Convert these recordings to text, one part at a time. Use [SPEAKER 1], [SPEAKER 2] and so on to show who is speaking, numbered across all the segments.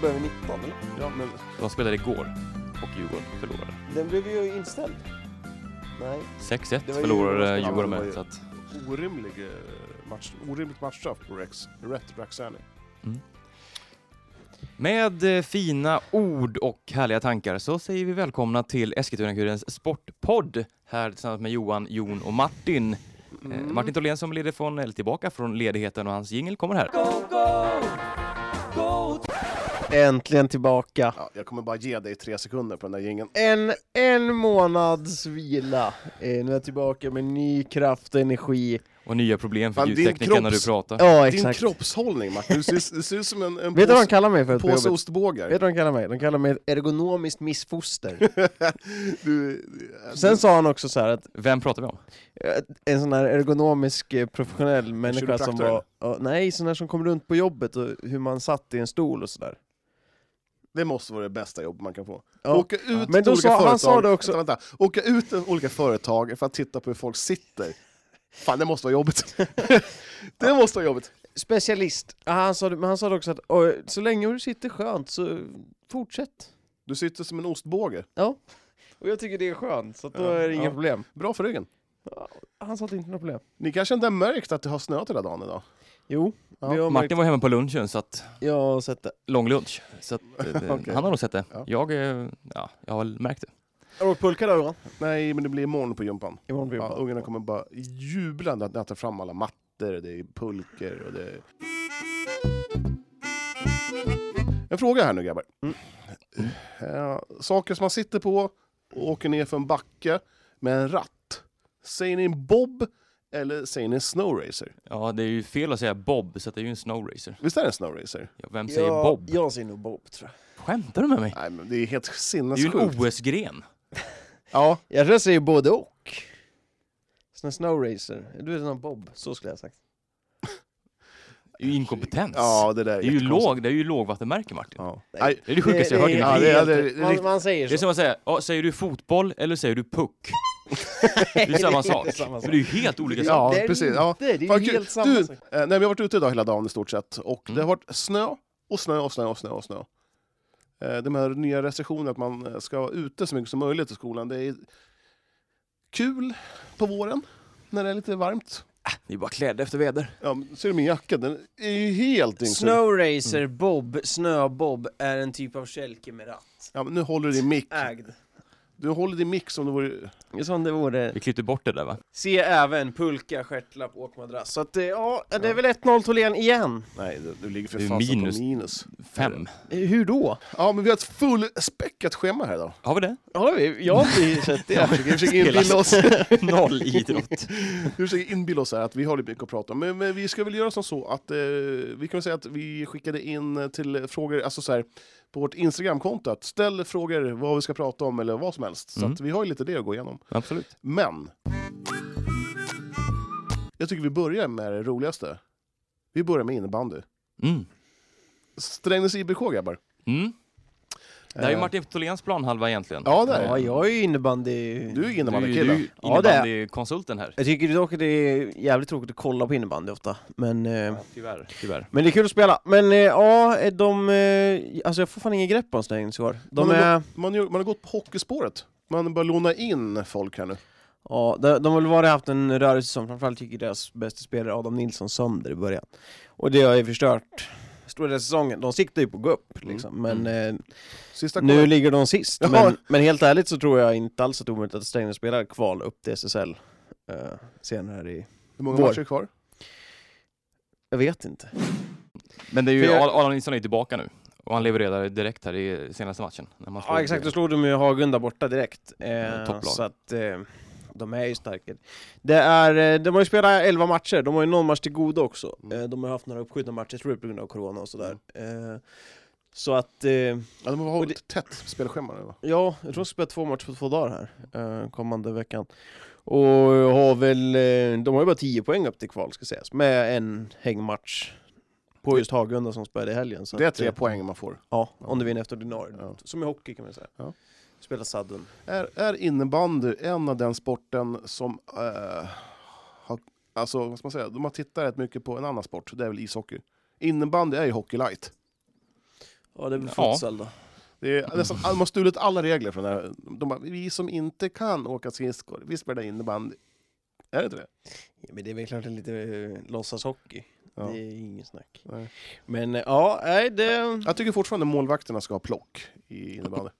[SPEAKER 1] börjar vid 19 eller?
[SPEAKER 2] Ja, men de spelade igår och Djurgården förlorade.
[SPEAKER 1] Den blev ju inställd. Nej.
[SPEAKER 2] 6-1
[SPEAKER 1] Det var ju
[SPEAKER 2] förlorade
[SPEAKER 1] Djurgården.
[SPEAKER 2] Djurgården
[SPEAKER 3] Ja, det
[SPEAKER 2] med.
[SPEAKER 3] var
[SPEAKER 2] Så att,
[SPEAKER 3] Orimlig eh, match, orimligt matchstraff på Rex, Rätt Raxani.
[SPEAKER 2] med eh, fina ord och härliga tankar så säger vi välkomna till Eskilstuna-Kurirens sportpodd här tillsammans med Johan, Jon och Martin. Eh,
[SPEAKER 3] Mm.
[SPEAKER 2] Martin Tholén som leder från, eller tillbaka från ledigheten och hans jingel kommer här.
[SPEAKER 1] Äntligen tillbaka.
[SPEAKER 3] Ja, jag kommer bara ge dig tre sekunder på den där jingeln.
[SPEAKER 1] En, en månads vila. Eh, Nu är jag tillbaka med ny kraft och energi.
[SPEAKER 2] Och nya problem för
[SPEAKER 3] Fan, din
[SPEAKER 2] ljudtekniken när du
[SPEAKER 3] kropps-
[SPEAKER 2] pratar.
[SPEAKER 1] Ja,
[SPEAKER 3] Din
[SPEAKER 1] exakt.
[SPEAKER 3] kroppshållning Martin, du ser, du ser ut som en, en
[SPEAKER 1] Vet du vad de
[SPEAKER 3] påse,
[SPEAKER 1] kallar mig för på
[SPEAKER 3] påse
[SPEAKER 1] jobbet?
[SPEAKER 3] ostbågar.
[SPEAKER 1] Vet du vad de kallar mig? De kallar mig ett ergonomiskt missfoster.
[SPEAKER 3] Du, du-
[SPEAKER 1] Sen sa han också så här att
[SPEAKER 2] Vem pratar vi om?
[SPEAKER 1] eh, en sån här ergonomisk eh, professionell människa som
[SPEAKER 3] kiropraktor,
[SPEAKER 1] var... Ja, nej, sån här som kom runt på jobbet och hur man satt i en stol och sådär.
[SPEAKER 3] det måste vara det bästa jobb man kan få.
[SPEAKER 1] Ja.
[SPEAKER 3] Åka ut
[SPEAKER 1] Men
[SPEAKER 3] till
[SPEAKER 1] då
[SPEAKER 3] olika
[SPEAKER 1] sa- han
[SPEAKER 3] företag.
[SPEAKER 1] sa det också-
[SPEAKER 3] Vänta, vänta. Åka ut till olika företag för att titta på hur folk sitter. Fan, det måste vara jobbigt. det måste vara jobbigt.
[SPEAKER 1] Specialist. Ja, Han sa, det- men han sa det också att "Oj, så länge du sitter skönt så fortsätt.
[SPEAKER 3] Du sitter som en ostbåge.
[SPEAKER 1] Och jag tycker det är skönt, så att då
[SPEAKER 3] Ja,
[SPEAKER 1] är det inga
[SPEAKER 3] ja.
[SPEAKER 1] problem.
[SPEAKER 3] Bra för ryggen.
[SPEAKER 1] Han sa att det inte var några problem.
[SPEAKER 3] Ni kanske inte har märkt att det har snöat hela dagen idag?
[SPEAKER 1] Jo,
[SPEAKER 3] Ja,
[SPEAKER 1] vi har
[SPEAKER 2] Martin
[SPEAKER 1] märkt,
[SPEAKER 2] var hemma på lunchen, så att,
[SPEAKER 1] jag har sett det.
[SPEAKER 2] lång lunch. Så att, eh,
[SPEAKER 3] Okej.
[SPEAKER 2] Han har nog sett det.
[SPEAKER 3] Ja.
[SPEAKER 2] Jag, eh, ja, jag har väl märkt det.
[SPEAKER 1] Har du åkt pulka då Johan?
[SPEAKER 3] Nej, men det blir imorgon på gympan.
[SPEAKER 1] Imorgon blir det
[SPEAKER 3] Ja,
[SPEAKER 1] bara-
[SPEAKER 3] ungarna kommer bara jubla när jag tar fram alla mattor, det är pulker och det är... En fråga här nu grabbar. Eh, saker som man sitter på och åker ner för en backe med en ratt. Säger ni bob eller säger ni snowracer?
[SPEAKER 2] Ja, det är ju fel att säga Bob, så att det är ju en snowracer.
[SPEAKER 3] Visst är det en snowracer?
[SPEAKER 2] Ja, vem säger Bob?
[SPEAKER 1] Jag säger nog Bob tror jag.
[SPEAKER 2] Skämtar du med mig?
[SPEAKER 3] Nej, men det är helt
[SPEAKER 2] Det är ju en
[SPEAKER 3] sinnessjukt.
[SPEAKER 2] OS-gren.
[SPEAKER 3] Ja,
[SPEAKER 1] Jag tror jag säger både och. Sån här snowracer. Du är sån här Bob, så skulle jag ha sagt.
[SPEAKER 2] Det är ju inkompetens.
[SPEAKER 3] ja, det där är
[SPEAKER 2] det, är ju
[SPEAKER 3] jättekonstigt.
[SPEAKER 2] låg, det är ju lågvattenmärke, Martin.
[SPEAKER 3] Ja.
[SPEAKER 1] Nej.
[SPEAKER 3] Nej,
[SPEAKER 2] Det är det sjukaste jag hört. i mitt
[SPEAKER 3] Ja,
[SPEAKER 2] liv.
[SPEAKER 3] det- ja, det-
[SPEAKER 1] helt-
[SPEAKER 3] det-
[SPEAKER 1] man, man säger
[SPEAKER 2] Det är
[SPEAKER 1] så.
[SPEAKER 2] som att säga, ja, säger du fotboll eller säger du puck? Det är ju samma sak.
[SPEAKER 1] inte samma
[SPEAKER 2] Men
[SPEAKER 1] sak.
[SPEAKER 2] det är ju helt olika saker.
[SPEAKER 3] Ja,
[SPEAKER 1] Det är
[SPEAKER 3] precis.
[SPEAKER 1] inte,
[SPEAKER 3] Ja.
[SPEAKER 1] Det är ju
[SPEAKER 3] Fan, kul.
[SPEAKER 1] helt samma
[SPEAKER 3] du,
[SPEAKER 1] sak.
[SPEAKER 3] eh, nej, men jag har varit ute idag hela dagen i stort sett och
[SPEAKER 2] Mm.
[SPEAKER 3] det har varit snö och snö och snö och snö och snö. Eh, De här nya restriktionerna att man eh, ska vara ute så mycket som möjligt i skolan. Det är kul på våren när det är lite varmt.
[SPEAKER 2] Det är bara klädda efter väder.
[SPEAKER 3] Ja, men ser du min jacka? Den är ju helt dyngsur.
[SPEAKER 1] Snowracer Bob, snöbob, är en typ av kälke med ratt.
[SPEAKER 3] Ja, men nu håller du din mick.
[SPEAKER 1] Ägd.
[SPEAKER 3] Du håller din mick som det vore...
[SPEAKER 1] Som det vore.
[SPEAKER 2] Vi klippte bort det där va?
[SPEAKER 1] Se även pulka, stjärtlapp, åkmadrass. Så att eh, ja, det är väl 1-0 Tholén igen.
[SPEAKER 3] Nej, du- du ligger för
[SPEAKER 2] Det är
[SPEAKER 3] fasen
[SPEAKER 2] minus.
[SPEAKER 3] på minus.
[SPEAKER 2] Fem.
[SPEAKER 1] Eh, Hur då?
[SPEAKER 3] Ja, men vi har ett fullspäckat schema här idag.
[SPEAKER 2] Har vi det?
[SPEAKER 1] Ja, vi- jag har inte sett det.
[SPEAKER 3] Vi försöker inbilla oss,
[SPEAKER 2] Noll idrott.
[SPEAKER 3] vi försöker inbilla oss här att vi har lite mycket att prata om. Men, men vi ska väl göra som så att eh, vi kan väl säga att vi skickade in eh, till frågor, alltså så här, på vårt Instagramkonto att ställ frågor vad vi ska prata om eller vad som helst. Så
[SPEAKER 2] Mm.
[SPEAKER 3] att vi har ju lite det att gå igenom.
[SPEAKER 2] Absolut.
[SPEAKER 3] Men. Jag tycker vi börjar med det roligaste. Vi börjar med innebandy.
[SPEAKER 2] Mm.
[SPEAKER 3] Strängnäs IBK grabbar.
[SPEAKER 2] Mm. Det här är ju
[SPEAKER 3] Eh,
[SPEAKER 2] Martin Tholéns planhalva egentligen.
[SPEAKER 3] Ja, det är
[SPEAKER 1] Ja,
[SPEAKER 3] det.
[SPEAKER 1] jag är ju innebandy...
[SPEAKER 3] Du är ju
[SPEAKER 2] Du är ju-
[SPEAKER 3] innebandykille.
[SPEAKER 2] du är ju
[SPEAKER 1] Ja, det är-
[SPEAKER 2] innebandykonsulten här.
[SPEAKER 1] Jag tycker dock att det är jävligt tråkigt att kolla på innebandy ofta, men... Eh...
[SPEAKER 2] Tyvärr. Tyvärr.
[SPEAKER 1] Men det är kul att spela, men eh, ja, eh, de... Eh, alltså jag får fan ingen grepp om Strängnäs i år. De
[SPEAKER 3] Men de-
[SPEAKER 1] är...
[SPEAKER 3] Man, gör- man har gått på hockeyspåret. Man bara låna in folk här nu.
[SPEAKER 1] Ja, de, de har väl varit haft en rörelse som framförallt tycker deras bästa spelare Adam Nilsson sönder i början. Och det har ju förstört stora delar av säsongen. De siktar ju på att gå upp liksom, men eh,
[SPEAKER 3] Sista
[SPEAKER 1] nu ligger de sist.
[SPEAKER 3] Ja.
[SPEAKER 1] Men, men helt ärligt så tror jag inte alls att det är omöjligt att Strängnäs spelar kval upp till SSL eh, senare här i...
[SPEAKER 3] Hur många
[SPEAKER 1] Vår.
[SPEAKER 3] matcher är kvar?
[SPEAKER 1] Jag vet inte.
[SPEAKER 2] Men det är ju,
[SPEAKER 1] För jag-
[SPEAKER 2] Ar- Aron Nilsson är ju tillbaka nu. Och han levererade direkt här i senaste matchen. När man
[SPEAKER 1] Ja
[SPEAKER 2] slog-
[SPEAKER 1] exakt, då slog de ju Hagunda borta direkt.
[SPEAKER 2] Ja,
[SPEAKER 1] Eh,
[SPEAKER 2] topplag.
[SPEAKER 1] så att eh, de är ju starka. Det är, eh, de har ju spelat 11 matcher, de har ju någon match till godo också.
[SPEAKER 3] Mm.
[SPEAKER 1] Eh, de har haft några uppskjutna matcher, tror jag, på grund av corona och sådär. Eh, så att, eh, ja,
[SPEAKER 3] Ja, de har
[SPEAKER 1] Och
[SPEAKER 3] ett tätt spelschema nu va?
[SPEAKER 1] jag tror de spelar två matcher på två dagar här, eh, kommande veckan. Och har väl, eh, de har ju bara 10 poäng upp till kval ska sägas, med en hängmatch. På just Hagunda som spelade i helgen. Så
[SPEAKER 3] Det är
[SPEAKER 1] att,
[SPEAKER 3] tre
[SPEAKER 1] eh,
[SPEAKER 3] poäng man får.
[SPEAKER 1] Ja, om du vinner efter ordinarie.
[SPEAKER 3] Ja.
[SPEAKER 1] Som i hockey kan man säga.
[SPEAKER 3] Ja.
[SPEAKER 1] Spela sadden.
[SPEAKER 3] Är, är innebandy en av den sporten som eh, har, alltså, vad ska man säga, de har tittat rätt mycket på en annan sport, det är väl ishockey. Innebandy är ju hockey light.
[SPEAKER 1] Ja, det är väl
[SPEAKER 2] Ja.
[SPEAKER 1] futsal då.
[SPEAKER 3] Det
[SPEAKER 1] Mm.
[SPEAKER 3] är nästan, de har stulit alla regler från det här. De bara, vi som inte kan åka skridskor, vi spelar innebandy. Är det inte det?
[SPEAKER 1] Ja, men det är väl klart det är lite eh, låtsashockey.
[SPEAKER 3] Ja.
[SPEAKER 1] Det är inget snack.
[SPEAKER 3] Nej.
[SPEAKER 1] Men eh, ja, nej det...
[SPEAKER 3] Jag tycker fortfarande målvakterna ska ha plock i innebandy.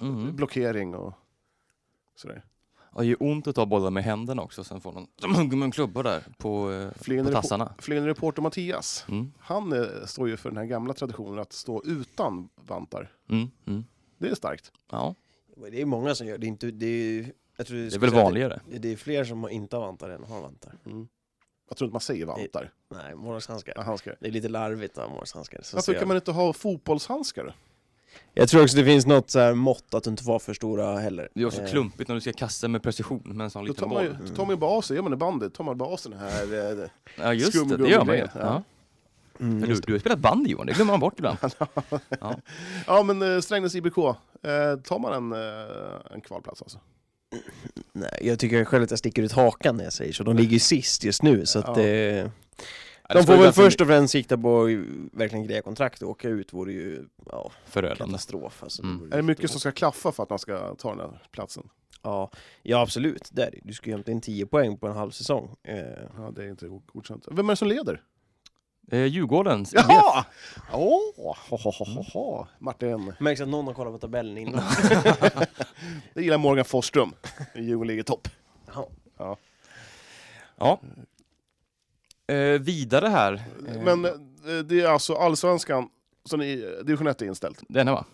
[SPEAKER 2] Mm.
[SPEAKER 3] Blockering och sådär.
[SPEAKER 2] Det gör ont att ta bollar med händerna också, sen får någon en klubba där på, eh,
[SPEAKER 3] Fler
[SPEAKER 2] på
[SPEAKER 3] repo-
[SPEAKER 2] tassarna.
[SPEAKER 3] Flyende reporter Mattias,
[SPEAKER 2] Mm.
[SPEAKER 3] han eh, står ju för den här gamla traditionen att stå utan vantar.
[SPEAKER 2] Mm. Mm.
[SPEAKER 3] Det är starkt.
[SPEAKER 2] Ja,
[SPEAKER 1] Det är många som gör det. Är inte, det, är, jag tror
[SPEAKER 2] det är väl vanligare.
[SPEAKER 1] Det, det är fler som inte har vantar än har vantar.
[SPEAKER 3] Jag tror inte man säger vantar.
[SPEAKER 1] Nej, morgonshandskar.
[SPEAKER 3] Ja, handskar.
[SPEAKER 1] Det är lite larvigt att ha morgonshandskar. så
[SPEAKER 3] Varför
[SPEAKER 1] eh, ser jag.
[SPEAKER 3] kan man inte ha fotbollshandskar?
[SPEAKER 1] Jag tror också det finns något så här mått att inte vara för stora heller.
[SPEAKER 2] Det är också
[SPEAKER 1] Eh,
[SPEAKER 2] klumpigt när du ska kasta med precision med en sån
[SPEAKER 3] Då tar
[SPEAKER 2] liten
[SPEAKER 3] man, ju,
[SPEAKER 2] boll.
[SPEAKER 3] då tar
[SPEAKER 1] Mm.
[SPEAKER 3] man ju bara av sig, gör man det bandet, tar man bara av sig den här... eh,
[SPEAKER 2] Ja just det, det
[SPEAKER 3] skumgummi-
[SPEAKER 2] gör man ju.
[SPEAKER 3] grejen. Ja.
[SPEAKER 2] Ja.
[SPEAKER 1] Mm,
[SPEAKER 2] Men Du, du har spelat bandy Johan, det glömmer man bort ibland.
[SPEAKER 3] Ja, men eh, Strängnäs IBK, eh, tar man en, eh, en kvalplats alltså?
[SPEAKER 1] nej, jag tycker själv att jag sticker ut hakan när jag säger så. De ligger ju sist just nu så att...
[SPEAKER 3] Ja.
[SPEAKER 1] Eh,
[SPEAKER 2] det
[SPEAKER 1] de får
[SPEAKER 2] skulle
[SPEAKER 1] väl
[SPEAKER 2] verkligen-
[SPEAKER 1] först och främst sikta på att ju verkligen greja kontrakt och åka ut vore ju ja,
[SPEAKER 2] Förödande.
[SPEAKER 1] katastrof. Alltså,
[SPEAKER 2] Mm.
[SPEAKER 1] vore
[SPEAKER 3] Är det mycket
[SPEAKER 1] jättebra.
[SPEAKER 3] som ska klaffa för att man ska ta den här platsen?
[SPEAKER 1] Ja, ja absolut, det är det. Du ska ju hämta in 10 poäng på en halv säsong. Eh,
[SPEAKER 3] Ja, det är inte go- godkänt. Vem är det som leder?
[SPEAKER 2] Eh, Djurgårdens IBF.
[SPEAKER 3] Jaha! Åh! Oh, Martin.
[SPEAKER 1] märks att någon har kollat på tabellen innan.
[SPEAKER 3] Det gillar Morgan Forsström. Djurgården ligger topp.
[SPEAKER 1] Ja.
[SPEAKER 2] Ja. Eh, vidare här. Eh,
[SPEAKER 3] Men eh, det är alltså allsvenskan, så ni, division 1 är inställt.
[SPEAKER 2] Denna va?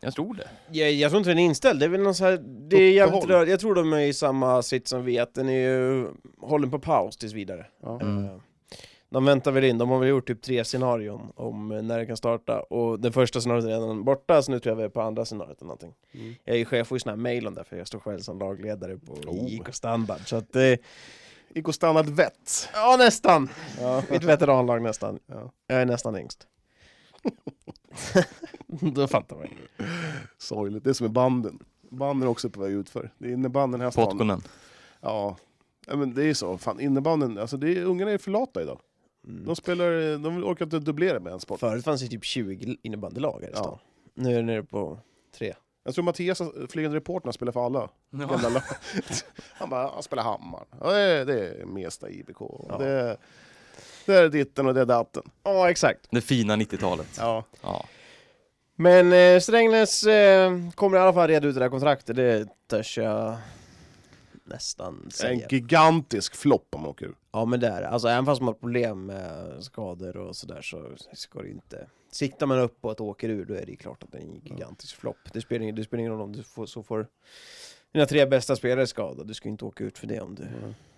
[SPEAKER 2] Jag tror det.
[SPEAKER 1] Jag, jag tror inte den är inställd, det är väl någon så här, det är jävligt
[SPEAKER 3] Uppehåll.
[SPEAKER 1] rör, Jag tror de är i samma sitt som vi, att den är ju, hållen på paus tills vidare.
[SPEAKER 3] Ja.
[SPEAKER 2] Mm.
[SPEAKER 1] Eh, De väntar väl in, de har väl gjort typ tre scenarion om eh, när det kan starta och det första scenariot är redan borta så nu tror jag vi är på andra scenariot eller någonting.
[SPEAKER 3] Mm.
[SPEAKER 1] Jag är ju chef och sån här mail om det för jag står själv som lagledare på
[SPEAKER 3] Oh.
[SPEAKER 1] IK standard så att eh,
[SPEAKER 3] IK Standard Vett.
[SPEAKER 1] ja nästan!
[SPEAKER 3] Ja.
[SPEAKER 1] Mitt veteranlag nästan.
[SPEAKER 3] Ja.
[SPEAKER 1] Jag är nästan längst. Då fattar man ju.
[SPEAKER 3] Sorgligt, det är som i banden. Banden är också på väg utför. Det är innebanden här stan.
[SPEAKER 2] Potkonen.
[SPEAKER 3] Ja. ja, men det är så. Fan, innebanden, alltså det är, ungarna är för lata idag. De spelar, de orkar inte dubblera med en sport.
[SPEAKER 1] Förut fanns det typ 20 innebandylag här i
[SPEAKER 3] Ja.
[SPEAKER 1] stan. Nu är det nere på tre.
[SPEAKER 3] Jag tror Mattias, flygande reportern, spelar för alla.
[SPEAKER 2] Ja.
[SPEAKER 3] Jävla lag. Han bara, han spelar Hammar. Ja, Det är, det är Mesta IBK.
[SPEAKER 1] Ja.
[SPEAKER 3] Det, är- det är ditten och det är datten.
[SPEAKER 1] Ja, exakt.
[SPEAKER 2] Det fina 90-talet.
[SPEAKER 3] Ja.
[SPEAKER 2] Ja.
[SPEAKER 1] Men eh, Strängnäs eh, kommer i alla fall reda ut det där kontraktet, det törs jag nästan
[SPEAKER 3] En
[SPEAKER 1] säga.
[SPEAKER 3] gigantisk flopp om man åker ur.
[SPEAKER 1] Ja men det är det. Alltså även fast man har problem med skador och sådär så ska det ju inte... Siktar man upp och att åker ur då är det ju klart att det är en gigantisk flopp. Det spelar ingen, det spelar ingen roll om du får, så får dina tre bästa spelare skadade. Du ska ju inte åka ut för det om du...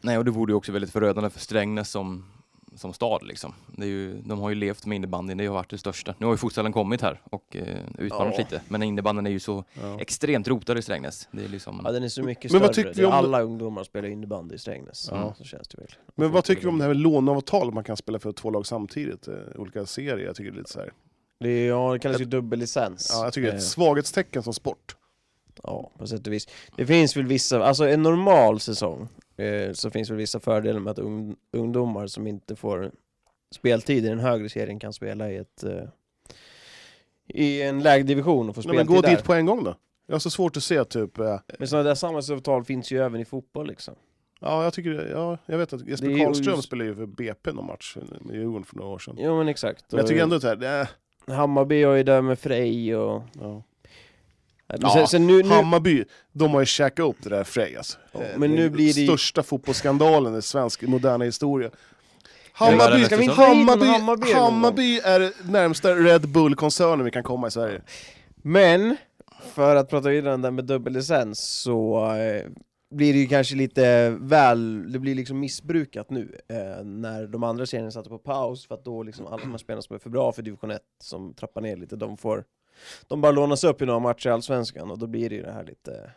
[SPEAKER 2] Nej, och det vore ju också väldigt förödande för Strängnäs som, som stad liksom. Det är ju, de har ju levt med innebandyn, det har varit det största. Nu har ju futsalen kommit här och eh, utmanat
[SPEAKER 1] Ja.
[SPEAKER 2] lite, men innebandyn är ju så
[SPEAKER 3] Ja.
[SPEAKER 2] extremt rotad i Strängnäs. Det är liksom...
[SPEAKER 1] Ja den är så mycket
[SPEAKER 3] Men
[SPEAKER 1] större.
[SPEAKER 3] vad tyckte vi om
[SPEAKER 1] Det är
[SPEAKER 3] det-
[SPEAKER 1] Alla ungdomar spelar innebandy i Strängnäs.
[SPEAKER 3] Ja.
[SPEAKER 1] Så känns det verkligen.
[SPEAKER 3] Men vad tycker du
[SPEAKER 1] Mm.
[SPEAKER 3] om det här med låneavtal? Man kan spela för två lag samtidigt, eh, olika serier. Jag tycker det är lite så här.
[SPEAKER 1] Det, är, ja, det kallas ju dubbellicens.
[SPEAKER 3] Ja, jag tycker det är
[SPEAKER 1] Eh,
[SPEAKER 3] ett svaghetstecken som sport.
[SPEAKER 1] Ja, på sätt och vis. Det finns väl vissa, alltså en normal säsong eh, så finns väl vissa fördelar med att ung, ungdomar som inte får speltid i den högre serien kan spela i ett eh, i en lägdivision och få
[SPEAKER 3] Nej, men
[SPEAKER 1] speltid
[SPEAKER 3] gå
[SPEAKER 1] där.
[SPEAKER 3] dit på en gång då. Jag har så svårt att se typ... eh,
[SPEAKER 1] Men sådana där samarbetsavtal finns ju även i fotboll liksom.
[SPEAKER 3] Ja, jag tycker ja, jag vet att
[SPEAKER 1] Det är
[SPEAKER 3] Jesper
[SPEAKER 1] ju-
[SPEAKER 3] Karlström spelade ju för BP någon match eh, med Djurgården för några år sedan.
[SPEAKER 1] Jo men exakt.
[SPEAKER 3] Men jag tycker ändå att det här, eh, nej,
[SPEAKER 1] Hammarby har ju där med Frej och...
[SPEAKER 3] ja.
[SPEAKER 1] Men
[SPEAKER 3] Ja,
[SPEAKER 1] sen, sen nu, nu...
[SPEAKER 3] Hammarby, de har ju käkat upp det där Frej alltså.
[SPEAKER 1] Ja,
[SPEAKER 3] Eh,
[SPEAKER 1] men
[SPEAKER 3] den
[SPEAKER 1] nu blir det ju-
[SPEAKER 3] Största fotbollsskandalen i svensk moderna historia.
[SPEAKER 2] Ska vi
[SPEAKER 3] Hammarby,
[SPEAKER 2] inte
[SPEAKER 1] ha hit någon
[SPEAKER 3] Hammarby,
[SPEAKER 1] Hammarby
[SPEAKER 3] Hammarby,
[SPEAKER 1] någon gång?
[SPEAKER 3] är det närmsta Red Bull-koncernen vi kan komma i Sverige.
[SPEAKER 1] Men, för att prata vidare om den med dubbellicens så eh, blir det ju kanske lite väl, det blir liksom missbrukat nu eh, när de andra serierna satte på paus för att då liksom alla de här spelarna som är för bra för division 1 som trappar ner lite, de får, de bara lånas upp i några matcher i Allsvenskan och då blir det ju det här lite,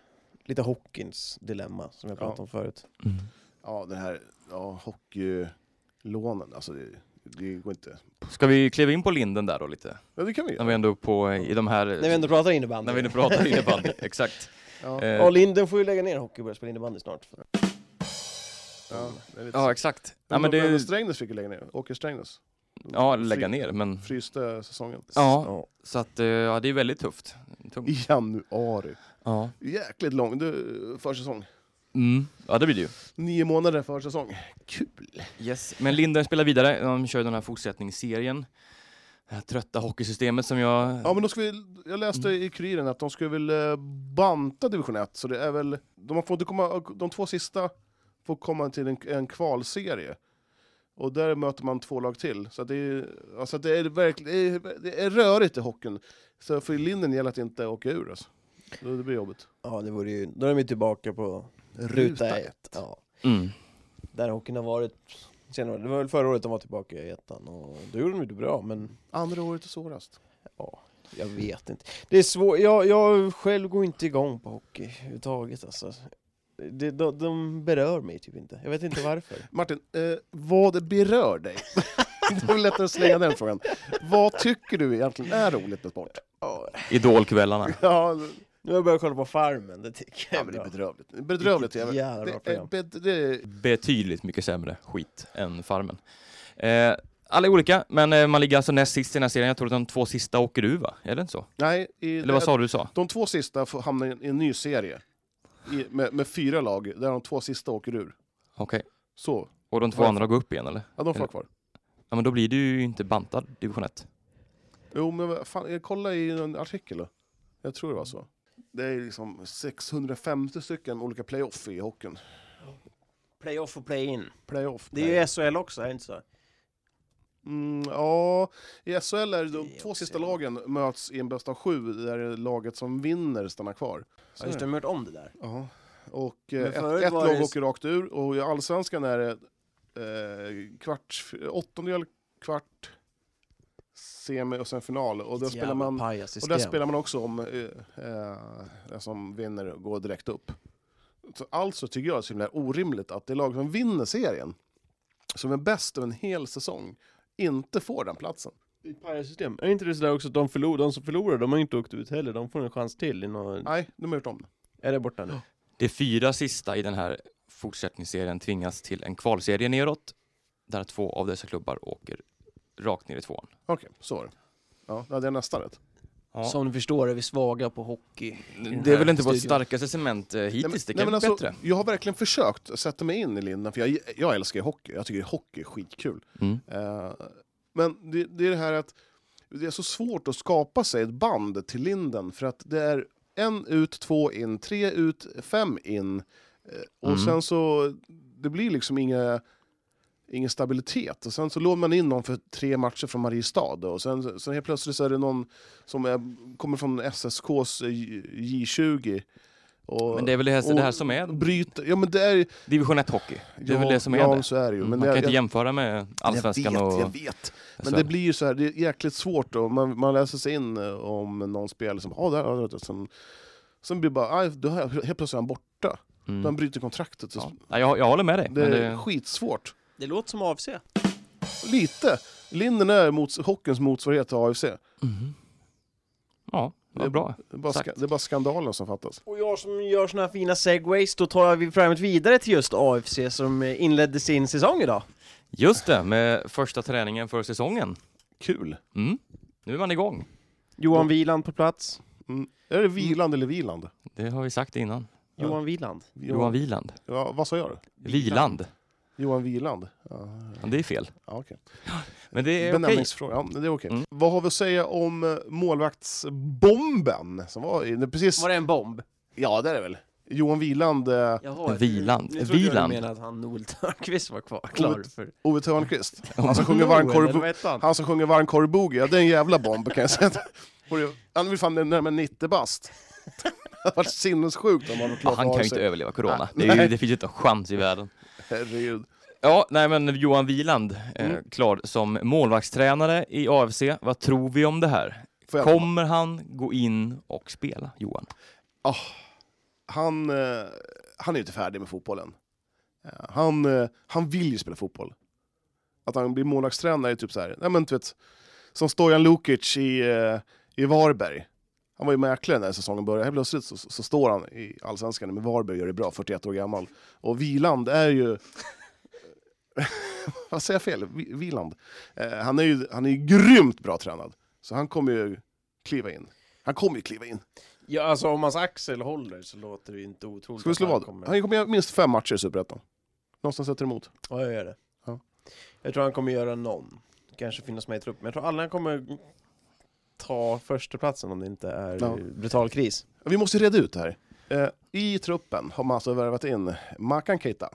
[SPEAKER 1] lite Hawkins dilemma som jag pratade
[SPEAKER 3] Ja.
[SPEAKER 1] om förut.
[SPEAKER 2] Mm.
[SPEAKER 3] Ja, den här ja, hockeylånen, alltså det, det går inte.
[SPEAKER 2] Ska vi kliva in på linden där då lite?
[SPEAKER 3] Ja, det kan vi
[SPEAKER 2] När
[SPEAKER 3] göra.
[SPEAKER 2] vi ändå på eh, i de här...
[SPEAKER 1] När vi ändå pratar innebandy.
[SPEAKER 2] när vi nu pratar innebandy, exakt.
[SPEAKER 3] Ja,
[SPEAKER 2] Eh,
[SPEAKER 1] Ja, Linden får ju lägga ner hockey och börja spela innebandy snart.
[SPEAKER 3] ja, jag vet.
[SPEAKER 2] ja, exakt. Ja,
[SPEAKER 3] men,
[SPEAKER 2] men det,
[SPEAKER 3] Strängnäs fick ju lägga ner, Åker Strängnäs.
[SPEAKER 2] ja, lägga ner. Men,
[SPEAKER 3] fryste säsongen.
[SPEAKER 2] ja, så att, eh, ja, det är väldigt tufft.
[SPEAKER 3] I
[SPEAKER 2] Tungt.
[SPEAKER 3] januari.
[SPEAKER 2] Ja.
[SPEAKER 3] Jäkligt lång du, försäsong.
[SPEAKER 2] Mm. ja, det blir det ju.
[SPEAKER 3] Nio månader försäsong. Kul!
[SPEAKER 2] Yes. Men Linden spelar vidare. De kör den här fortsättningsserien. Det här trötta hockeysystemet som jag...
[SPEAKER 3] Ja, men då ska vi, jag läste i Kuriren att de skulle väl eh, banta division 1, så det är väl... De, får inte komma, de två sista får komma till en, en kvalserie. Och där möter man två lag till. Så att det, är, alltså att det, är verkligen, det, är, det är rörigt i hockeyn. Så för Linden gäller att inte åka ur. Alltså. Då- Det blir jobbigt.
[SPEAKER 1] Ja, det vore ju... Då är de ju tillbaka på
[SPEAKER 3] Ruta
[SPEAKER 1] ruta ett. Ja.
[SPEAKER 2] Mm.
[SPEAKER 1] Där hockeyn har varit senare. Det var väl förra året de var tillbaka i ettan och då gjorde de ju det bra, men
[SPEAKER 3] Andra året är svårast.
[SPEAKER 1] jag vet inte. Det är svårt. Jag, jag själv går inte igång på hockey överhuvudtaget alltså. Det, de, de berör mig typ inte. Jag vet inte varför.
[SPEAKER 3] Martin, eh, vad berör dig? det var väl lättare att slänga den frågan. Vad tycker du egentligen är roligt med sport?
[SPEAKER 2] Idolkvällarna.
[SPEAKER 3] Ja,
[SPEAKER 1] Nu har jag börjat kolla på Farmen, det tycker jag
[SPEAKER 3] ja
[SPEAKER 1] är
[SPEAKER 3] men det är
[SPEAKER 1] bra.
[SPEAKER 3] bedrövligt. Bedrövligt
[SPEAKER 1] Vilket
[SPEAKER 3] jävel.
[SPEAKER 1] jävla bra
[SPEAKER 3] Det är
[SPEAKER 1] program.
[SPEAKER 3] bed- det är-
[SPEAKER 2] betydligt mycket sämre skit än Farmen. Eh, alla är olika, men eh, man ligger alltså näst sist i den här serien. Jag tror att de två sista åker ur, va? Är det inte så?
[SPEAKER 3] Nej, i,
[SPEAKER 2] Eller vad sa du sa?
[SPEAKER 3] de två sista får hamna i en, i en ny serie. I, med, med fyra lag, där de två sista åker ur.
[SPEAKER 2] Okej.
[SPEAKER 3] Så,
[SPEAKER 2] Och de två andra går upp igen, eller?
[SPEAKER 3] ja, de får
[SPEAKER 2] Eller-
[SPEAKER 3] vara kvar.
[SPEAKER 2] Ja, men då blir det ju inte bantad division 1.
[SPEAKER 3] Jo, men vad fan, jag kollade i en artikel. då. Jag tror det var så. Det är liksom 650 stycken olika playoff i hockeyn.
[SPEAKER 1] Playoff och play-in.
[SPEAKER 3] Playoff.
[SPEAKER 1] Det är ju SHL också, är det inte så?
[SPEAKER 3] Mm, ja, i SHL är det de
[SPEAKER 1] Det är
[SPEAKER 3] två
[SPEAKER 1] också
[SPEAKER 3] sista
[SPEAKER 1] jävla-
[SPEAKER 3] lagen möts i en bäst av sju där det är laget som vinner stannar kvar. Så
[SPEAKER 1] Ja, just det, de har gjort om det där.
[SPEAKER 3] Ja. Och
[SPEAKER 1] Men
[SPEAKER 3] eh, ett,
[SPEAKER 1] förut
[SPEAKER 3] ett
[SPEAKER 1] var
[SPEAKER 3] lag
[SPEAKER 1] det-
[SPEAKER 3] åker rakt ur och i allsvenskan är det eh, kvart, åttondel, kvart, semi och sen final. Och där
[SPEAKER 1] Vilket
[SPEAKER 3] spelar
[SPEAKER 1] jävla
[SPEAKER 3] man, och
[SPEAKER 1] pajassystem.
[SPEAKER 3] där spelar man också om eh, eh, den som vinner går direkt upp. Så alltså tycker jag det är så himla orimligt att det lag som vinner serien, som är bäst över en hel säsong, inte får den platsen.
[SPEAKER 1] I ett pajassystem. Är inte det sådär också att de, förlor, de som förlorar, de har ju inte åkt ut heller, de får en chans till i någon...
[SPEAKER 3] Nej, de har gjort om det.
[SPEAKER 1] Är det borta nu?
[SPEAKER 2] De fyra sista i den här fortsättningsserien tvingas till en kvalserie neråt, där två av dessa klubbar åker rakt ner i tvåan.
[SPEAKER 3] Okej, så var det. Ja, det hade jag nästan rätt.
[SPEAKER 2] Ja.
[SPEAKER 1] Som ni förstår är vi svaga på hockey.
[SPEAKER 2] Det är väl inte vårt
[SPEAKER 1] studion.
[SPEAKER 2] starkaste cement eh, hittills, det kan bli
[SPEAKER 3] alltså,
[SPEAKER 2] bättre.
[SPEAKER 3] Jag har verkligen försökt sätta mig in i linan, för jag, jag älskar ju hockey. Jag tycker hockey är skitkul.
[SPEAKER 2] Mm.
[SPEAKER 3] Eh, men det, det är det här att det är så svårt att skapa sig ett band till linden för att det är en ut, två in, tre ut, fem in. Eh, och
[SPEAKER 2] Mm.
[SPEAKER 3] sen så, det blir liksom inga, ingen stabilitet. Och sen så lånar man in någon för tre matcher från Mariestad och sen, sen helt plötsligt så är det någon som är, kommer från SSKs J- J20. Och,
[SPEAKER 2] Men det är väl det här, Alltså, det här
[SPEAKER 3] och-
[SPEAKER 2] som är
[SPEAKER 3] Bryta, ja men det är
[SPEAKER 2] division 1-hockey. Det är väl det som är
[SPEAKER 3] ja,
[SPEAKER 2] det.
[SPEAKER 3] så är det ju. Men
[SPEAKER 2] man
[SPEAKER 3] det-
[SPEAKER 2] kan ju inte
[SPEAKER 3] jag-
[SPEAKER 2] jämföra med allsvenskan
[SPEAKER 3] jag vet,
[SPEAKER 2] och
[SPEAKER 3] Jag vet. Men
[SPEAKER 2] SHL.
[SPEAKER 3] det blir ju så här, det är jäkligt svårt och man, man läser sig in eh, om någon spelare som, ja där har det sen, sen blir det bara, aj, då har jag, helt plötsligt är han borta.
[SPEAKER 2] Mm.
[SPEAKER 3] Mm. Han bryter kontraktet. Så
[SPEAKER 2] ja. Nej, jag, jag håller med dig.
[SPEAKER 3] Det är
[SPEAKER 2] men det,
[SPEAKER 3] skitsvårt.
[SPEAKER 1] Det låter som AFC.
[SPEAKER 3] Lite. Linden är mots, hockeyns motsvarighet till AFC.
[SPEAKER 2] Mhm. Ja, det var
[SPEAKER 3] Det-
[SPEAKER 2] bra.
[SPEAKER 3] Det är bara, ska,
[SPEAKER 2] Exakt.
[SPEAKER 3] det är bara skandalen som fattas.
[SPEAKER 1] Och jag som gör såna här fina segways, då tar vi programmet vidare till just AFC som eh, inledde sin säsong idag.
[SPEAKER 2] Just det, med första träningen för säsongen.
[SPEAKER 3] Kul.
[SPEAKER 2] Mm. Nu är man igång.
[SPEAKER 1] Johan Wieland på plats.
[SPEAKER 3] Är det
[SPEAKER 2] Mm.
[SPEAKER 3] vilande eller vilande?
[SPEAKER 2] Det har vi sagt innan.
[SPEAKER 3] Ja.
[SPEAKER 1] Johan Wieland.
[SPEAKER 2] Johan Wieland.
[SPEAKER 3] ja, vad sa jag då?
[SPEAKER 2] Viland.
[SPEAKER 3] Johan Viland? Ja,
[SPEAKER 2] Ja, det är fel.
[SPEAKER 3] ja, okej.
[SPEAKER 2] Men det är okej.
[SPEAKER 3] Benämningsfråga, ja, men det är okej.
[SPEAKER 2] Mm.
[SPEAKER 3] Vad har vi att säga om eh, målvaktsbomben? Som var, i- det precis,
[SPEAKER 1] Var det en bomb?
[SPEAKER 3] Ja, det är det väl. Johan Wieland, eh,
[SPEAKER 1] Jaha,
[SPEAKER 2] Wieland.
[SPEAKER 1] Nu trodde jag
[SPEAKER 2] Wieland.
[SPEAKER 1] du menade att han Noel Törnqvist var kvar. Klar för...
[SPEAKER 3] Ove Thörnqvist. Han som sjunger varmkorv... Han som sjunger varmkorv boogie, ja, det är en jävla bomb kan jag säga. Vore ju- Han är väl fan närmare 90 bast. Det hade varit sinnessjukt om han var
[SPEAKER 2] Ja,
[SPEAKER 3] klar
[SPEAKER 2] han kan ju inte överleva corona. Det, är ju, det finns ju inte en chans i världen.
[SPEAKER 3] Herregud.
[SPEAKER 2] Ja, nej men Johan Wieland, eh,
[SPEAKER 1] Mm.
[SPEAKER 2] klar som målvaktstränare i AFC. Vad tror vi om det här?
[SPEAKER 3] Får jag-
[SPEAKER 2] Kommer han gå in och spela, Johan?
[SPEAKER 3] Han, eh, han är ju inte färdig med fotbollen. Eh, Han, eh, han vill ju spela fotboll. Att han blir målvaktstränare är typ så här, nej men du vet, som Stojan Lukic i, eh, i Varberg. Han var ju mäklare när säsongen började, helt plötsligt så, så står han i Allsvenskan med Varberg och gör det bra, 41 år gammal. Och Wieland är ju... vad säger jag fel? Vi- Wieland. Eh, han, är ju, han är ju grymt bra tränad. Så han kommer ju kliva in. Han kommer ju kliva in.
[SPEAKER 1] Ja, alltså om hans axel håller så låter det ju inte otroligt.
[SPEAKER 3] Ska vi slå
[SPEAKER 1] att han
[SPEAKER 3] vad? Han kommer göra minst fem matcher i Superettan. Någonstans sätter emot.
[SPEAKER 1] Ja, jag gör det.
[SPEAKER 3] Ja.
[SPEAKER 1] Jag tror han kommer göra någon. Kanske finnas med i truppen. Men jag tror alla kommer ta första platsen om det inte är
[SPEAKER 3] Ja.
[SPEAKER 1] brutal kris.
[SPEAKER 3] Vi måste ju reda ut det här. Eh, I truppen har man alltså värvat in Makan Keita.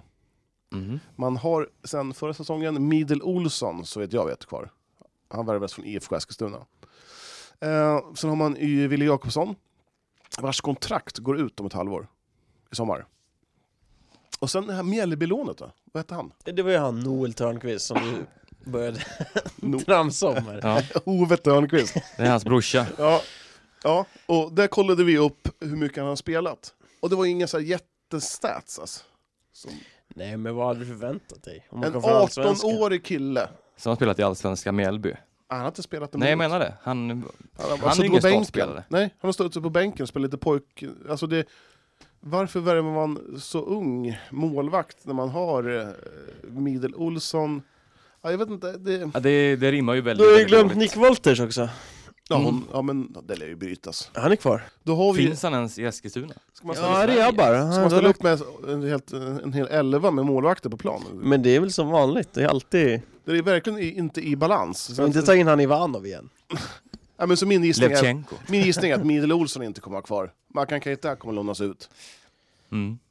[SPEAKER 1] Mm.
[SPEAKER 2] Mhm.
[SPEAKER 3] Man har sen förra säsongen Midel Olsson, så vet jag vet, kvar. Han värvades från IFK Eskilstuna. Eh, sen har man ju Wille Jakobsson, vars kontrakt går ut om ett halvår i sommar. Och sen det här Mjällbylånet då, vad hette han?
[SPEAKER 1] Det var ju han Noel Törnqvist som du började
[SPEAKER 3] No.
[SPEAKER 1] tramsa om här.
[SPEAKER 2] Ja,
[SPEAKER 3] Ove Törnqvist.
[SPEAKER 2] det är hans brorsa.
[SPEAKER 3] ja. ja, och där kollade vi upp hur mycket han har spelat. Och det var inga så här jättestats alltså. Som
[SPEAKER 1] Nej, men vad hade du förväntat dig? Om man
[SPEAKER 3] en
[SPEAKER 1] kom från Allsvenskan?
[SPEAKER 3] 18-årig kille.
[SPEAKER 2] Som har spelat i Allsvenska Mjällby.
[SPEAKER 3] Han har inte spelat en
[SPEAKER 2] Nej, jag
[SPEAKER 3] minut.
[SPEAKER 2] menar det. Han,
[SPEAKER 3] Han,
[SPEAKER 2] Han är
[SPEAKER 3] är
[SPEAKER 2] ju
[SPEAKER 3] ingen
[SPEAKER 2] ingen
[SPEAKER 3] startspelare.
[SPEAKER 2] startspelare.
[SPEAKER 3] Nej, han har stått ute på bänken och spelat lite pojk... Alltså det, varför värmer man så ung målvakt när man har eh, Midel Olsson? Ja, jag vet inte. Det,
[SPEAKER 2] ja, det, det rimmar ju
[SPEAKER 1] Du
[SPEAKER 2] väldigt,
[SPEAKER 1] har ju
[SPEAKER 2] väldigt
[SPEAKER 1] glömt
[SPEAKER 2] dåligt.
[SPEAKER 1] Nick Wolters också.
[SPEAKER 3] ja, hon, ja, men det lär ju brytas.
[SPEAKER 1] Han är kvar.
[SPEAKER 3] Då har vi,
[SPEAKER 2] Finns han ens i Eskilstuna?
[SPEAKER 3] ska man ställa,
[SPEAKER 1] Ja, det är jag bara.
[SPEAKER 3] ska man ställa upp med en, helt, en hel elva med målvakter på planen?
[SPEAKER 1] Men det är väl som vanligt. Det är alltid...
[SPEAKER 3] Det är verkligen i, inte i balans. Så,
[SPEAKER 1] Inte ta in han Ivanov igen.
[SPEAKER 3] ja, men så min, gissning är,
[SPEAKER 2] Levchenko.
[SPEAKER 3] min gissning är att Midel Olsson inte kommer att vara kvar. Mackan Keita kommer lånas ut.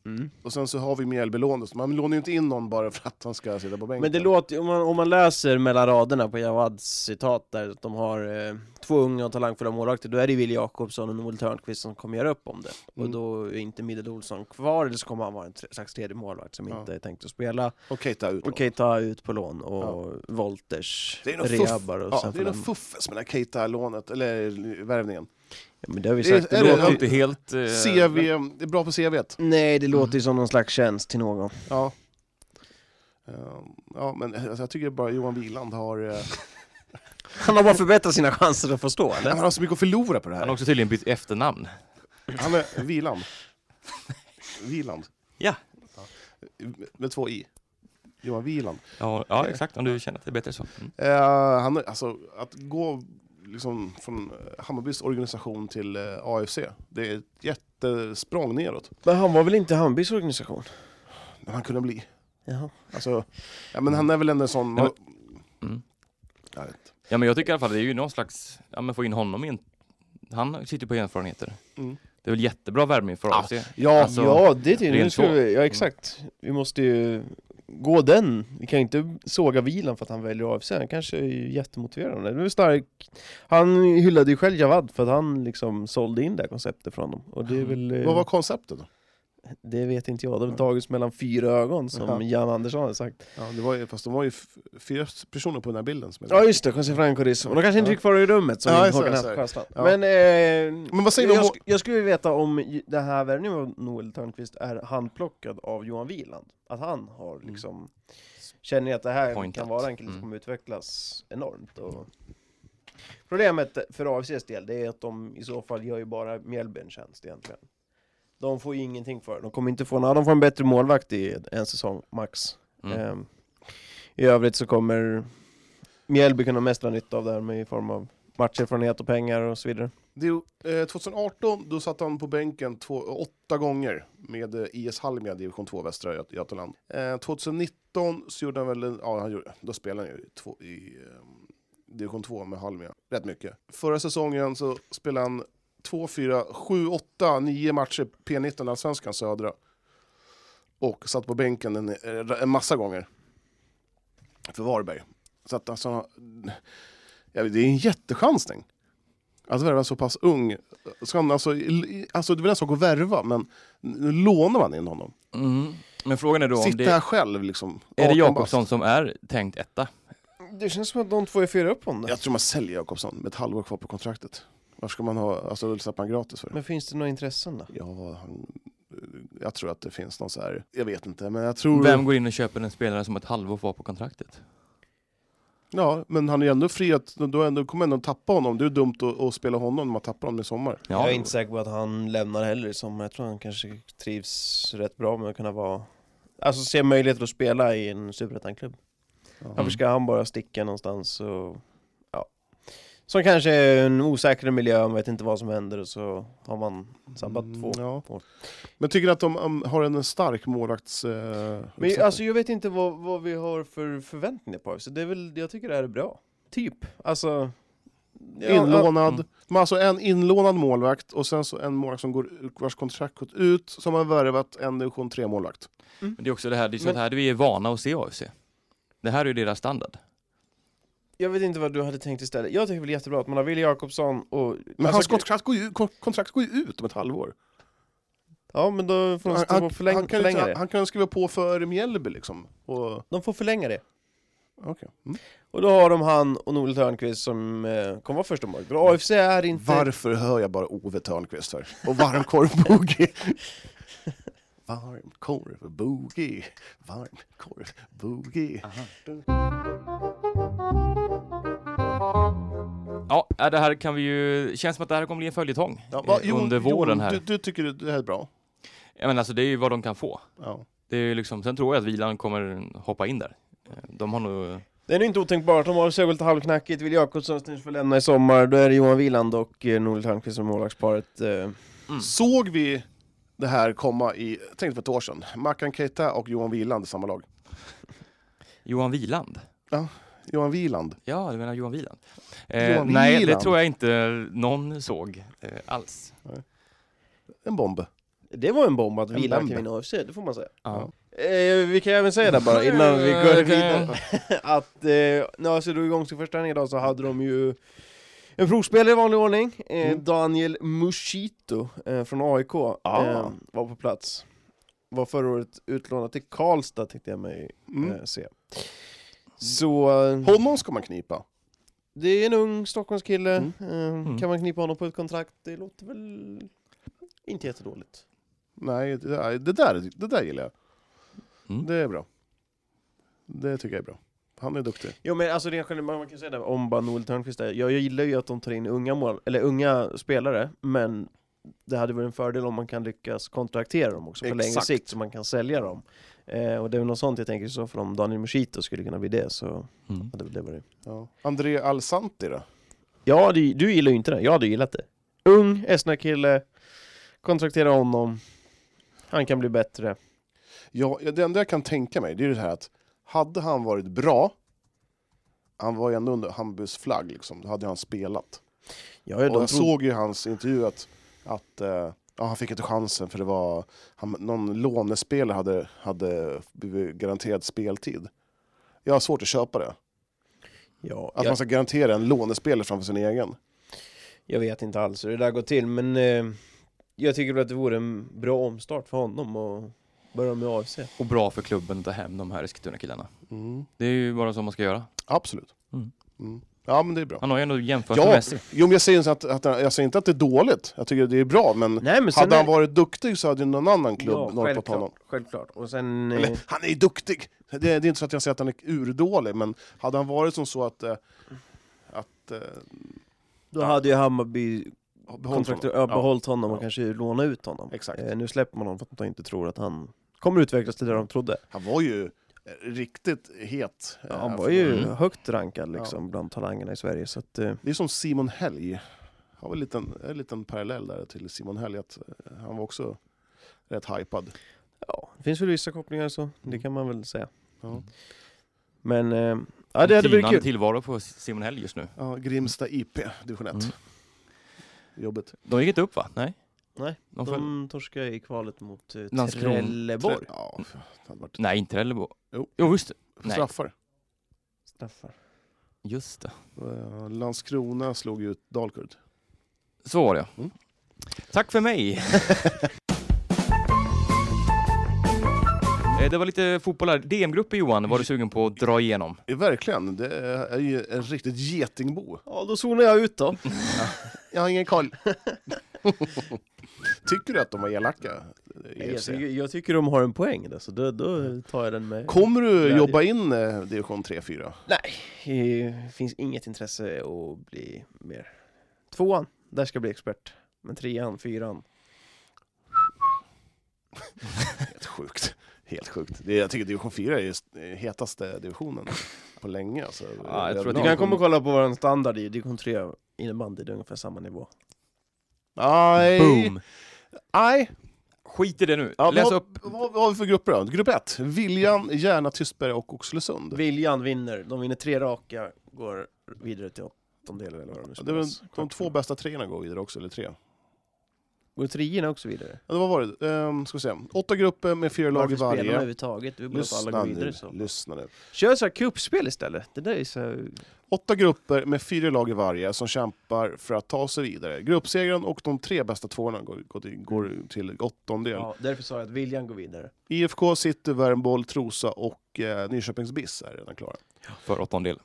[SPEAKER 2] Mm.
[SPEAKER 3] Och sen så har vi Mjällbylånet. Man lånar ju inte in någon bara för att han ska sitta på bänken.
[SPEAKER 1] Men det låter, ju- om man, om man läser mellan raderna på Jawads citat där, att de har eh, två unga och talangfulla målvakter, då är det Wille Jakobsson och Noel Törnqvist som kommer göra upp om det.
[SPEAKER 3] Mm.
[SPEAKER 1] Och då är inte Middel Olsson kvar, eller så kommer han vara en tre, slags tredje målvakt som
[SPEAKER 3] Ja.
[SPEAKER 1] inte är tänkt att spela.
[SPEAKER 3] Och Keita ut.
[SPEAKER 1] Och Keita ut på lån, och Wolters
[SPEAKER 3] Det är nog fuff.
[SPEAKER 1] rehabbar och
[SPEAKER 3] Ja,
[SPEAKER 1] sen
[SPEAKER 3] det är
[SPEAKER 1] får
[SPEAKER 3] nog
[SPEAKER 1] de-
[SPEAKER 3] fuffes med den här Keita-lånet, eller eh, värvningen.
[SPEAKER 1] ja, men det har vi
[SPEAKER 3] Det är-
[SPEAKER 1] sagt,
[SPEAKER 2] Det
[SPEAKER 1] det,
[SPEAKER 3] är det-
[SPEAKER 2] låter
[SPEAKER 1] låter
[SPEAKER 2] ju
[SPEAKER 1] ju...
[SPEAKER 2] inte helt... eh,
[SPEAKER 3] CV, det är bra på CVt.
[SPEAKER 1] Nej, det
[SPEAKER 3] Mm.
[SPEAKER 1] låter ju som någon slags tjänst till någon.
[SPEAKER 3] Ja. Ehm, Ja, men alltså, jag tycker bara Johan Wieland har... eh,
[SPEAKER 1] Han har bara förbättrat sina chanser att få stå,
[SPEAKER 3] Han
[SPEAKER 1] eller?
[SPEAKER 3] har så mycket att förlora på det
[SPEAKER 2] Han har
[SPEAKER 3] här.
[SPEAKER 2] också tydligen bytt efternamn.
[SPEAKER 3] Han är Wieland. Wieland.
[SPEAKER 2] Ja.
[SPEAKER 3] Med två i. Johan Wieland.
[SPEAKER 2] Ja, ja exakt. Om du känner att det är bättre så. Mm.
[SPEAKER 3] Eh, han, har- alltså, att gå liksom, från eh, Hammarbys organisation till eh, AFC, det är ett jättesprång neråt.
[SPEAKER 1] Men han var väl inte Hammarbys organisation?
[SPEAKER 3] Men han kunde bli.
[SPEAKER 1] Jaha.
[SPEAKER 3] Alltså, ja, men han är väl ändå en sån...
[SPEAKER 2] Ja, Mm.
[SPEAKER 3] Jag vet inte.
[SPEAKER 2] Ja, men jag tycker i alla fall det är ju någon slags... Ja, men få in honom i en... Han sitter ju på erfarenheter.
[SPEAKER 3] Mm.
[SPEAKER 2] Det är väl jättebra värvning för
[SPEAKER 3] Ja.
[SPEAKER 2] AFC.
[SPEAKER 3] Ja,
[SPEAKER 2] Alltså,
[SPEAKER 1] ja, det tycker jag. Nu
[SPEAKER 2] rent
[SPEAKER 1] ska
[SPEAKER 2] så. Mm.
[SPEAKER 1] vi, ja, exakt. Vi måste ju gå den. Vi kan ju inte såga vilan för att han väljer AFC. Han kanske är ju jättemotiverande. Det är stark. Han hyllade ju själv Javad för att han liksom sålde in det här konceptet från dem. Och det
[SPEAKER 2] Mm.
[SPEAKER 1] är väl... eh,
[SPEAKER 3] Vad var konceptet då?
[SPEAKER 1] Det vet inte jag. Det var taget mellan fyra ögon som
[SPEAKER 3] Ja.
[SPEAKER 1] Jan Andersson hade sagt.
[SPEAKER 3] Ja, det var ju, fast de var ju f- fyra personer på den här bilden. Som är
[SPEAKER 1] Ja just det, José Franco Rizzo. Och de kanske inte
[SPEAKER 3] Ja.
[SPEAKER 1] fick vara i rummet som
[SPEAKER 3] Ja,
[SPEAKER 1] ja,
[SPEAKER 3] jag ser,
[SPEAKER 1] Håkan
[SPEAKER 3] jag ser.
[SPEAKER 1] Hellstrand.
[SPEAKER 3] Ja.
[SPEAKER 1] Men, eh,
[SPEAKER 3] Men vad säger du
[SPEAKER 1] jag,
[SPEAKER 3] om...
[SPEAKER 1] sk- jag skulle vilja veta om ju- den här värvningen av Noel Törnqvist är handplockad av Johan Wieland. Att han har liksom, känner ju att det här
[SPEAKER 2] Mm. Pointat.
[SPEAKER 1] kan vara en kille som
[SPEAKER 2] Mm.
[SPEAKER 1] kommer utvecklas enormt. Och... Problemet för AFCs del, det är att de i så fall gör ju bara Mjällby en tjänst egentligen. De får ju ingenting för det. De kommer inte få, ja, de får en bättre målvakt i en säsong, max.
[SPEAKER 2] Mm.
[SPEAKER 3] eh,
[SPEAKER 1] Ehm, I övrigt så kommer Mjällby kunna mest dra nytta av det här med i form av matcherfarenhet och pengar och så vidare.
[SPEAKER 3] Det, är ju- eh, 2018 då satt han på bänken två, åtta gånger med eh, IS Halmia, division 2 Västra Göt- Götaland. Eh, 2019 så gjorde han väl, en- ja, han gjorde, då spelade han ju i två, i eh, division 2 med Halmia, rätt mycket. Förra säsongen så spelade han 2, 4, 7, 8, 9 matcher P19 Allsvenskan Södra. Och satt på bänken en, eh, en massa gånger. För Varberg. Så att alltså, ja, det är en jättechansning. Att Alltså, värva så pass ung, ska han alltså, i- alltså det är väl en sak att värva, men nu lånar man in honom.
[SPEAKER 2] Mm. Men frågan är då om
[SPEAKER 3] Sitta
[SPEAKER 2] det...
[SPEAKER 3] här själv liksom.
[SPEAKER 2] Är det
[SPEAKER 3] 18
[SPEAKER 2] Jakobsson
[SPEAKER 3] bast.
[SPEAKER 2] som är tänkt etta?
[SPEAKER 1] Det känns som att de två är fyra upp honom.
[SPEAKER 3] Jag tror man säljer Jakobsson med ett halvår kvar på kontraktet. Varför ska man ha, alltså Ulf han gratis för?
[SPEAKER 1] Men finns det några intressen då?
[SPEAKER 3] Ja, han, jag tror att det finns någon så här, jag vet inte, men jag tror...
[SPEAKER 2] Vem går in och köper en spelare som ett halvår var på kontraktet?
[SPEAKER 3] Ja, men han är ju ändå fri att, då ändå, kommer ändå tappa honom. Det är dumt att, att spela honom när man tappar honom i sommar.
[SPEAKER 2] Ja,
[SPEAKER 1] jag är inte säker på att han lämnar heller som jag tror han kanske trivs rätt bra med att kunna vara Alltså se möjligheter att spela i en superettan-klubb
[SPEAKER 3] Mm.
[SPEAKER 1] Varför ska han bara sticka någonstans? Och, ja. Som kanske är en osäkrare miljö, man vet inte vad som händer och så har man sabbat
[SPEAKER 3] Mm,
[SPEAKER 1] två.
[SPEAKER 3] ja.
[SPEAKER 1] år.
[SPEAKER 3] Men tycker du att de um, har en stark målvakts... Eh,
[SPEAKER 1] Men
[SPEAKER 3] uppsättning?
[SPEAKER 1] alltså jag vet inte vad, vad vi har för förväntningar på så det är väl, jag tycker det här är bra. Typ. Alltså... ja,
[SPEAKER 3] inlånad.
[SPEAKER 2] Mm.
[SPEAKER 3] Men alltså en inlånad målvakt och sen så en målvakt som går, vars kontrakt gått ut, som har värvat en division 3-målvakt.
[SPEAKER 2] Men det är också det här, det är sånt
[SPEAKER 1] Men-
[SPEAKER 2] här vi är vana att se i AFC. Det här är ju deras standard.
[SPEAKER 1] Jag vet inte vad du hade tänkt istället. Jag tycker väl jättebra att man har Wille Jakobsson och...
[SPEAKER 3] Men
[SPEAKER 1] alltså,
[SPEAKER 3] hans kontrakt går, ju, kon- kontrakt går ju ut om ett halvår.
[SPEAKER 1] Ja men då får de
[SPEAKER 3] Han,
[SPEAKER 1] stå
[SPEAKER 3] han,
[SPEAKER 1] och förläng,
[SPEAKER 3] han, kan, ju
[SPEAKER 1] förlänga
[SPEAKER 3] inte-
[SPEAKER 1] det.
[SPEAKER 3] han kan skriva på för Mjällby liksom. Och,
[SPEAKER 1] De får förlänga det.
[SPEAKER 3] okay. mm.
[SPEAKER 1] Och då har de han och Nole Törnqvist som eh, kommer vara första målvakt.
[SPEAKER 3] Mm.
[SPEAKER 1] För AFC är inte...
[SPEAKER 3] Varför hör jag bara Ove Thörnqvist för? Och varmkorv boogie. Varmkorv boogie. Varmkorv boogie.
[SPEAKER 2] Ja, äh, det här kan vi ju, känns som att det här kommer bli en följetong
[SPEAKER 3] Ja,
[SPEAKER 2] eh,
[SPEAKER 3] va- Jon-
[SPEAKER 2] under
[SPEAKER 3] Jon,
[SPEAKER 2] våren här.
[SPEAKER 3] Du, du tycker det här är bra?
[SPEAKER 2] Ja, men alltså det är ju vad de kan få.
[SPEAKER 3] Ja.
[SPEAKER 2] Det är ju liksom, sen tror jag att Vilan kommer hoppa in där. Eh, De har nog,
[SPEAKER 1] Det är nog inte otänkbart om AFC går lite halvknackigt. Wille Jakobsson snart får lämna i sommar. Då är det Johan Wieland och eh, Nole Törnqvist som målvaktsparet. Eh,
[SPEAKER 3] Såg vi det här komma i, tänkte för ett år sedan, Mackan Keita och Johan Wieland i samma lag?
[SPEAKER 2] Johan Viland.
[SPEAKER 3] Johan Wieland.
[SPEAKER 2] Ja, du menar Johan Wieland? Eh,
[SPEAKER 3] Johan
[SPEAKER 2] nej,
[SPEAKER 3] Wieland.
[SPEAKER 2] det tror jag inte någon såg eh, alls.
[SPEAKER 3] En bomb.
[SPEAKER 1] det var en bomb att
[SPEAKER 3] En
[SPEAKER 1] Wieland
[SPEAKER 3] bomb.
[SPEAKER 1] kan vinna AFC, det får man säga.
[SPEAKER 2] Ja.
[SPEAKER 1] Eh, vi kan även säga det bara innan vi går
[SPEAKER 2] Eh,
[SPEAKER 1] vidare. att eh, när AFC drog igång sin första träning idag så hade de ju en provspelare i vanlig ordning, eh,
[SPEAKER 3] Mm.
[SPEAKER 1] Daniel Muschito eh, från AIK,
[SPEAKER 3] Ah.
[SPEAKER 1] eh, var på plats. Var förra året utlånad till Karlstad tänkte jag mig
[SPEAKER 3] Mm.
[SPEAKER 1] eh, se. Så eh,
[SPEAKER 3] Honom ska man knipa.
[SPEAKER 1] det är en ung Stockholmskille,
[SPEAKER 3] Mm.
[SPEAKER 1] eh,
[SPEAKER 2] Mm.
[SPEAKER 1] kan man knipa honom på ett kontrakt? Det låter väl inte jättedåligt.
[SPEAKER 3] Nej, det där, det där, det där gillar jag.
[SPEAKER 2] Mm.
[SPEAKER 3] Det är bra. Det tycker jag är bra. Han är duktig.
[SPEAKER 1] Jo men alltså rent generellt, man man kan säga det om bara Noel Törnqvist är, jag, jag gillar ju att de tar in unga mål, eller unga spelare, men det hade varit en fördel om man kan lyckas kontraktera dem också på längre
[SPEAKER 3] Exakt.
[SPEAKER 1] sikt så man kan sälja dem. Eh, och det är väl något sånt jag tänker i så fall om Daniel Muschito skulle kunna bli det så
[SPEAKER 2] Mm.
[SPEAKER 1] hade väl det varit.
[SPEAKER 3] Ja. André Alsanti då?
[SPEAKER 1] Ja, du, du gillar ju inte det, jag hade gillat det. Ung, Esna-kille, kontraktera honom, han kan bli bättre.
[SPEAKER 3] Ja, ja, det enda jag kan tänka mig det är det här att hade han varit bra, han var ju ändå under Hammarbys flagg, liksom. då hade han spelat.
[SPEAKER 1] Ja, de
[SPEAKER 3] Och jag
[SPEAKER 1] trodde-
[SPEAKER 3] såg ju i hans intervju att, att eh, ja, han fick inte chansen för det var han, någon lånespelare hade, hade blivit garanterad speltid. Jag har svårt att köpa det.
[SPEAKER 1] ja,
[SPEAKER 3] Att
[SPEAKER 1] jag-
[SPEAKER 3] man ska garantera en lånespelare framför sin egen.
[SPEAKER 1] Jag vet inte alls hur det där går till, men eh, jag tycker väl att det vore en bra omstart för honom och börja med AFC.
[SPEAKER 2] Och bra för klubben att ta hem de här Eskilstuna-killarna. Det är ju bara så man ska göra.
[SPEAKER 3] Absolut.
[SPEAKER 2] Mm.
[SPEAKER 3] Mm. Ja, men det är bra.
[SPEAKER 2] Han har ju ändå jämfört med
[SPEAKER 3] Ja,
[SPEAKER 2] Messi.
[SPEAKER 3] jo, men jag, säger inte att, att, jag säger inte att det är dåligt. Jag tycker det är bra, men
[SPEAKER 1] Nej, men
[SPEAKER 3] hade han
[SPEAKER 1] Mm. är-
[SPEAKER 3] varit duktig så hade ju någon annan klubb
[SPEAKER 1] ja,
[SPEAKER 3] norpat honom.
[SPEAKER 1] självklart, självklart. Och sen... eh,
[SPEAKER 3] Eller, han är ju duktig! Det, det är inte så att jag säger att han är urdålig, men hade han varit som så att... eh, att eh,
[SPEAKER 1] Då hade ju Hammarby
[SPEAKER 3] behållit
[SPEAKER 1] kontrakter,
[SPEAKER 3] honom.
[SPEAKER 1] ja, behållt honom och
[SPEAKER 3] Ja.
[SPEAKER 1] kanske lånat ut honom.
[SPEAKER 3] Exakt.
[SPEAKER 1] Eh, nu släpper man honom för att de inte tror att han kommer utvecklas till det de trodde.
[SPEAKER 3] Han var ju eh, riktigt het. eh,
[SPEAKER 1] Ja, han var
[SPEAKER 3] för-
[SPEAKER 1] ju
[SPEAKER 2] Mm.
[SPEAKER 1] högt rankad liksom bland talangerna i Sverige, så att... Eh,
[SPEAKER 3] Det är som Simon Helg. Har väl en liten, en liten parallell där till Simon Helg, att eh, han var också rätt hypad.
[SPEAKER 1] ja, det finns väl vissa kopplingar så, det kan man väl säga.
[SPEAKER 3] Ja.
[SPEAKER 1] Mm. Men... Eh, ja, det hade varit
[SPEAKER 2] Tynande
[SPEAKER 1] kul.
[SPEAKER 2] tillvaro på Simon Hell just nu.
[SPEAKER 3] Ja, Grimsta IP, division 1.
[SPEAKER 2] Mm.
[SPEAKER 3] Jobbigt.
[SPEAKER 2] De gick inte upp va? Nej.
[SPEAKER 1] Nej,
[SPEAKER 2] De får...
[SPEAKER 1] De torskar i kvalet mot eh,
[SPEAKER 2] Landskrona.
[SPEAKER 1] Trelleborg.
[SPEAKER 3] Ja, för- det hade varit
[SPEAKER 2] Nej, inte Trelleborg.
[SPEAKER 3] Jo.
[SPEAKER 2] jo, just det. Nej.
[SPEAKER 3] straffar.
[SPEAKER 1] Straffar.
[SPEAKER 2] Just det.
[SPEAKER 3] Eh, Landskrona slog ut Dalkurd.
[SPEAKER 2] Så var det ja.
[SPEAKER 3] Mm.
[SPEAKER 2] Tack för mig! Eh, Det var lite fotboll här. DM-grupper Johan, var du sugen på att dra igenom?
[SPEAKER 3] Ja, Verkligen, det är ju en riktigt getingbo.
[SPEAKER 1] Ja, då zonar jag ut då.
[SPEAKER 3] Jag har ingen koll. Tycker du att de var elaka? eh,
[SPEAKER 1] Jag
[SPEAKER 3] EFC?
[SPEAKER 1] tycker, jag tycker de har en poäng där, så då, då tar jag den med.
[SPEAKER 3] Kommer du
[SPEAKER 1] Glädje.
[SPEAKER 3] jobba in eh, division 3-4?
[SPEAKER 1] Nej, eh, finns inget intresse att bli mer. Tvåan, där ska jag bli expert. Men trean, fyran.
[SPEAKER 3] Helt sjukt. Helt sjukt. Det, jag tycker division 4 är just- eh, hetaste divisionen på länge. Alltså,
[SPEAKER 2] Ja, jag tror att
[SPEAKER 1] Du
[SPEAKER 2] det
[SPEAKER 1] kan komma och kolla på vår standard i division 3 innebandy, det är ungefär samma nivå.
[SPEAKER 3] Nej.
[SPEAKER 2] Boom!
[SPEAKER 3] Nej.
[SPEAKER 2] Skit i det nu.
[SPEAKER 3] Ja,
[SPEAKER 2] Läs
[SPEAKER 3] vad,
[SPEAKER 2] upp.
[SPEAKER 3] Vad, vad har vi för grupper då? Grupp 1, Viljan, Järna, Tystberg och Oxelösund.
[SPEAKER 1] Viljan vinner, de vinner tre raka, går vidare till åttondelar eller vad de nu
[SPEAKER 3] Det var,
[SPEAKER 1] spelas.
[SPEAKER 3] de två bästa treorna går vidare också, eller tre.
[SPEAKER 1] Går treorna också vidare?
[SPEAKER 3] Ja, det var var det? Ehm, ska vi se. Åtta grupper med fyra lag i
[SPEAKER 1] Varför spelar man
[SPEAKER 3] varje.
[SPEAKER 1] överhuvudtaget? Vi borde låta alla
[SPEAKER 3] Lyssna
[SPEAKER 1] gå vidare
[SPEAKER 3] nu,
[SPEAKER 1] så.
[SPEAKER 3] lyssna nu.
[SPEAKER 1] Kör så här cupspel istället, det där är så här...
[SPEAKER 3] Åtta grupper med fyra lag i varje som kämpar för att ta sig vidare. Gruppsegern och de tre bästa tvåorna går, går, till, går till åttondel.
[SPEAKER 1] Ja, därför sa jag att Viljan går vidare.
[SPEAKER 3] IFK, City, Värmboll, Trosa och eh, Nyköpings BIS är redan klara.
[SPEAKER 2] För åttondel.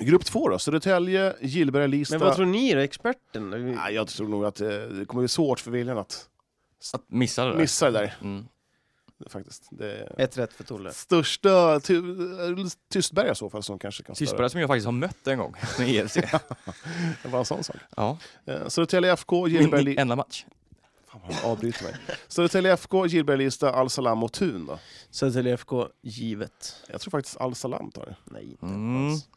[SPEAKER 3] Grupp två då, Södertälje, Gillberga, Lista.
[SPEAKER 1] Men vad tror ni då, experten? Vi-
[SPEAKER 3] Nej, jag tror nog att eh, det kommer bli svårt för Viljan att
[SPEAKER 2] Missade det där.
[SPEAKER 3] missa det där.
[SPEAKER 2] Mm.
[SPEAKER 3] Faktiskt. Det är
[SPEAKER 1] Ett rätt för Tolle.
[SPEAKER 3] största ty, eh, Tystberga i så fall som kanske kan
[SPEAKER 2] Tystberga som jag faktiskt har mött en gång med EFC.
[SPEAKER 3] störa. Det var en sån sak.
[SPEAKER 2] Ja.
[SPEAKER 3] Eh, Södertälje FK, Gillberga,
[SPEAKER 2] Min
[SPEAKER 3] Lista.
[SPEAKER 2] enda match.
[SPEAKER 3] Fan vad han avbryter mig. Södertälje FK, Gillberga, Lista, Al Salam och Thun då.
[SPEAKER 1] Södertälje FK, givet.
[SPEAKER 3] Jag tror faktiskt Al Salam tar det.
[SPEAKER 1] Nej, inte
[SPEAKER 2] Mm.
[SPEAKER 1] alls.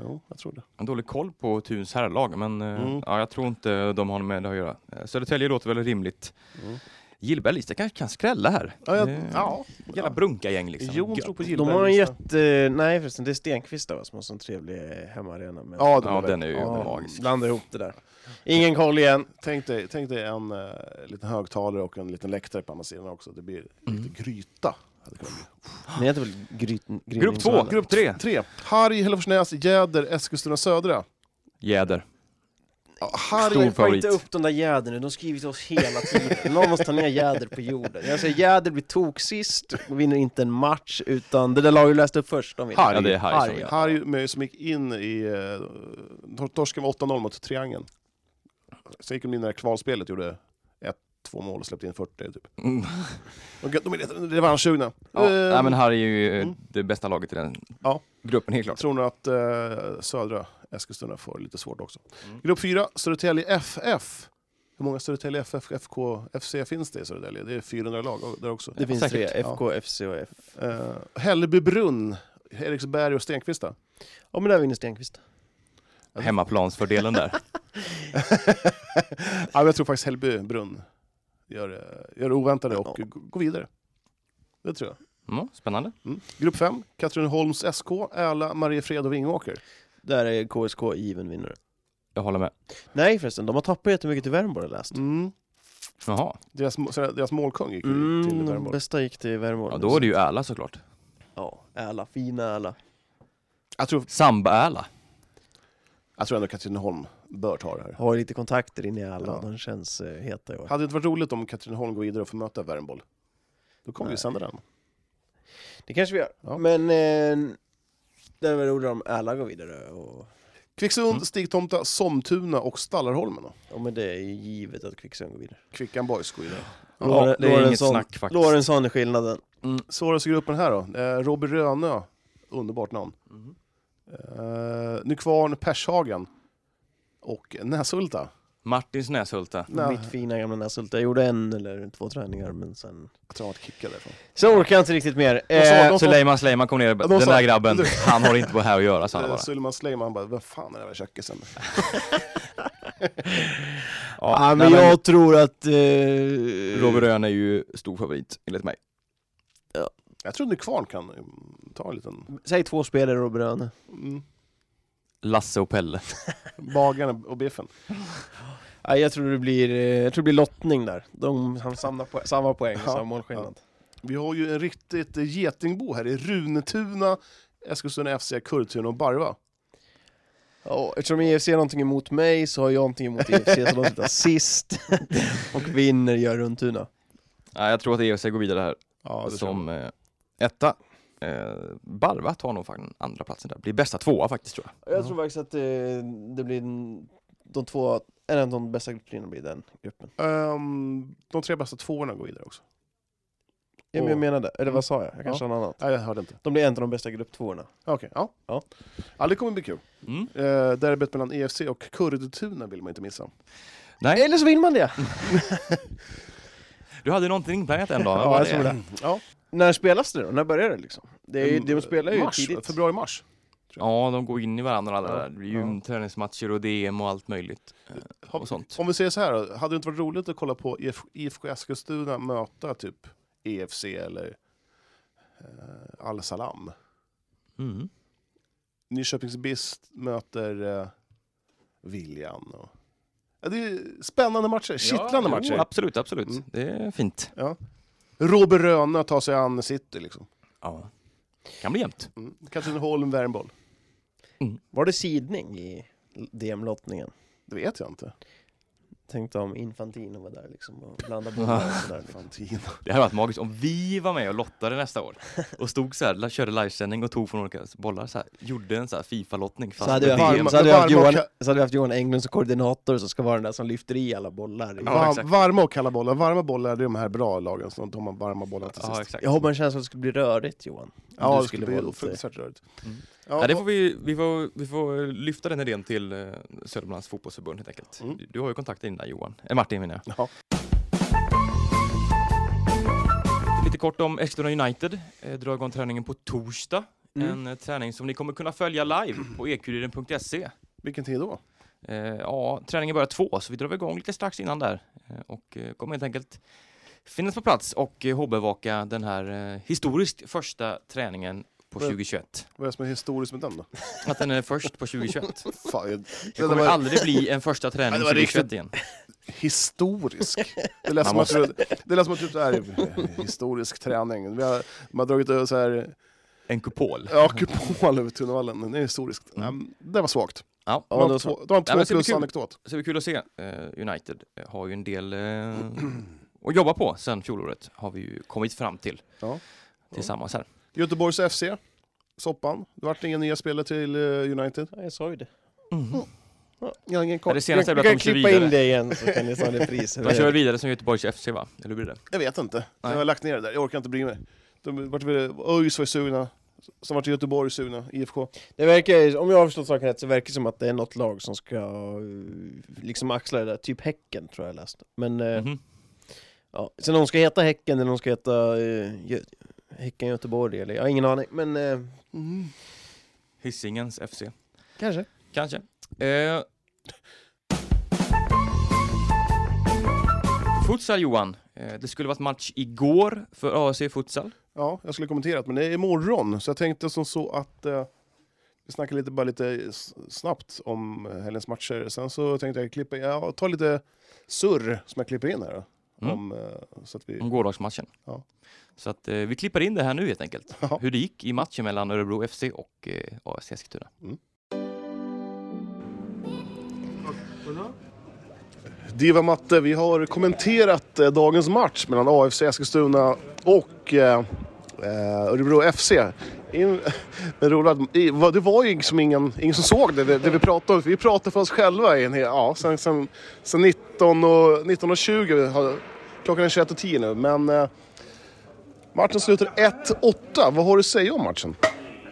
[SPEAKER 3] Jo, jag tror det.
[SPEAKER 2] Jag har dålig koll på Tuns herrlag, men eh,
[SPEAKER 3] Mm.
[SPEAKER 2] ja, jag tror inte de har med det att göra. Eh, Södertälje låter väl rimligt.
[SPEAKER 3] Mm.
[SPEAKER 2] Gillberg Lista kanske kan skrälla här.
[SPEAKER 3] Ja, jag,
[SPEAKER 2] Eh,
[SPEAKER 3] ja.
[SPEAKER 2] Jävla brunka-gäng liksom.
[SPEAKER 3] Jon
[SPEAKER 2] Gött.
[SPEAKER 3] tror på
[SPEAKER 1] De
[SPEAKER 3] Gillberga.
[SPEAKER 1] har en
[SPEAKER 3] Lista.
[SPEAKER 1] jätte... Nej förresten, det är Stenqvist där va, som har en sån trevlig hemmaarena. Men...
[SPEAKER 3] Ja,
[SPEAKER 2] Ja, den är ju
[SPEAKER 1] Ja,
[SPEAKER 2] magisk.
[SPEAKER 1] Blanda ihop det där. Ingen koll igen.
[SPEAKER 3] Tänk dig, tänk dig en eh, liten högtalare och en liten läktare på andra sidan också. Det blir
[SPEAKER 2] Mm.
[SPEAKER 3] lite gryta. Hade kunnat bli.
[SPEAKER 1] Ni heter väl Gryt...
[SPEAKER 2] Grupp två, grupp tre.
[SPEAKER 3] Tre. Harry, Hälleforsnäs, Jäder, Eskilstuna Södra.
[SPEAKER 2] Jäder.
[SPEAKER 3] Ja, Harry,
[SPEAKER 2] Stor
[SPEAKER 1] Stor
[SPEAKER 2] favorit.
[SPEAKER 1] inte upp de där jädern nu, de skriver till oss hela tiden. Någon måste ta ner jäder på jorden. Jag säger jäder blir toksist, och vinner inte en match, utan det där laget du läste upp först, de vinner.
[SPEAKER 2] Ja, det är Harry som vinner.
[SPEAKER 3] Harry med, som gick in i... eh, tor- Torsken med 8-0 mot Triangeln. Sen gick de in i det här kvalspelet, gjorde ett, två mål och släppte in 40 typ.
[SPEAKER 2] Mm.
[SPEAKER 3] Och de är lite revanschsugna.
[SPEAKER 2] Ja,
[SPEAKER 3] Eh,
[SPEAKER 2] nej, men Harry är ju eh,
[SPEAKER 3] mm.
[SPEAKER 2] det bästa laget i den
[SPEAKER 3] Ja.
[SPEAKER 2] gruppen helt klart.
[SPEAKER 3] tror nog att eh, södra Eskilstuna får lite svårt också.
[SPEAKER 2] Mm.
[SPEAKER 3] Grupp 4, Södertälje FF. Hur många Södertälje FF, FK, FC finns det i Södertälje? Det är 400 lag där också.
[SPEAKER 1] Det finns
[SPEAKER 2] Säkert.
[SPEAKER 1] tre, FK, FC och F.
[SPEAKER 3] Eh, Hällbybrunn, Eriksberg och Stenkvista.
[SPEAKER 1] Ja men där vinner Stenqvist.
[SPEAKER 2] Hemmaplansfördelen där.
[SPEAKER 3] Ja, men jag tror faktiskt Hällbybrunn gör, eh, gör det oväntade och
[SPEAKER 1] Ja.
[SPEAKER 3] g- går vidare. Det tror jag.
[SPEAKER 2] Mm, spännande.
[SPEAKER 3] Mm. Grupp 5, Katrineholms SK, Äla, Mariefred och Vingåker.
[SPEAKER 1] Där är KSK given vinnare.
[SPEAKER 2] Jag håller med.
[SPEAKER 1] Nej förresten, de har tappat jättemycket till Värmborg har jag läst.
[SPEAKER 3] Mm.
[SPEAKER 2] Jaha,
[SPEAKER 3] Deras, må- sådär- deras målkung gick ju till
[SPEAKER 1] Mm, de
[SPEAKER 3] Värmborg.
[SPEAKER 1] bästa gick till Värmborg.
[SPEAKER 2] ja, då är det ju Äla såklart.
[SPEAKER 1] Ja, Äla, fina Äla.
[SPEAKER 3] Jag tror,
[SPEAKER 2] Samba-Äla.
[SPEAKER 3] jag tror ändå Katrineholm bör ta det här.
[SPEAKER 1] Har lite kontakter in i Äla,
[SPEAKER 3] Ja.
[SPEAKER 1] de känns eh, heta i år.
[SPEAKER 3] Hade det inte varit roligt om Katrineholm går vidare och får möta Värmboll? Då kommer vi
[SPEAKER 1] Nej.
[SPEAKER 3] sända den.
[SPEAKER 1] Det kanske vi gör.
[SPEAKER 3] Ja.
[SPEAKER 1] Men eh, det var roligt om Äla går vidare och...
[SPEAKER 3] Kvicksund,
[SPEAKER 2] Mm.
[SPEAKER 3] Stigtomta, Somtuna och Stallarholmen. då.
[SPEAKER 1] Ja men det är ju givet att Kvicksund går vidare.
[SPEAKER 3] Kvickan Boys går vidare.
[SPEAKER 2] Ja,
[SPEAKER 1] Lore-
[SPEAKER 2] det är inget
[SPEAKER 1] Lorentzon-
[SPEAKER 2] snack faktiskt.
[SPEAKER 1] Lorentzon är skillnaden.
[SPEAKER 3] Svåraste gruppen här då. Eh, Robby Rönö, underbart namn.
[SPEAKER 2] Mhm.
[SPEAKER 3] Eh, Nykvarn, Pershagen och Näshulta.
[SPEAKER 2] Martins Näshulta.
[SPEAKER 3] Nej.
[SPEAKER 1] Mitt fina gamla Näshult. Jag gjorde en eller två träningar men sen...
[SPEAKER 3] Jag tror han vart kickad därifrån.
[SPEAKER 1] Så orkar jag inte riktigt mer.
[SPEAKER 3] Vad sa
[SPEAKER 1] Eh,
[SPEAKER 3] de?
[SPEAKER 2] Suleiman Suleiman kom ner.
[SPEAKER 3] de
[SPEAKER 2] Den
[SPEAKER 3] sa-
[SPEAKER 2] där grabben, han har inte på här att göra, sa han
[SPEAKER 3] Eh,
[SPEAKER 2] bara.
[SPEAKER 3] Suleiman Sleiman bara, vad fan är det där kökisen?
[SPEAKER 1] ja, men
[SPEAKER 2] nej, men-
[SPEAKER 1] jag tror att... Eh,
[SPEAKER 2] Robert Röhn är ju stor favorit, enligt mig.
[SPEAKER 3] Jag tror Nykvarn kan mm, ta en liten...
[SPEAKER 1] Säg två spelare Robert Röhn.
[SPEAKER 3] Mm,
[SPEAKER 2] Lasse och Pelle.
[SPEAKER 3] bagaren och biffen.
[SPEAKER 1] Nej, jag tror det blir, eh, jag tror det blir lottning där. De han samlar po- samma poäng och
[SPEAKER 3] Ja,
[SPEAKER 1] samma målskillnad.
[SPEAKER 3] Vi har ju en riktigt eh, getingbo här i Runetuna, Eskilstuna FC, Kurtuna och Barva.
[SPEAKER 1] Ja, eftersom E IFC har någonting emot mig så har jag någonting emot IFC så de slutar sist. och vinner gör Runtuna.
[SPEAKER 2] Nej, jag tror att EFC går vidare här
[SPEAKER 3] Ja, det tror
[SPEAKER 2] som eh, etta. Eh, Barva tar nog faktiskt andra platsen där. Blir bästa tvåa faktiskt tror jag.
[SPEAKER 1] Jag tror faktiskt att eh, det blir en- de två, en av de bästa grupperna blir den gruppen.
[SPEAKER 3] jag. Ehm, de tre bästa tvåorna går vidare också.
[SPEAKER 1] Ja, men jag
[SPEAKER 3] Och-
[SPEAKER 1] menade, eller vad sa jag? Jag kanske sa något annat.
[SPEAKER 3] Nej, jag hörde inte.
[SPEAKER 1] De blir en av de bästa grupptvåorna.
[SPEAKER 3] Okej, ja.
[SPEAKER 1] Ja.
[SPEAKER 3] Ja, det kommer bli kul.
[SPEAKER 2] Mm.
[SPEAKER 3] Uh, derbyt mellan EFC och Kurdtuna vill man inte missa.
[SPEAKER 2] Nej,
[SPEAKER 1] Eller så vill man det!
[SPEAKER 2] Du hade någonting inplanerat en dag,
[SPEAKER 1] Ja,
[SPEAKER 2] vad var
[SPEAKER 1] jag tror det.
[SPEAKER 3] Ja,
[SPEAKER 1] När spelas det då? När börjar det liksom? Det är,
[SPEAKER 3] Mm,
[SPEAKER 1] de spelar ju
[SPEAKER 3] mars,
[SPEAKER 1] tidigt.
[SPEAKER 3] februari-mars.
[SPEAKER 2] Ja, de går in i varandra alla
[SPEAKER 1] Ja,
[SPEAKER 2] där. Det är ju träningsmatcher och DM och allt möjligt. eh,
[SPEAKER 3] Har-
[SPEAKER 2] Och sånt.
[SPEAKER 3] Om vi säger så här, då, hade det inte varit roligt att kolla på E IF, IFK Eskilstuna möta typ EFC eller eh, Al Salam?
[SPEAKER 2] Mm.
[SPEAKER 3] Nyköpings BIS möter eh, Viljan. Och... Ja, det är spännande matcher, kittlande
[SPEAKER 2] Ja, jo,
[SPEAKER 3] matcher.
[SPEAKER 2] Absolut, absolut.
[SPEAKER 3] Mm.
[SPEAKER 2] Det är fint.
[SPEAKER 3] Robert Röna tar sig an City liksom.
[SPEAKER 2] Ja. Kan bli jämnt.
[SPEAKER 3] Mm. Katrineholm, Värmboll.
[SPEAKER 1] Var det sidning i DM-lottningen?
[SPEAKER 3] Det vet jag inte.
[SPEAKER 1] Tänkte om Infantino var där liksom och blandade bollar och sådär. liksom.
[SPEAKER 3] Fantin.
[SPEAKER 2] Det här hade varit magiskt om vi var med och lottade nästa år och stod så här, la- körde livesändning och tog från olika bollar så här, gjorde en så här Fifa-lottning fast
[SPEAKER 1] Så hade, vi
[SPEAKER 2] med
[SPEAKER 1] haft,
[SPEAKER 2] DM.
[SPEAKER 1] så, hade vi haft
[SPEAKER 3] varma-
[SPEAKER 1] Johan, så hade vi haft Johan Englund som koordinator som ska vara den där som lyfter i alla bollar. i-
[SPEAKER 2] Ja,
[SPEAKER 3] Var,
[SPEAKER 2] exakt.
[SPEAKER 3] varma och kalla bollar. Varma bollar det är de här bra lagen, så de har varma bollar till
[SPEAKER 2] Ja,
[SPEAKER 3] sist.
[SPEAKER 2] exakt.
[SPEAKER 1] Jag har bara en känsla att det skulle bli rörigt Johan. Om
[SPEAKER 3] Ja,
[SPEAKER 1] du
[SPEAKER 3] det skulle bli
[SPEAKER 1] vara lite-
[SPEAKER 3] fruktansvärt rörigt.
[SPEAKER 2] Mm.
[SPEAKER 3] Ja,
[SPEAKER 2] Ja, det får vi, vi, får, vi får lyfta den idén till eh, Södermanlands fotbollsförbund helt enkelt.
[SPEAKER 3] Mm.
[SPEAKER 2] Du, du har ju kontakt innan Johan, eh, Martin menar jag.
[SPEAKER 3] Ja.
[SPEAKER 2] Lite kort om Eskilstuna United, eh, drar igång träningen på torsdag.
[SPEAKER 1] Mm.
[SPEAKER 2] En eh, träning som ni kommer kunna följa live på ekuriren.se.
[SPEAKER 3] Vilken tid då?
[SPEAKER 2] Eh, ja, träningen börjar två, så vi drar väl igång lite strax innan där eh, och eh, kommer helt enkelt finnas på plats och eh, bevaka den här eh, historiskt första träningen på
[SPEAKER 3] Men-
[SPEAKER 2] 2021.
[SPEAKER 3] Vad är det som är historiskt med den då?
[SPEAKER 2] Att den är först på 2021.
[SPEAKER 3] Fan, jag,
[SPEAKER 2] Det
[SPEAKER 3] den
[SPEAKER 2] kommer
[SPEAKER 3] var
[SPEAKER 2] aldrig bli en första
[SPEAKER 3] Ja,
[SPEAKER 2] träning
[SPEAKER 3] det var
[SPEAKER 2] 2021 igen.
[SPEAKER 3] historisk. Det lät
[SPEAKER 2] Man
[SPEAKER 3] som att det lät som att typ det här är historisk träning. Vi har, man har dragit över så här,
[SPEAKER 2] En kupol.
[SPEAKER 3] ja, kupol över Tunavallen. Det är historiskt.
[SPEAKER 2] Mm.
[SPEAKER 3] Mm. Det var svagt.
[SPEAKER 2] Ja,
[SPEAKER 3] Det
[SPEAKER 1] Ja,
[SPEAKER 3] var
[SPEAKER 1] det var
[SPEAKER 3] en två, det var en
[SPEAKER 2] Nej, men
[SPEAKER 3] två
[SPEAKER 2] det ska bli
[SPEAKER 3] plus
[SPEAKER 2] kul.
[SPEAKER 3] anekdot.
[SPEAKER 2] så det blir kul att se. Eh, United har ju en del eh, att jobba på sen fjolåret, har vi ju kommit fram till
[SPEAKER 3] Ja.
[SPEAKER 2] tillsammans här.
[SPEAKER 3] Göteborgs FC, Soppan. Det vart inga nya spelare till eh, United.
[SPEAKER 1] Ja, jag sa ju det.
[SPEAKER 2] Mm.
[SPEAKER 3] Jag har ingen
[SPEAKER 2] Ja,
[SPEAKER 3] koll.
[SPEAKER 2] det senaste är
[SPEAKER 1] Du
[SPEAKER 2] väl att
[SPEAKER 1] kan
[SPEAKER 2] de kör
[SPEAKER 1] klippa in
[SPEAKER 2] vidare.
[SPEAKER 1] det igen så kan ni ta det priset.
[SPEAKER 2] De kör väl vidare som Göteborgs FC va? Eller hur blir det?
[SPEAKER 3] Jag vet inte.
[SPEAKER 2] Nej.
[SPEAKER 3] Jag har lagt ner det där. Jag orkar inte bry mig. De vart väl, ÖIS var ju sugna. Som vart Göteborg sugna. IFK.
[SPEAKER 1] Det verkar, ju- om jag har förstått saken rätt så verkar det som att det är något lag som ska eh, liksom axla det där, typ Häcken tror jag jag läste. Men eh,
[SPEAKER 2] Mhm.
[SPEAKER 1] ja, sen om de ska heta Häcken eller om de ska heta eh, Gö- Häcken Göteborg eller, jag har ingen aning, men eh,
[SPEAKER 2] Hisingens FC.
[SPEAKER 1] kanske.
[SPEAKER 2] Kanske. Eh. Futsal Johan. Eh, det skulle varit match igår för AFC Futsal.
[SPEAKER 3] Ja, jag skulle kommenterat, men det är imorgon. Så jag tänkte som så att eh, vi snackar lite, bara lite s- snabbt om eh, helgens matcher. Sen så tänkte jag klippa, ja, ta lite surr som jag klipper in här. Då,
[SPEAKER 2] Mm.
[SPEAKER 3] om, eh, så att vi,
[SPEAKER 2] Om gårdagsmatchen.
[SPEAKER 3] Ja.
[SPEAKER 2] Så att eh, vi klipper in det här nu helt enkelt.
[SPEAKER 3] Ja.
[SPEAKER 2] Hur det gick i matchen mellan Örebro FC och eh, AFC Eskilstuna.
[SPEAKER 3] Diva Matte, vi har kommenterat eh, dagens match mellan AFC Eskilstuna och eh, eh, Örebro FC. In, men roligt, att- i- vad- det var ju liksom ingen, ingen som såg det, det, det vi pratade om. Vi pratade för oss själva i en hel, ja, sen, sen, sen 19 och, 19 och 20, har- klockan är 21.10 nu. Men eh, matchen slutar 1-8. Vad har du att säga om matchen?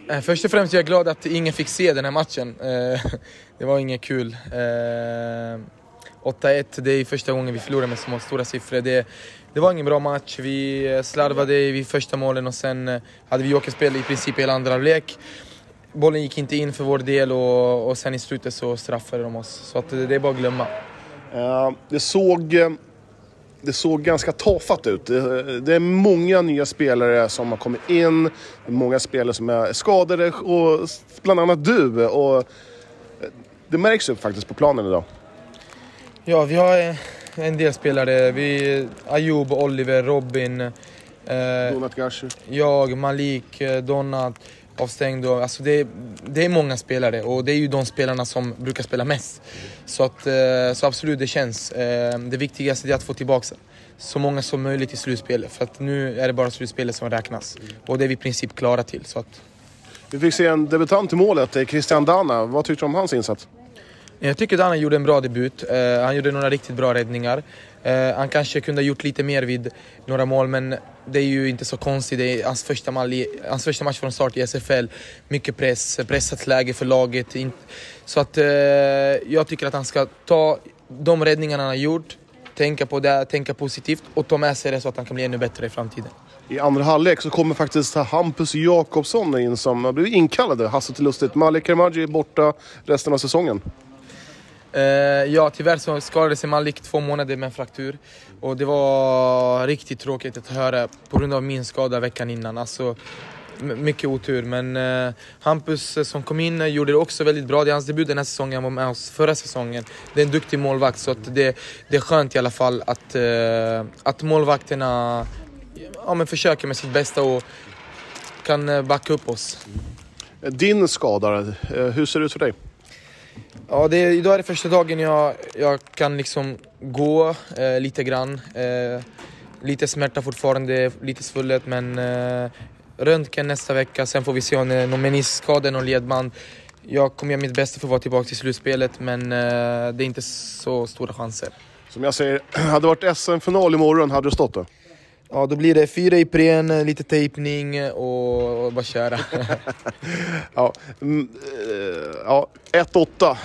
[SPEAKER 4] Eh, Först och främst jag är glad att ingen fick se den här matchen. Eh, Det var inget kul. Eh, 8-1, det är första gången vi förlorar med små, stora siffror. Det, det var ingen bra match. Vi eh, slarvade vid första målen och sen eh, hade vi jokerspel i princip hela andra halvlek. Bollen gick inte in för vår del och, och sen i slutet så straffade de oss. Så att eh, det är bara att glömma.
[SPEAKER 3] Eh, Det såg, eh, det såg ganska tafatt ut. Det det är många nya spelare som har kommit in. Det är Många spelare som är skadade, och s- bland annat du. Och eh, det märks ju faktiskt på planen idag.
[SPEAKER 4] Ja, vi har eh, en del spelare. Vi, Ayoub, Oliver, Robin. eh,
[SPEAKER 3] Donat Gashi.
[SPEAKER 4] Jag, Malik, eh, Donat, avstängd. Och, alltså det, det är många spelare och det är ju de spelarna som brukar spela mest. Så, att, eh, så absolut, det känns. Eh, Det viktigaste är att få tillbaka så många som möjligt i slutspelet. För att nu är det bara slutspelet som räknas. Och det är vi i princip klara till. Så att,
[SPEAKER 3] Vi fick se en debutant i målet, eh, Christian Dana. Vad tyckte du om hans insats?
[SPEAKER 4] Jag tycker att han gjorde en bra debut. Eh, han gjorde några riktigt bra räddningar. Eh, han kanske kunde ha gjort lite mer vid några mål, men det är ju inte så konstigt. Det är hans första, mall i, hans första match från start i SFL. Mycket press, pressat läge för laget. In, så att eh, jag tycker att han ska ta de räddningarna han har gjort, tänka på det, tänka positivt och ta med sig det så att han kan bli ännu bättre i framtiden.
[SPEAKER 3] I andra halvlek så kommer faktiskt Hampus Jakobsson in som har blivit inkallade. Hasse till lustigt. Malik Kermadji är borta resten av säsongen.
[SPEAKER 4] Eh, ja, tyvärr så skadade sig Malik två månader med en fraktur. Och det var riktigt tråkigt att höra på grund av min skada veckan innan. Alltså, m- mycket otur, men eh, Hampus eh, som kom in eh, gjorde det också väldigt bra. Det är hans debut den här säsongen, han var med oss förra säsongen. Det är en duktig målvakt, så att det, det är skönt i alla fall att, eh, att målvakterna ja, men försöker med sitt bästa och kan eh, backa upp oss.
[SPEAKER 3] Din skada, eh, hur ser det ut för dig?
[SPEAKER 4] Ja, det, är- idag är det första dagen jag, jag kan liksom gå eh, lite grann. Eh, lite smärta fortfarande, lite svullet men eh, röntgen nästa vecka. Sen får vi se om det är någon meniskskada, någon ledband. Jag kommer göra mitt bästa för att vara tillbaka till slutspelet men eh, det är inte så stora chanser.
[SPEAKER 3] Som jag säger, hade det varit SM-final imorgon hade du stått där.
[SPEAKER 4] Ja, då blir det fyra Ipren, lite tejpning och, och bara köra.
[SPEAKER 3] Ja, mm, eh, ja 1-8.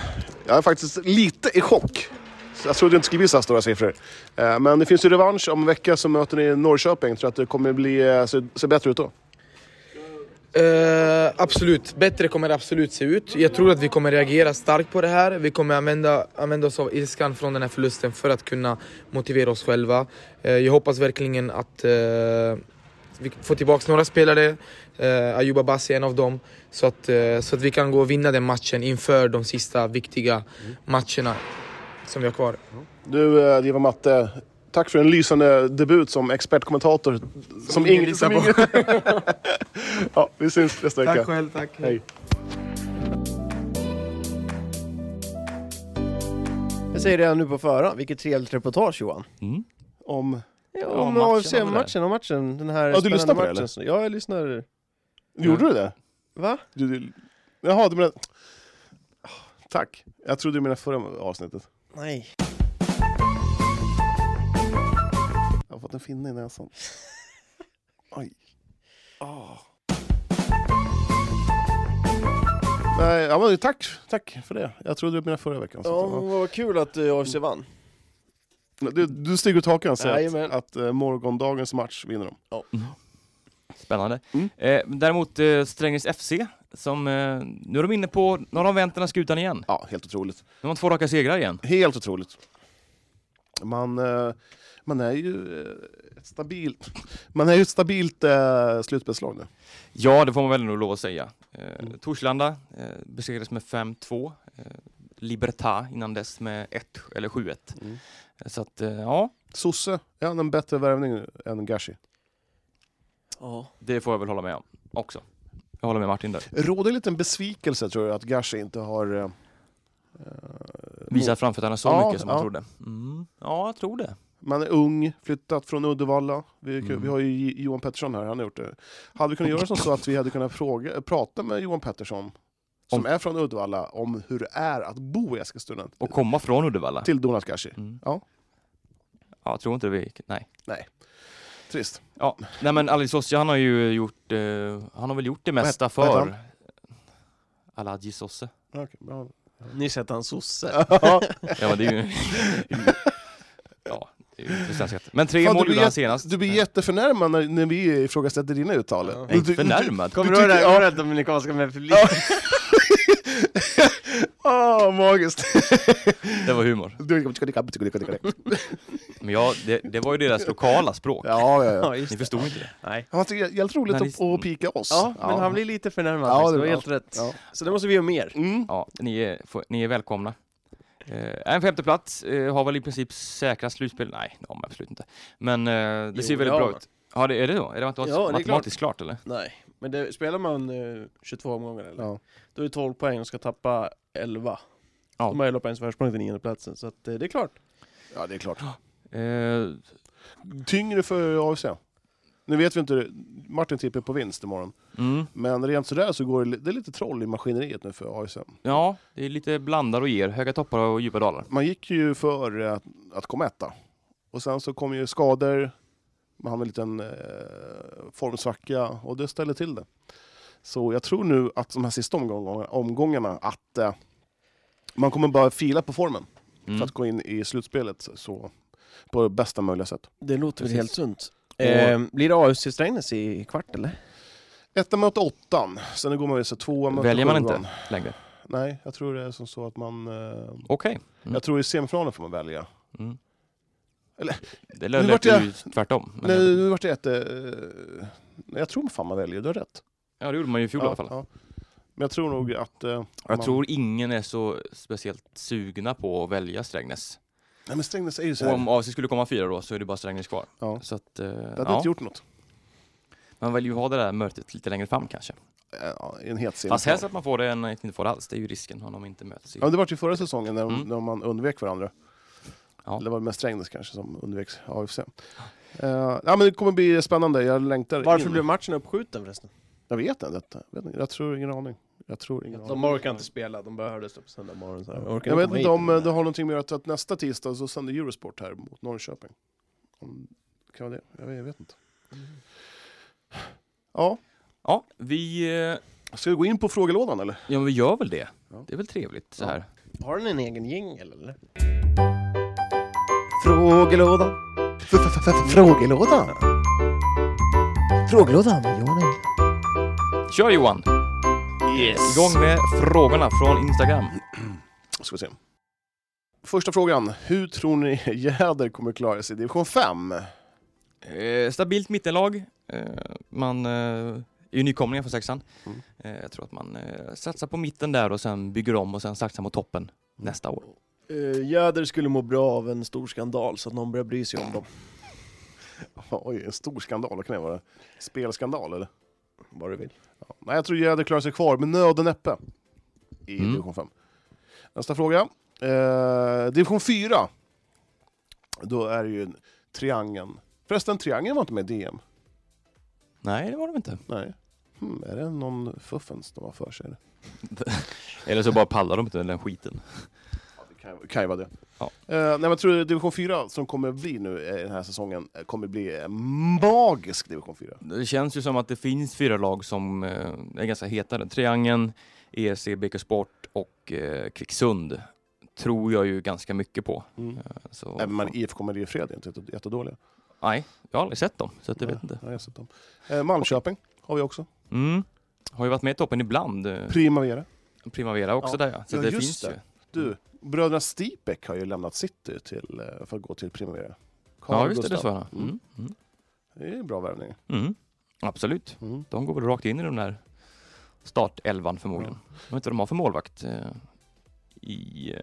[SPEAKER 3] Jag är faktiskt lite i chock. Jag trodde det inte skulle bli så här stora siffror. Eh, Men det finns ju revansch. Om en vecka så möter ni Norrköping. Tror du att det kommer bli, eh, se, se bättre ut då?
[SPEAKER 4] Eh, absolut, bättre kommer det absolut se ut. Jag tror att vi kommer reagera starkt på det här. Vi kommer använda, använda oss av ilskan från den här förlusten för att kunna motivera oss själva. Eh, jag hoppas verkligen att eh, vi får tillbaka några spelare. Uh, Ayuba Bassi är en av dem. Så att, eh, så att vi kan gå och vinna den matchen inför de sista viktiga matcherna som vi har kvar.
[SPEAKER 3] Du, eh, det var Matte. Tack för en lysande debut som expertkommentator. Som
[SPEAKER 4] ingen
[SPEAKER 3] ingen
[SPEAKER 4] lyssnar
[SPEAKER 3] som ingen... ja, vi syns nästa vecka.
[SPEAKER 4] själv, tack.
[SPEAKER 3] Hej.
[SPEAKER 1] Jag säger redan nu på förhand, vilket trevligt reportage Johan.
[SPEAKER 2] Mm.
[SPEAKER 3] Om...
[SPEAKER 1] Ja,
[SPEAKER 2] om
[SPEAKER 1] om
[SPEAKER 2] matchen och det där.
[SPEAKER 1] AFC-matchen, om matchen, den här
[SPEAKER 3] Ja, du
[SPEAKER 1] spännande
[SPEAKER 3] lyssnar på det,
[SPEAKER 1] matchen.
[SPEAKER 3] eller?
[SPEAKER 1] som- Ja, jag lyssnar.
[SPEAKER 3] Gjorde du det?
[SPEAKER 1] Va?
[SPEAKER 3] Du, du... Jaha, du menar... Tack. Jag trodde du menade förra avsnittet.
[SPEAKER 1] Nej.
[SPEAKER 3] Jag har fått en finne i näsan. Oj. Ah. Nej, ja, men tack, tack för det. Jag trodde det var mina förra veckan. så
[SPEAKER 1] Ja,
[SPEAKER 3] att-
[SPEAKER 1] vad kul att eh, AFC vann.
[SPEAKER 3] ja. Du, du stiger ut hakan och säger
[SPEAKER 1] Jajamän.
[SPEAKER 3] att, att eh, morgondagens match vinner de.
[SPEAKER 2] Spännande.
[SPEAKER 3] Mm.
[SPEAKER 2] Eh, däremot eh, Strängnäs FC, som eh, nu är de inne på, nu har de vänt den här skutan igen.
[SPEAKER 3] Ja, helt otroligt.
[SPEAKER 2] De har två raka segrar igen.
[SPEAKER 3] Helt otroligt. Man, eh, man är ju eh, ett stabilt, man är ju ett stabilt eh, slutspelslag nu.
[SPEAKER 2] Ja, det får man väl nog lov att säga. Eh,
[SPEAKER 3] Mm.
[SPEAKER 2] Torslanda eh, besegrades med 5-2. Eh, Libertad innan dess med 1 eller 7-1.
[SPEAKER 3] Mm.
[SPEAKER 2] Så att, eh, ja,
[SPEAKER 3] Sosse, är han en bättre värvning nu än Gashi?
[SPEAKER 1] Ja.
[SPEAKER 2] det får jag väl hålla med om också. Jag håller med Martin där.
[SPEAKER 3] Råder en liten besvikelse tror jag att Gashi inte har... eh, eh,
[SPEAKER 2] Visar framfötterna så
[SPEAKER 3] Ja,
[SPEAKER 2] mycket som man
[SPEAKER 3] ja.
[SPEAKER 2] trodde. Mm. Ja, jag tror det.
[SPEAKER 3] Man är ung, flyttat från Uddevalla. Vi,
[SPEAKER 2] Mm.
[SPEAKER 3] vi har ju Johan Pettersson här, han har gjort det. Hade vi kunnat göra som så att vi hade kunnat fråga, prata med Johan Pettersson, som
[SPEAKER 2] Om-
[SPEAKER 3] är från Uddevalla, om hur det är att bo i Eskilstuna.
[SPEAKER 2] Och komma från Uddevalla.
[SPEAKER 3] Till Donald Gashi.
[SPEAKER 2] Mm.
[SPEAKER 3] Ja.
[SPEAKER 2] Ja, jag tror inte det. Vi, nej.
[SPEAKER 3] Trist.
[SPEAKER 2] Ja, nej men Ali Sosse han har ju gjort, eh, han har väl gjort det
[SPEAKER 3] het-
[SPEAKER 2] mesta
[SPEAKER 3] vad heter
[SPEAKER 2] för Aladji Sosse.
[SPEAKER 3] Ja, okej, bra.
[SPEAKER 1] Ni sett han sosse?
[SPEAKER 2] Ja men det är ju... ja, det är ju inte svenskt. Men tre
[SPEAKER 3] Fan, du
[SPEAKER 2] mål
[SPEAKER 3] blir
[SPEAKER 2] gjorde han
[SPEAKER 3] jätte-
[SPEAKER 2] senast.
[SPEAKER 3] Du blir jätteförnärmad när, när vi ifrågasätter dina uttal.
[SPEAKER 4] Ja.
[SPEAKER 2] Nej,
[SPEAKER 3] Du- du-
[SPEAKER 2] förnärmad.
[SPEAKER 1] Kommer
[SPEAKER 3] Du
[SPEAKER 1] du ihåg det
[SPEAKER 3] tycker-
[SPEAKER 1] här
[SPEAKER 3] ja.
[SPEAKER 1] året Dominikanska med publik?
[SPEAKER 3] Åh, magiskt!
[SPEAKER 2] Det var humor. Men ja, det, det var ju deras lokala språk.
[SPEAKER 3] Ja, ja, ja.
[SPEAKER 1] Ja, just
[SPEAKER 2] Ni
[SPEAKER 1] det.
[SPEAKER 2] förstod inte det.
[SPEAKER 1] Nej.
[SPEAKER 3] Han tycker det är Helt roligt
[SPEAKER 2] Men
[SPEAKER 3] att,
[SPEAKER 2] det-
[SPEAKER 3] att pika oss.
[SPEAKER 1] Ja, men han blir lite förnärmad
[SPEAKER 3] Ja,
[SPEAKER 1] faktiskt,
[SPEAKER 3] det
[SPEAKER 1] det var
[SPEAKER 3] blir-
[SPEAKER 1] helt rätt.
[SPEAKER 3] Ja.
[SPEAKER 1] Så det måste vi göra mer.
[SPEAKER 3] Mm.
[SPEAKER 2] Ja, ni är, får- ni är välkomna. Eh, en femteplats, eh, har väl i princip säkra slutspel? Nej, det har man absolut inte. Men eh, det
[SPEAKER 1] Jo,
[SPEAKER 2] ser
[SPEAKER 1] det
[SPEAKER 2] väldigt
[SPEAKER 1] har
[SPEAKER 2] bra
[SPEAKER 1] man.
[SPEAKER 2] ut. Ja, det, är det då? Är det matematiskt,
[SPEAKER 1] Ja, det är
[SPEAKER 2] matematiskt klart eller?
[SPEAKER 1] Nej, men det, spelar man eh, 22 omgångar eller?
[SPEAKER 3] Ja.
[SPEAKER 1] Då är det 12 poäng och ska tappa 11.
[SPEAKER 2] Ja.
[SPEAKER 1] De har 11 poängs försprång till niondeplatsen, så att, eh, det är klart.
[SPEAKER 3] ja, det är klart.
[SPEAKER 2] Eh,
[SPEAKER 3] tyngre för AFC. Nu vet vi inte, Martin tippar på vinst imorgon.
[SPEAKER 2] mm.
[SPEAKER 3] Men rent sådär så går det, li- det är lite troll i maskineriet nu för AFC.
[SPEAKER 2] Ja, det är lite blandar och ger. Höga toppar och djupa dalar.
[SPEAKER 3] Man gick ju för eh, att, att komma etta. Och sen så kom ju skador, man hade en liten eh, formsvacka och det ställde till det. Så jag tror nu att de här sista omgångarna, omgångarna att eh, man kommer bara fila på formen
[SPEAKER 2] Mm.
[SPEAKER 3] för att gå in i slutspelet. Så på bästa möjliga sätt.
[SPEAKER 1] Det låter väl
[SPEAKER 2] Precis.
[SPEAKER 1] helt sunt. Eh, blir det AFC Strängnäs i kvart eller?
[SPEAKER 3] Etta möter åttan, sen går man vidare så tvåa möter
[SPEAKER 2] Väljer man
[SPEAKER 3] sjuan.
[SPEAKER 2] inte längre?
[SPEAKER 3] Nej, jag tror det är som så att man... Eh,
[SPEAKER 2] Okej. Mm.
[SPEAKER 3] Jag tror i semifinalen får man välja.
[SPEAKER 2] Mm.
[SPEAKER 3] Eller- Nu
[SPEAKER 2] det lät
[SPEAKER 3] vart
[SPEAKER 2] lät
[SPEAKER 3] jag-
[SPEAKER 2] ju tvärtom. men-
[SPEAKER 3] Nej, nu vart det ett... Eh, jag tror fan man väljer, du har rätt.
[SPEAKER 2] Ja, det gjorde man ju i fjol i alla fall.
[SPEAKER 3] ja. Men jag tror nog att... Eh,
[SPEAKER 2] Jag
[SPEAKER 3] man-
[SPEAKER 2] tror ingen är så speciellt sugna på att välja Strängnäs.
[SPEAKER 3] Nej men Strängnäs är ju så
[SPEAKER 2] Och
[SPEAKER 3] här.
[SPEAKER 2] om AFC skulle komma fyra då så är det bara Strängnäs kvar.
[SPEAKER 3] Ja.
[SPEAKER 2] Så att, eh,
[SPEAKER 3] Det hade
[SPEAKER 2] ja.
[SPEAKER 3] inte gjort något.
[SPEAKER 2] Man vill ju ha det där mötet lite längre fram kanske.
[SPEAKER 3] Eh, Ja, i en het
[SPEAKER 2] Fast
[SPEAKER 3] semifinal.
[SPEAKER 2] helst att man får det än att inte får det alls. Det är ju risken om de inte möts. i-
[SPEAKER 3] Ja, det var ju förra säsongen när, de-
[SPEAKER 2] Mm.
[SPEAKER 3] när man undvek varandra.
[SPEAKER 2] Ja.
[SPEAKER 3] Eller var det med Strängnäs kanske som undvek AFC. Eh, ja, men det kommer bli spännande, jag längtar
[SPEAKER 1] Varför
[SPEAKER 3] in.
[SPEAKER 1] blev matchen uppskjuten förresten?
[SPEAKER 3] Jag vet inte, jag, vet inte. jag tror ingen aning. Jag tror ingen aning.
[SPEAKER 1] De orkar inte spela, de behövdes upp söndag morgon. Så här. Orkar
[SPEAKER 3] Jag vet
[SPEAKER 1] komma
[SPEAKER 3] inte
[SPEAKER 1] hit
[SPEAKER 3] om
[SPEAKER 1] med
[SPEAKER 3] eh,
[SPEAKER 1] det
[SPEAKER 3] det
[SPEAKER 1] här.
[SPEAKER 3] har någonting med att, att nästa tisdag så sänder Eurosport här mot Norrköping. Om, kan vara det? Jag vet, jag vet inte. Ja,
[SPEAKER 2] Ja, vi, eh, ja,
[SPEAKER 3] ska vi gå in på frågelådan eller?
[SPEAKER 2] men vi gör väl det.
[SPEAKER 3] Ja.
[SPEAKER 2] Det är väl trevligt så
[SPEAKER 3] Ja.
[SPEAKER 2] här.
[SPEAKER 1] Har den en egen jingel eller? Frågelåda. Frågelåda. Frågelåda med Johan
[SPEAKER 2] Kör Johan!
[SPEAKER 1] Yes.
[SPEAKER 2] Igång med frågorna från Instagram.
[SPEAKER 3] Ska vi se. Första frågan, hur tror ni Jäder kommer klara sig i division 5?
[SPEAKER 2] Eh, stabilt mittenlag. Eh, man eh, är ju nykomlingar från sexan.
[SPEAKER 3] Mm.
[SPEAKER 2] Eh, jag tror att man eh, satsar på mitten där och sen bygger om och sen satsar mot toppen
[SPEAKER 3] Mm.
[SPEAKER 2] nästa år.
[SPEAKER 1] Uh, Jäder skulle må bra av en stor skandal så att någon börjar bry sig om dem.
[SPEAKER 3] Oj, en stor skandal, vad kan det vara? Spelskandal eller?
[SPEAKER 1] Vad du vill.
[SPEAKER 3] Ja. Nej, jag tror Jäder klarar sig kvar med nöd och näppe i
[SPEAKER 2] Mm.
[SPEAKER 3] division 5. Nästa fråga. Eh, division 4. Då är det ju triangeln. Förresten, triangeln var inte med i DM.
[SPEAKER 2] Nej, det var de inte.
[SPEAKER 3] Nej. Hmm, är det någon fuffens de har för sig? eller?
[SPEAKER 2] Eller så bara pallar de inte den skiten.
[SPEAKER 3] Det kan, ju- kan ju vara det.
[SPEAKER 2] Ja.
[SPEAKER 3] Eh, nej, men jag tror division 4 som kommer bli nu eh, den här säsongen eh, kommer bli en magisk division 4.
[SPEAKER 2] Det känns ju som att det finns fyra lag som eh, är ganska heta. Triangeln, E ESC, BK Sport och eh, Kvicksund tror jag ju ganska mycket på. Eh,
[SPEAKER 3] Mm.
[SPEAKER 2] Så,
[SPEAKER 3] Även men IFK Marie Fred är inte jätte- typ, jättedåliga.
[SPEAKER 2] Nej, jag har aldrig sett dem, så att jag vet inte.
[SPEAKER 3] Ja, jag har sett dem. Eh, Malmköping har vi också.
[SPEAKER 2] Mm. Har ju varit med i toppen ibland. eh,
[SPEAKER 3] Primavera.
[SPEAKER 2] Primavera också
[SPEAKER 1] Ja.
[SPEAKER 2] där ja. Så
[SPEAKER 3] Ja,
[SPEAKER 2] det
[SPEAKER 3] just
[SPEAKER 2] finns
[SPEAKER 3] det.
[SPEAKER 2] ju.
[SPEAKER 3] Du, bröderna Stipek har ju lämnat City till, eh, för att gå till Primavera. Carl
[SPEAKER 2] Ja, just det, det
[SPEAKER 3] Gustav.
[SPEAKER 2] sa jag. Mm. Mm.
[SPEAKER 3] Det är bra värvning.
[SPEAKER 2] Mm. Absolut.
[SPEAKER 3] Mm.
[SPEAKER 2] De går väl rakt in i den där startelvan förmodligen. Jag vet inte vad de har för målvakt. eh, I, eh,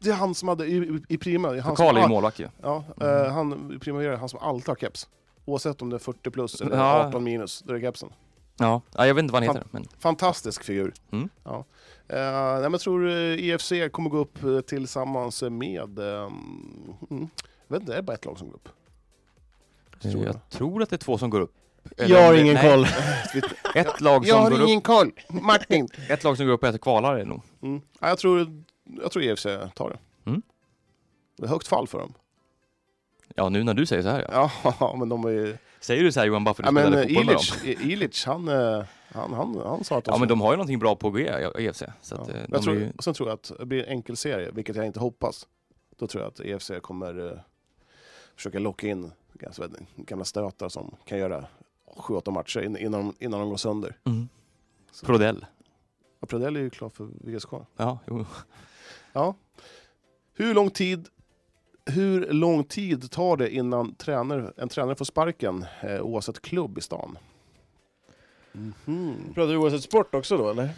[SPEAKER 3] Det är han som hade i, i, i Prima... det är Han som,
[SPEAKER 2] Karl är ju
[SPEAKER 3] all-
[SPEAKER 2] målvakt ju.
[SPEAKER 3] ja,
[SPEAKER 2] Mm.
[SPEAKER 3] eh, han, i Primavera, han som alltid har keps. Oavsett om det är 40 plus eller
[SPEAKER 2] Ja.
[SPEAKER 3] 18 minus, då är det kepsen.
[SPEAKER 2] Ja. ja, jag vet inte vad han heter. Men,
[SPEAKER 3] Fantastisk figur.
[SPEAKER 2] Mm.
[SPEAKER 3] Ja. Eh, nej, men jag tror eh, EFC kommer gå upp eh, tillsammans med... Eh, mm, jag vet inte, är det bara ett lag som går upp?
[SPEAKER 2] eh,
[SPEAKER 3] Tror jag.
[SPEAKER 2] jag tror att det är två som går upp. Eller
[SPEAKER 1] Jag
[SPEAKER 2] om
[SPEAKER 1] har
[SPEAKER 2] det-
[SPEAKER 1] ingen
[SPEAKER 2] nej,
[SPEAKER 1] koll.
[SPEAKER 2] Ett lag, som går upp,
[SPEAKER 3] koll! Martin!
[SPEAKER 2] ett lag som går upp och ett kvalar är det nog.
[SPEAKER 3] Mm. Ja, jag, tror, jag tror EFC tar det.
[SPEAKER 2] Mm.
[SPEAKER 3] Det är högt fall för dem.
[SPEAKER 2] Ja, nu när du säger så här ja.
[SPEAKER 3] Ja, men de är ju...
[SPEAKER 2] Säger du så här Johan bara för
[SPEAKER 3] Ja,
[SPEAKER 2] att du
[SPEAKER 3] men
[SPEAKER 2] spelade
[SPEAKER 3] eh,
[SPEAKER 2] fotboll med dem?
[SPEAKER 3] Ilic, I- Ilic han, eh, han, han, han sa att de
[SPEAKER 2] Ja, men
[SPEAKER 3] ska-
[SPEAKER 2] de har ju någonting bra på G, i EFC. Så att,
[SPEAKER 3] Ja.
[SPEAKER 2] eh, de
[SPEAKER 3] jag
[SPEAKER 2] är
[SPEAKER 3] tror,
[SPEAKER 2] ju...
[SPEAKER 3] Sen tror jag att det blir en enkel serie, vilket jag inte hoppas. Då tror jag att EFC kommer eh, försöka locka in ganska- vet ni, gamla stötar som kan göra 7-8 matcher in- innan, de- innan de går sönder.
[SPEAKER 2] Mm. Prodell.
[SPEAKER 3] Och Pradell är ju klar för VSK.
[SPEAKER 2] Ja, jo.
[SPEAKER 3] Ja. Hur lång tid hur lång tid tar det innan tränare, en tränare får sparken eh, oavsett klubb i stan? Mhm.
[SPEAKER 1] Pratar du oavsett sport också då eller?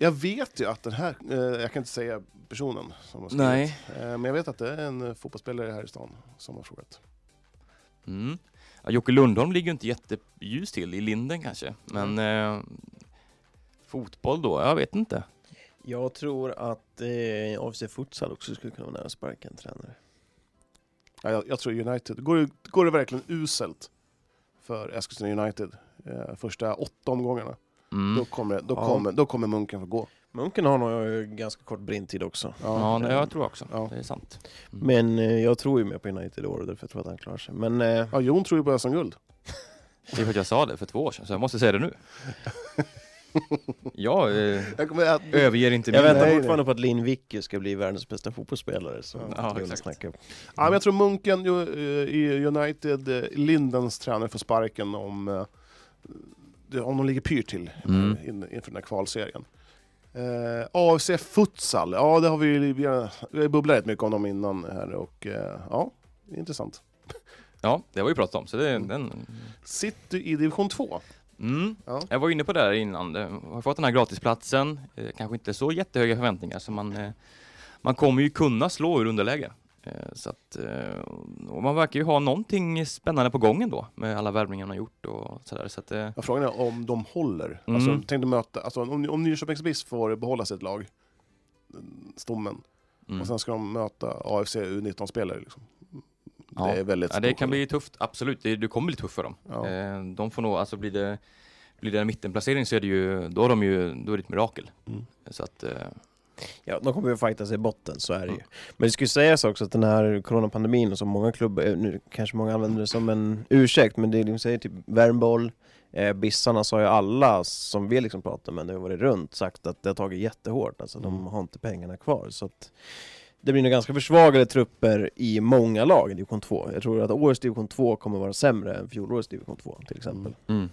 [SPEAKER 3] Jag vet ju att den här, eh, jag kan inte säga personen som har skrivit,
[SPEAKER 2] Nej.
[SPEAKER 3] eh, men jag vet att det är en eh, fotbollsspelare här i stan som har frågat.
[SPEAKER 2] Mm. Ja, Jocke Lundholm ligger ju inte jätteljus till, i linden kanske. Men eh, fotboll då? Jag vet inte.
[SPEAKER 1] Jag tror att eh, AFC Futsal också skulle kunna vara nära att sparka en tränare.
[SPEAKER 3] Ja, jag, jag tror United, går det, går det verkligen uselt för Eskilstuna United eh, första åtta omgångarna,
[SPEAKER 2] Mm.
[SPEAKER 3] då, kommer, det- då,
[SPEAKER 1] Ja.
[SPEAKER 3] kommer, då kommer munken få gå.
[SPEAKER 1] Munken har nog eh, ganska kort brintid också.
[SPEAKER 2] Ja, nej, jag tror också.
[SPEAKER 3] Ja.
[SPEAKER 2] Det är sant.
[SPEAKER 1] Men eh, jag tror ju mer på United i år därför jag tror att han klarar sig. Men eh,
[SPEAKER 3] ja Jon tror ju på SM-guld.
[SPEAKER 2] Det är för att jag sa det för två år sedan, så jag måste säga det nu. Jag eh,
[SPEAKER 3] Jag kommer att...
[SPEAKER 2] överger inte
[SPEAKER 1] Jag
[SPEAKER 2] min...
[SPEAKER 1] väntar
[SPEAKER 3] nej.
[SPEAKER 1] fortfarande på att Lin Vicky ska bli världens bästa fotbollsspelare. Som
[SPEAKER 2] Ja,
[SPEAKER 1] vi
[SPEAKER 2] exakt.
[SPEAKER 1] snackar om.
[SPEAKER 3] Ja, men jag tror Munken ju- eh, i United, eh, Lindens tränare, får sparken om, eh, det- om de ligger pyrt till
[SPEAKER 2] Mm.
[SPEAKER 3] eh, in, inför den här kvalserien. Eh, AFC Futsal, ja det har vi ju vi har- vi har bubblat rätt mycket om dem innan här och eh, ja, det är intressant.
[SPEAKER 2] Ja, det var ju pratat om, så det, den...
[SPEAKER 3] City i division 2.
[SPEAKER 2] Mm.
[SPEAKER 3] Ja.
[SPEAKER 2] Jag var inne på det här innan, Eh, har fått den här gratisplatsen, eh, kanske inte så jättehöga förväntningar, så man, eh, man kommer ju kunna slå ur underläge. Eh, Så att, eh, och man verkar ju ha någonting spännande på gången då med alla värvningar man har gjort och sådär. Så att, eh,
[SPEAKER 3] Ja, frågan är om de håller.
[SPEAKER 2] Mm.
[SPEAKER 3] Alltså, tänk dig möta, alltså, om, om Nyköpings BIS får behålla sitt lag, mm, stommen,
[SPEAKER 2] mm.
[SPEAKER 3] och sen ska de möta AFC U19-spelare. Liksom.
[SPEAKER 2] Ja.
[SPEAKER 3] Det är väldigt
[SPEAKER 2] ja, det
[SPEAKER 3] stor
[SPEAKER 2] kan
[SPEAKER 3] skillnad.
[SPEAKER 2] bli tufft, absolut. Det, det kommer bli tufft för dem.
[SPEAKER 3] Ja.
[SPEAKER 2] Eh, De får nog, alltså blir det, blir det en mittenplacering så är det ju, då, har de ju, då är det ett mirakel.
[SPEAKER 3] Mm.
[SPEAKER 2] Så att, eh,
[SPEAKER 1] Ja, de kommer ju fighta sig i botten, så är det ju. Men det skulle sägas också att den här coronapandemin och så många klubbar, eh, nu kanske många använder det som en ursäkt, men det är de säger typ värmboll, eh, Bissarna sa ju alla som vi liksom pratar med när vi varit runt sagt att det har tagit jättehårt, alltså de har inte pengarna kvar. Så att det blir nog ganska försvagade trupper i många lag i division 2. Jag tror att årets division 2 kommer vara sämre än fjolårets division 2 till exempel.
[SPEAKER 3] Mm.
[SPEAKER 2] mm.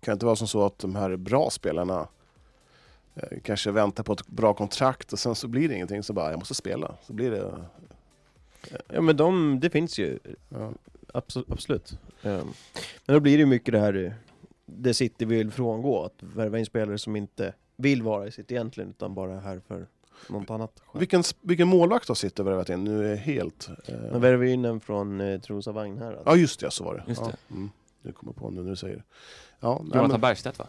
[SPEAKER 3] Kan det inte vara som så att de här bra spelarna eh, kanske väntar på ett bra kontrakt och sen så blir det ingenting, så bara jag måste spela. Så blir det...
[SPEAKER 1] Ja men de, det finns ju
[SPEAKER 3] Ja.
[SPEAKER 1] Absolut. absolut. Ehm, Men då blir det ju mycket det här eh, det City vill frångå, att värva in spelare som inte vill vara i City egentligen, utan bara är här för något annat. skäl.
[SPEAKER 3] Vilken, vilken målvakt har City värvat in? Nu är helt...
[SPEAKER 1] Men
[SPEAKER 3] Eh...
[SPEAKER 1] värvar ju in en från eh, Trosa Vagn här. Alltså.
[SPEAKER 3] Ja just det, så var det.
[SPEAKER 2] Just
[SPEAKER 3] ja.
[SPEAKER 2] det.
[SPEAKER 3] Mm. Du kommer jag på nu när du säger det. Ja, nej,
[SPEAKER 2] Jonathan
[SPEAKER 3] men-
[SPEAKER 2] Bergstedt va?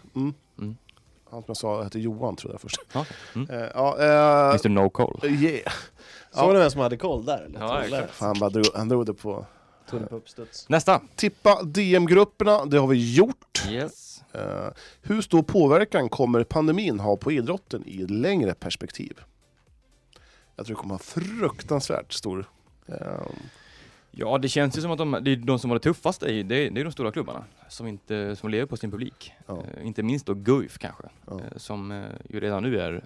[SPEAKER 3] Han som jag sa hette Johan trodde jag först.
[SPEAKER 2] Ja. Mm.
[SPEAKER 3] Eh, ja, eh,
[SPEAKER 2] Mr No Call.
[SPEAKER 3] yeah.
[SPEAKER 1] Såg ni vem som hade koll där? Eller?
[SPEAKER 2] Ja,
[SPEAKER 1] Troll där.
[SPEAKER 3] Fan, han bara drog, han drog det på.
[SPEAKER 1] Tunn på uppstuds.
[SPEAKER 2] Nästa!
[SPEAKER 3] Tippa DM-grupperna, det har vi gjort.
[SPEAKER 2] Yes.
[SPEAKER 3] Eh, hur stor påverkan kommer pandemin ha på idrotten i ett längre perspektiv? Jag tror det kommer ha fruktansvärt stor... eh,
[SPEAKER 2] Ja, det känns ju som att de, det är de som har det tuffast, det är, det är det är de stora klubbarna som, inte, som lever på sin publik.
[SPEAKER 3] Ja.
[SPEAKER 2] Eh, inte minst då Guif kanske,
[SPEAKER 3] Ja.
[SPEAKER 2] eh, som eh, ju redan nu är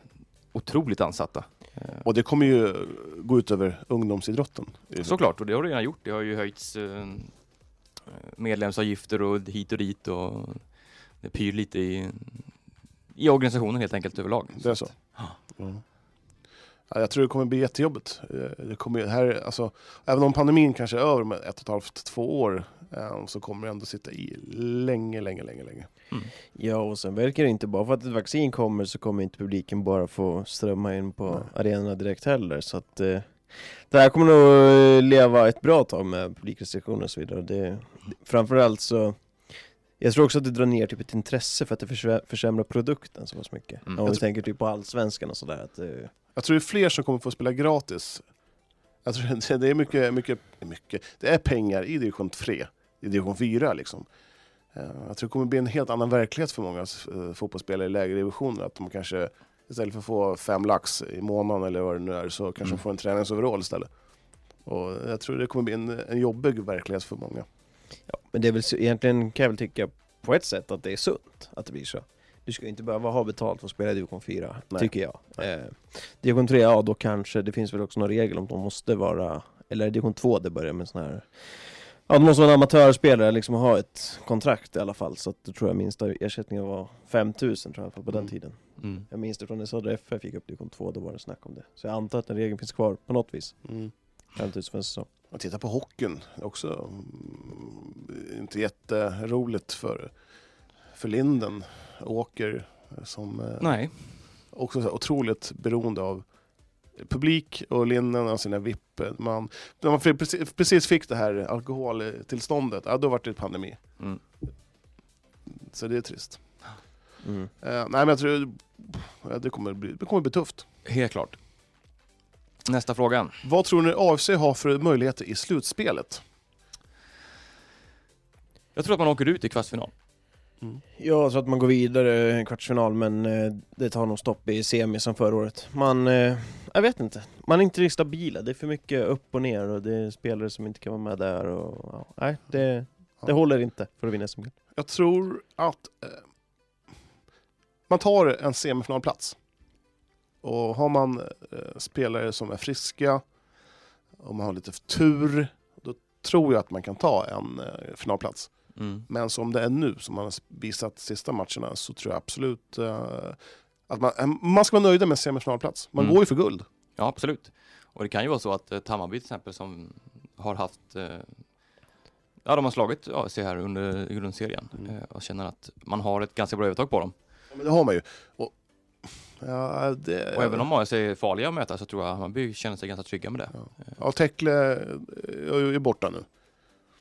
[SPEAKER 2] otroligt ansatta.
[SPEAKER 3] Mm.
[SPEAKER 2] Eh,
[SPEAKER 3] och det kommer ju gå ut över ungdomsidrotten.
[SPEAKER 2] Såklart, och det har det redan gjort. Det har ju höjts eh, medlemsavgifter och hit och dit och det pyr lite i, i organisationen helt enkelt överlag.
[SPEAKER 3] Det är så?
[SPEAKER 2] Ja.
[SPEAKER 3] Ja. Ja, jag tror det kommer bli jättejobbigt. Eh, Det kommer, ju- här, alltså, även om pandemin kanske är över om ett och ett halvt, två år eh, så kommer det ändå sitta i länge, länge, länge, länge.
[SPEAKER 1] Ja, och sen verkar det inte bara för att ett vaccin kommer så kommer inte publiken bara få strömma in på
[SPEAKER 3] Nej.
[SPEAKER 1] arenorna direkt heller. Så att eh, det här kommer nog eh, leva ett bra tag med publikrestriktioner och så vidare. Det, framförallt så jag tror också att det drar ner typ ett intresse för att det försvä- försämrar produkten så pass mycket.
[SPEAKER 2] Mm.
[SPEAKER 1] Om
[SPEAKER 3] Jag
[SPEAKER 1] vi
[SPEAKER 3] tr-
[SPEAKER 1] tänker typ på allsvenskan och sådär. Att, eh,
[SPEAKER 3] Jag tror det är fler som kommer få spela gratis. Jag tror det- det är mycket, mycket, mycket. Det är pengar i division 3, i division 4 liksom. Eh, Jag tror det kommer bli en helt annan verklighet för många eh, fotbollsspelare i lägre divisioner. Att de kanske istället för att få fem lax i månaden eller vad det nu är så kanske
[SPEAKER 2] Mm.
[SPEAKER 3] de får en träningsoverall istället. Och jag tror det kommer bli en, en jobbig verklighet för många.
[SPEAKER 1] ja, men det är väl s- egentligen kan jag väl tycka på ett sätt att det är sunt att det blir så. Du ska ju inte behöva ha betalt för att spela i division 4,
[SPEAKER 3] Nej.
[SPEAKER 1] tycker jag. Eh, division 3, ja då kanske, det finns väl också någon regel om de måste vara, eller i division 2 det börjar med sån här, ja de måste vara en amatörspelare liksom och ha ett kontrakt i alla fall. Så att då tror jag minsta ersättningen var 5000 tror jag i alla fall på den
[SPEAKER 3] Mm.
[SPEAKER 1] tiden.
[SPEAKER 2] Mm.
[SPEAKER 1] Jag minns det från när Södra FF gick upp division 2, då var det snack om det. Så jag antar att den regeln finns kvar på något vis,
[SPEAKER 3] Mm.
[SPEAKER 1] 5000 för en säsong.
[SPEAKER 3] Och titta på hockeyn, Det är också mm, inte jätteroligt för, för Linden. Åker eh, som eh,
[SPEAKER 2] Nej,
[SPEAKER 3] också så här otroligt beroende av publik och linnen och sina VIP. Man, när man precis, precis fick det här alkoholtillståndet, ja, då var det pandemi.
[SPEAKER 2] Mm.
[SPEAKER 3] Så det är trist.
[SPEAKER 1] Mm.
[SPEAKER 3] Eh, nej men jag tror ja, det kommer, bli, det kommer bli tufft.
[SPEAKER 2] helt klart. Nästa fråga.
[SPEAKER 3] Vad tror ni AFC har för möjligheter i slutspelet?
[SPEAKER 2] Jag tror att man åker ut i kvartsfinal.
[SPEAKER 1] Ja, så att man går vidare i en kvartsfinal men eh, det tar nog stopp i semi som förra året. Man, eh, jag vet inte, man är inte riktigt stabila. Det är för mycket upp och ner och det är spelare som inte kan vara med där och ja, nej, det, det
[SPEAKER 3] Ja.
[SPEAKER 1] håller inte för att vinna SM-guld.
[SPEAKER 3] Jag tror att eh, Man tar en semifinalplats. Och har man eh, spelare som är friska, och man har lite tur, då tror jag att man kan ta en eh, finalplats.
[SPEAKER 2] Mm.
[SPEAKER 3] Men som det är nu, som man har visat sista matcherna, så tror jag absolut eh, att man, eh, man ska vara nöjd med en semifinalplats. Man
[SPEAKER 2] Mm.
[SPEAKER 3] går ju för guld.
[SPEAKER 2] Ja, absolut. Och det kan ju vara så att eh, Hammarby till exempel som har haft eh, Ja, de har slagit AC här under grundserien
[SPEAKER 3] Mm.
[SPEAKER 2] eh, och känner att man har ett ganska bra övertag på dem.
[SPEAKER 3] Ja, Men det har man ju. Och, ja, det,
[SPEAKER 2] Och även om AIC är farliga att möta så tror jag Hammarby känner sig ganska trygga med det.
[SPEAKER 3] Ja, Tekle eh, är är borta
[SPEAKER 2] Mm.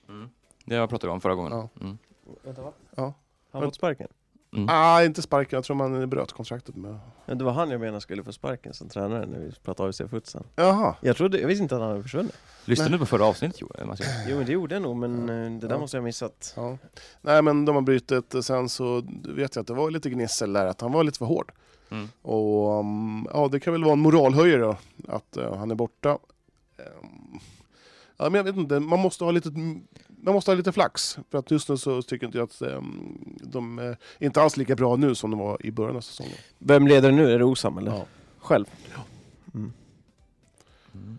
[SPEAKER 3] nu.
[SPEAKER 2] Det pratade vi om förra gången.
[SPEAKER 3] Ja.
[SPEAKER 2] Mm.
[SPEAKER 1] Vänta, va?
[SPEAKER 3] Ja.
[SPEAKER 1] Han fått sparken?
[SPEAKER 3] Ah, inte sparken, jag tror man bröt kontraktet med...
[SPEAKER 1] Ja, det var han jag menade skulle få sparken som tränare när vi pratade AFC futsal.
[SPEAKER 3] Jaha.
[SPEAKER 1] Jag, trodde, jag visste inte att han hade försvunnit.
[SPEAKER 2] Lyssnade
[SPEAKER 3] Nej.
[SPEAKER 2] du på förra avsnittet Jo- eh, Mattias?
[SPEAKER 1] Jo men det gjorde jag nog, men eh, det där
[SPEAKER 3] Ja.
[SPEAKER 1] måste jag ha missat.
[SPEAKER 3] Ja. Nej men de har brutit, och sen så vet jag att det var lite gnissel där, att han var lite för hård.
[SPEAKER 2] Mm.
[SPEAKER 3] Och um, ja, det kan väl vara en moralhöjare då, att eh, han är borta. Ehm, ja, men jag vet inte, man måste, ha lite, man måste ha lite flax. För att just nu så tycker inte jag att ehm, de är inte alls lika bra nu som de var i början av säsongen.
[SPEAKER 1] Vem leder nu? Är det Osam eller?
[SPEAKER 3] Ja.
[SPEAKER 1] Själv?
[SPEAKER 2] Mm.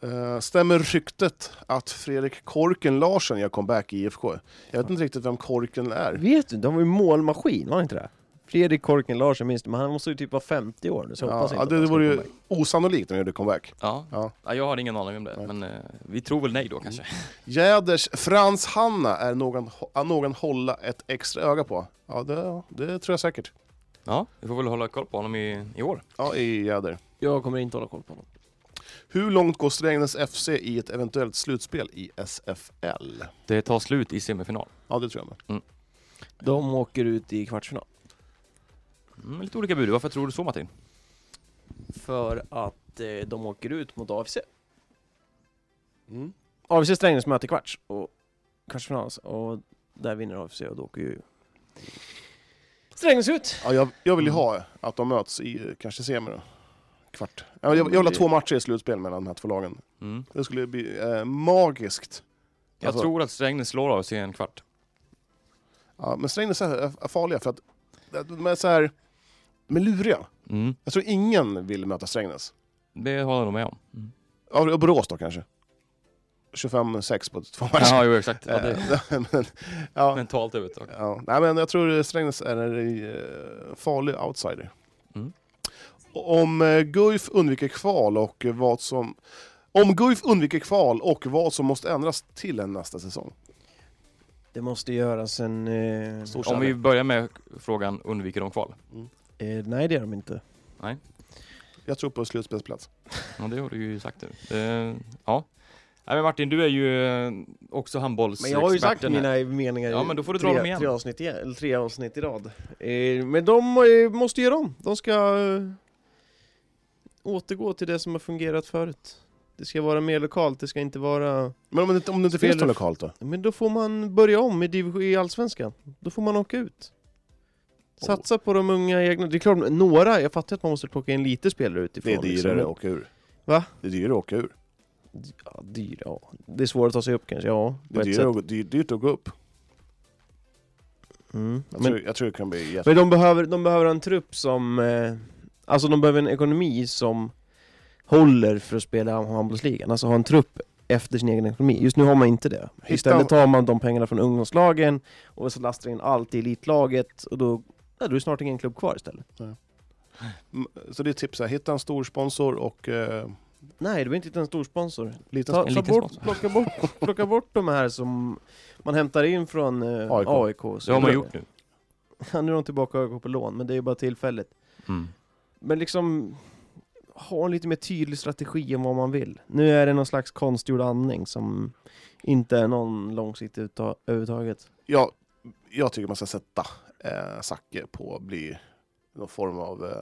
[SPEAKER 3] Eh, stämmer ryktet att Fredrik Korken Larsen gör comeback i IFK? Jag vet inte riktigt vem Korken är.
[SPEAKER 1] Vet du, de var ju målmaskin, var det inte det? Fredrik Korken Larsen minns du, men han måste ju typ vara 50 år nu, så jag
[SPEAKER 3] Ja,
[SPEAKER 1] hoppas inte
[SPEAKER 3] ja,
[SPEAKER 1] att
[SPEAKER 3] det,
[SPEAKER 1] han
[SPEAKER 3] det
[SPEAKER 1] ska
[SPEAKER 3] vore ju
[SPEAKER 1] komma in.
[SPEAKER 3] osannolikt när han gjorde comeback.
[SPEAKER 2] Ja.
[SPEAKER 3] Ja.
[SPEAKER 2] ja, jag har ingen aning om det,
[SPEAKER 3] Nej. Mm.
[SPEAKER 2] men eh, vi tror väl nej då kanske.
[SPEAKER 3] Jäders Frans Hanna är någon, att någon hålla ett extra öga på. Ja, det, det tror jag säkert.
[SPEAKER 2] Ja, vi får väl hålla koll på honom i, i år.
[SPEAKER 3] Ja, i Jäder.
[SPEAKER 1] Jag kommer inte hålla koll på honom.
[SPEAKER 3] Hur långt går Strängnäs FC i ett eventuellt slutspel i SFL?
[SPEAKER 2] Det tar slut i semifinal.
[SPEAKER 3] Ja, det tror jag med.
[SPEAKER 1] De åker ut i kvartsfinal.
[SPEAKER 2] Mm, lite olika bud. Varför tror du så Martin?
[SPEAKER 1] För att eh, de åker ut mot AFC. Mm. AFC Strängnäs möter kvarts och kvartsfinal alltså. och där vinner AFC och då åker ju Strängnäs ut.
[SPEAKER 3] Ja, jag, jag
[SPEAKER 1] Mm.
[SPEAKER 3] vill ju ha att de möts i eh, kanske semi då. Kvart. Ja, men Jag,
[SPEAKER 1] Mm.
[SPEAKER 3] jag vill ha två matcher i slutspel mellan de här två lagen.
[SPEAKER 2] Mm.
[SPEAKER 3] Det skulle bli eh, magiskt.
[SPEAKER 2] Jag
[SPEAKER 3] Alltså-
[SPEAKER 2] tror att Strängnäs slår av sig i en kvart.
[SPEAKER 3] Ja, men Strängnäs är, är farliga för att eh, de är så här... De är luriga.
[SPEAKER 2] Mm.
[SPEAKER 3] Jag tror ingen vill möta Strängnäs.
[SPEAKER 2] Det håller jag nog med om. Mm.
[SPEAKER 3] Ja, och Borås då kanske? 25-6 på två matcher.
[SPEAKER 2] Ja, jo, exakt. Ja, det
[SPEAKER 3] Eh, men, ja,
[SPEAKER 2] mentalt övertag.
[SPEAKER 3] ja. Nej, men jag tror Strängnäs är en eh, farlig outsider.
[SPEAKER 2] Mm.
[SPEAKER 3] Och Om eh, Guif undviker kval och vad som... Om Guif undviker kval och vad som måste ändras till en nästa säsong.
[SPEAKER 1] Det måste göras en... Eh,
[SPEAKER 3] Stor
[SPEAKER 2] Om
[SPEAKER 3] kärlek.
[SPEAKER 2] vi börjar med frågan, undviker de kval?
[SPEAKER 1] eh, nej det är de inte.
[SPEAKER 2] Nej,
[SPEAKER 3] Jag tror på slutspelsplats.
[SPEAKER 2] ja, det har du ju sagt nu. Eh, ja. Nej, men Martin, du är ju eh, också
[SPEAKER 1] Men
[SPEAKER 2] handbollsexperten.
[SPEAKER 1] jag har ju sagt
[SPEAKER 2] här.
[SPEAKER 1] mina meningar
[SPEAKER 2] Ja,
[SPEAKER 1] i
[SPEAKER 2] men då får du dra
[SPEAKER 1] tre,
[SPEAKER 2] dem igen.
[SPEAKER 1] Tre avsnitt, i, eller tre avsnitt i rad. Eh, men de eh, måste göra om. De ska eh, återgå till det som har fungerat förut. Det ska vara mer lokalt, det ska inte vara...
[SPEAKER 3] Men om det, inte- om det inte
[SPEAKER 1] Spelar-
[SPEAKER 3] finns något lokalt då?
[SPEAKER 1] Men då får man börja om i, division- i Allsvenskan. Då får man åka ut. Satsa på de unga egna. Det är klart, några, jag fattar att man måste plocka in lite spelare utifrån.
[SPEAKER 3] Det är dyrare att åka ur.
[SPEAKER 1] Va?
[SPEAKER 3] Det är dyrare att åka ur.
[SPEAKER 1] liksom. ja, dyr, ja. Det är svårt att ta sig upp kanske, ja.
[SPEAKER 3] Det
[SPEAKER 1] På
[SPEAKER 3] är
[SPEAKER 1] ett sätt.
[SPEAKER 3] dyrare att, dyr, dyrt att gå upp.
[SPEAKER 1] Mm.
[SPEAKER 2] Alltså,
[SPEAKER 3] Jag,
[SPEAKER 1] Men,
[SPEAKER 3] tror, jag tror det kan bli jätte...
[SPEAKER 1] men de, behöver, de behöver en trupp som... Eh, alltså de behöver en ekonomi som håller för att spela handbollsligan. Alltså ha en trupp efter sin egen ekonomi. Just nu har man inte det.
[SPEAKER 3] Hitta-
[SPEAKER 1] Istället tar man de pengarna från ungdomslagen och så lastar in allt i elitlaget och då, ja, då är det snart ingen klubb kvar istället.
[SPEAKER 3] Mm, Så det är tips här. Hitta en stor sponsor och eh,
[SPEAKER 1] Nej, det var inte en stor sponsor.
[SPEAKER 3] liten
[SPEAKER 1] Ta,
[SPEAKER 2] En
[SPEAKER 1] ta
[SPEAKER 2] liten
[SPEAKER 1] bort,
[SPEAKER 2] sponsor.
[SPEAKER 1] plocka, bort, plocka bort de här som man hämtar in från eh,
[SPEAKER 3] AIK.
[SPEAKER 1] AIK.
[SPEAKER 2] Det har man gjort nu.
[SPEAKER 1] Ja, nu är de tillbaka AIK på lån, men det är ju bara tillfälligt.
[SPEAKER 2] Mm.
[SPEAKER 1] Men liksom, ha en lite mer tydlig strategi om vad man vill. Nu är det någon slags konstgjord andning som inte är någon långsiktig utta- överhuvudtaget.
[SPEAKER 3] Ja, jag tycker man ska sätta eh, Zacke på att bli någon form av eh,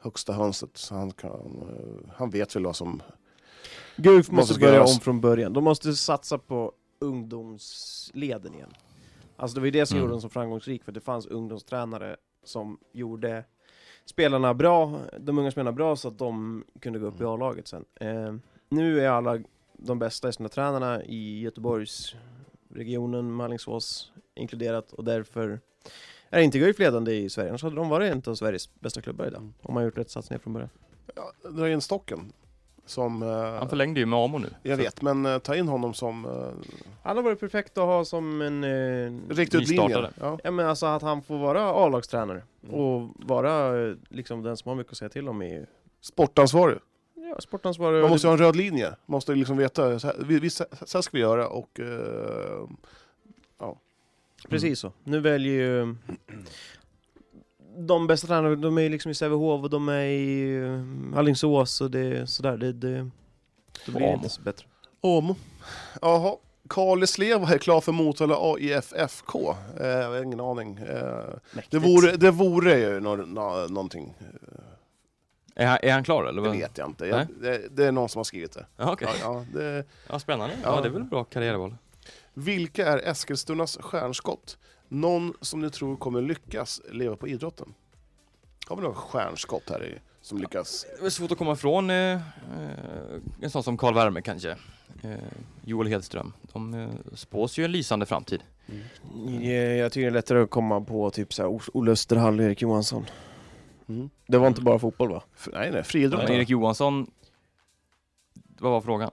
[SPEAKER 3] högsta hönset. Så han, kan, eh, han vet väl vad som...
[SPEAKER 1] Guf
[SPEAKER 3] Måste
[SPEAKER 1] måste börja
[SPEAKER 3] göras.
[SPEAKER 1] om från början. De måste satsa på ungdomsleden igen. Alltså det var ju det som
[SPEAKER 2] Mm.
[SPEAKER 1] gjorde dem så framgångsrik, för det fanns ungdomstränare som gjorde spelarna bra, de unga spelarna bra, så att de kunde gå upp i
[SPEAKER 3] Mm.
[SPEAKER 1] A-laget sen. Eh, nu är alla de bästa tränarna i Göteborgsregionen, Mallingsås inkluderat, och därför är Är inte Guif ledande i Sverige, annars hade de varit en av Sveriges bästa klubbar
[SPEAKER 3] Mm.
[SPEAKER 1] idag. Om man gjort rätt satsningar från början.
[SPEAKER 3] Ja, dra in stocken. Som... eh,
[SPEAKER 2] Han förlängde ju med Amo nu.
[SPEAKER 3] jag vet, men eh, ta in honom som... eh,
[SPEAKER 1] Han har varit perfekt att ha som en... Eh,
[SPEAKER 3] Riktigt ut linjen.
[SPEAKER 2] Nystartade.
[SPEAKER 3] Ja.
[SPEAKER 1] ja men alltså att han får vara A-lagstränare.
[SPEAKER 3] Mm.
[SPEAKER 1] Och vara eh, liksom den som har mycket att säga till om i
[SPEAKER 3] Sportansvarig.
[SPEAKER 1] ja, sportansvarig.
[SPEAKER 3] Man måste ju ha en röd linje. Man måste ju liksom veta, så här, vi, vi, så här ska vi göra och... eh,
[SPEAKER 1] Precis så. Nu väljer ju... De bästa tränarna, de är ju liksom i Sävehof och de är i eh, Alingsås och det är sådär. Det, det, det blir
[SPEAKER 2] Amo.
[SPEAKER 1] inte så bättre.
[SPEAKER 3] Om. Jaha. Kalis Leva är klar för Motala AIFFK. Eh, jag har ingen aning. Eh, det,
[SPEAKER 1] Mäktigt.
[SPEAKER 3] vore, det vore ju nå, nå, någonting.
[SPEAKER 2] Är han, är han klar eller?
[SPEAKER 3] Det
[SPEAKER 2] vad?
[SPEAKER 3] vet jag inte. Jag, det, det är någon som har skrivit det.
[SPEAKER 2] Ja, okej.
[SPEAKER 3] Ja, ja, det.
[SPEAKER 2] Ja, spännande.
[SPEAKER 3] Ja.
[SPEAKER 2] Ja, det är väl bra karriärval.
[SPEAKER 3] Vilka är Eskilstunas stjärnskott? Någon som ni tror kommer lyckas leva på idrotten? Har vi några stjärnskott här i, som lyckas?
[SPEAKER 2] Det är svårt att komma ifrån eh, eh, en sån som Karl Värme kanske. Eh, Joel Hedström. De eh, spås ju en lysande framtid.
[SPEAKER 1] Ja, Jag tycker det är lättare att komma på typ så här Olle Österhall, Erik Johansson.
[SPEAKER 3] Mm.
[SPEAKER 1] Det var inte bara fotboll va?
[SPEAKER 3] F- Nej, nej, friidrottare.
[SPEAKER 2] Erik Johansson, vad var frågan?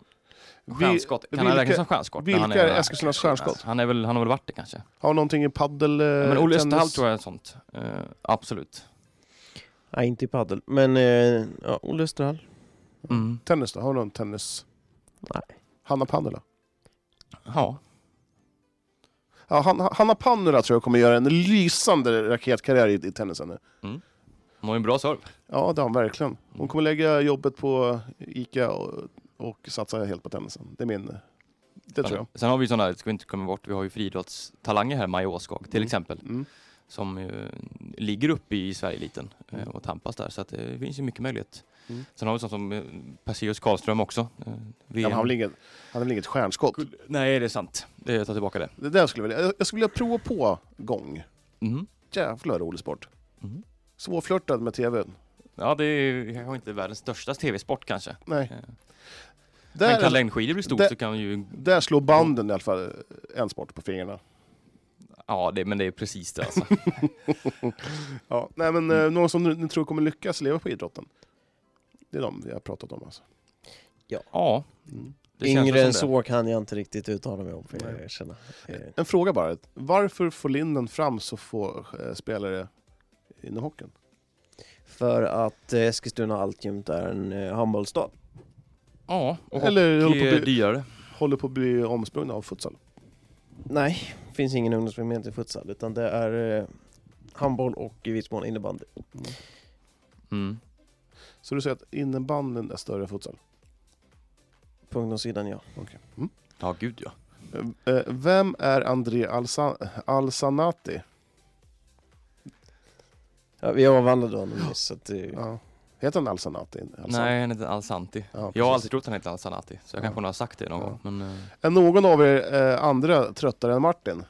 [SPEAKER 3] Vi-
[SPEAKER 2] Stjärnskott, kan han
[SPEAKER 3] vilka-
[SPEAKER 2] räknas som stjärnskott? när han
[SPEAKER 3] Vilka är Eskilstunas stjärnskott? Eh,
[SPEAKER 2] Han, är väl, han har väl varit det kanske.
[SPEAKER 3] Har vi någonting i paddel? eh,
[SPEAKER 2] Ja, men Olle Österhall tror jag är sånt. Eh, absolut.
[SPEAKER 1] Nej, inte i padel. Men eh, ja, Olle Österhall.
[SPEAKER 2] Mm.
[SPEAKER 3] Tennis då? Har du någon tennis?
[SPEAKER 1] Nej.
[SPEAKER 3] Hanna Pannula?
[SPEAKER 2] Ja.
[SPEAKER 3] Ja, Han- Hanna Pannula tror jag kommer göra en lysande raketkarriär i, i tennisen nu.
[SPEAKER 2] Han har ju en bra serve.
[SPEAKER 3] Ja, det har hon verkligen. Hon kommer lägga jobbet på Ica och, och satsa helt på tennisen. Det är min... Det tror jag.
[SPEAKER 2] Sen har vi ju sådana, det ska vi inte komma bort, vi har ju friidrottstalanger här, Maja Åskog till
[SPEAKER 3] Mm.
[SPEAKER 2] exempel,
[SPEAKER 3] Mm.
[SPEAKER 2] som ju ligger uppe i Sverigeliten eh, och tampas där, så att det finns ju mycket möjlighet.
[SPEAKER 3] Mm.
[SPEAKER 2] Sen har vi sånt som eh, Perseus Karlström också. Eh,
[SPEAKER 3] Ja, men
[SPEAKER 2] VM.
[SPEAKER 3] han, har väl inget, han har väl inget stjärnskott?
[SPEAKER 2] Nej, det är sant. Det- Jag tar tillbaka det.
[SPEAKER 3] Det där skulle jag, vilja, jag skulle vilja prova på gång.
[SPEAKER 2] Mhm.
[SPEAKER 3] Jävlar rolig sport.
[SPEAKER 2] Mhm.
[SPEAKER 3] Svårflörtad med tv.
[SPEAKER 2] Ja, det är kanske inte världens största tv-sport kanske.
[SPEAKER 3] Nej.
[SPEAKER 2] Eh, Men
[SPEAKER 3] Där,
[SPEAKER 2] kan längdskidor bli stort
[SPEAKER 3] där-
[SPEAKER 2] så kan ju...
[SPEAKER 3] där slår banden i alla fall en sport på fingrarna.
[SPEAKER 2] Ja, det, men det är precis det alltså.
[SPEAKER 3] Ja, nej, men eh, någon som ni, ni tror kommer lyckas leva på idrotten. Det är de vi har pratat om alltså.
[SPEAKER 2] ja,
[SPEAKER 3] Mm.
[SPEAKER 2] det känns väl
[SPEAKER 1] Yngre
[SPEAKER 2] som
[SPEAKER 1] än så
[SPEAKER 2] det.
[SPEAKER 1] kan jag inte riktigt uttala mig om, får
[SPEAKER 3] Nej.
[SPEAKER 1] jag erkänna. Eh,
[SPEAKER 3] En fråga bara. Varför får Linden fram så få eh, spelare inom hockeyn?
[SPEAKER 1] För att eh, Eskilstuna alltjämt är en eh, handbollsstad.
[SPEAKER 2] Ja, och Eller,
[SPEAKER 3] Eller håller på,
[SPEAKER 2] är
[SPEAKER 3] att bli,
[SPEAKER 2] dyrare.
[SPEAKER 3] håller på att bli omsprungna av futsal?
[SPEAKER 1] Nej, finns ingen ungdomsförening i futsal, utan det är eh, handboll och i viss mån innebandy.
[SPEAKER 2] Mm.
[SPEAKER 3] Så du säger att innebandyn är större än futsal?
[SPEAKER 1] På ungdomssidan, ja.
[SPEAKER 3] Okej. Mm.
[SPEAKER 2] Ja, gud ja.
[SPEAKER 3] Eh, eh, Vem är André Alsa- Alsanati?
[SPEAKER 1] ja vi avhandlade honom nyss, så att, eh,
[SPEAKER 3] Ja. Heter han Alsanati?
[SPEAKER 1] Alltså.
[SPEAKER 3] Alsan-
[SPEAKER 2] Nej, han heter Alsanti.
[SPEAKER 3] Ja,
[SPEAKER 2] Jag har
[SPEAKER 3] precis.
[SPEAKER 2] alltid trott att han heter Alsanati, så jag
[SPEAKER 3] Ja.
[SPEAKER 2] kanske nog har sagt det någon
[SPEAKER 3] Ja.
[SPEAKER 2] gång. Men, eh,
[SPEAKER 3] Är någon av er eh, andra tröttare än Martin?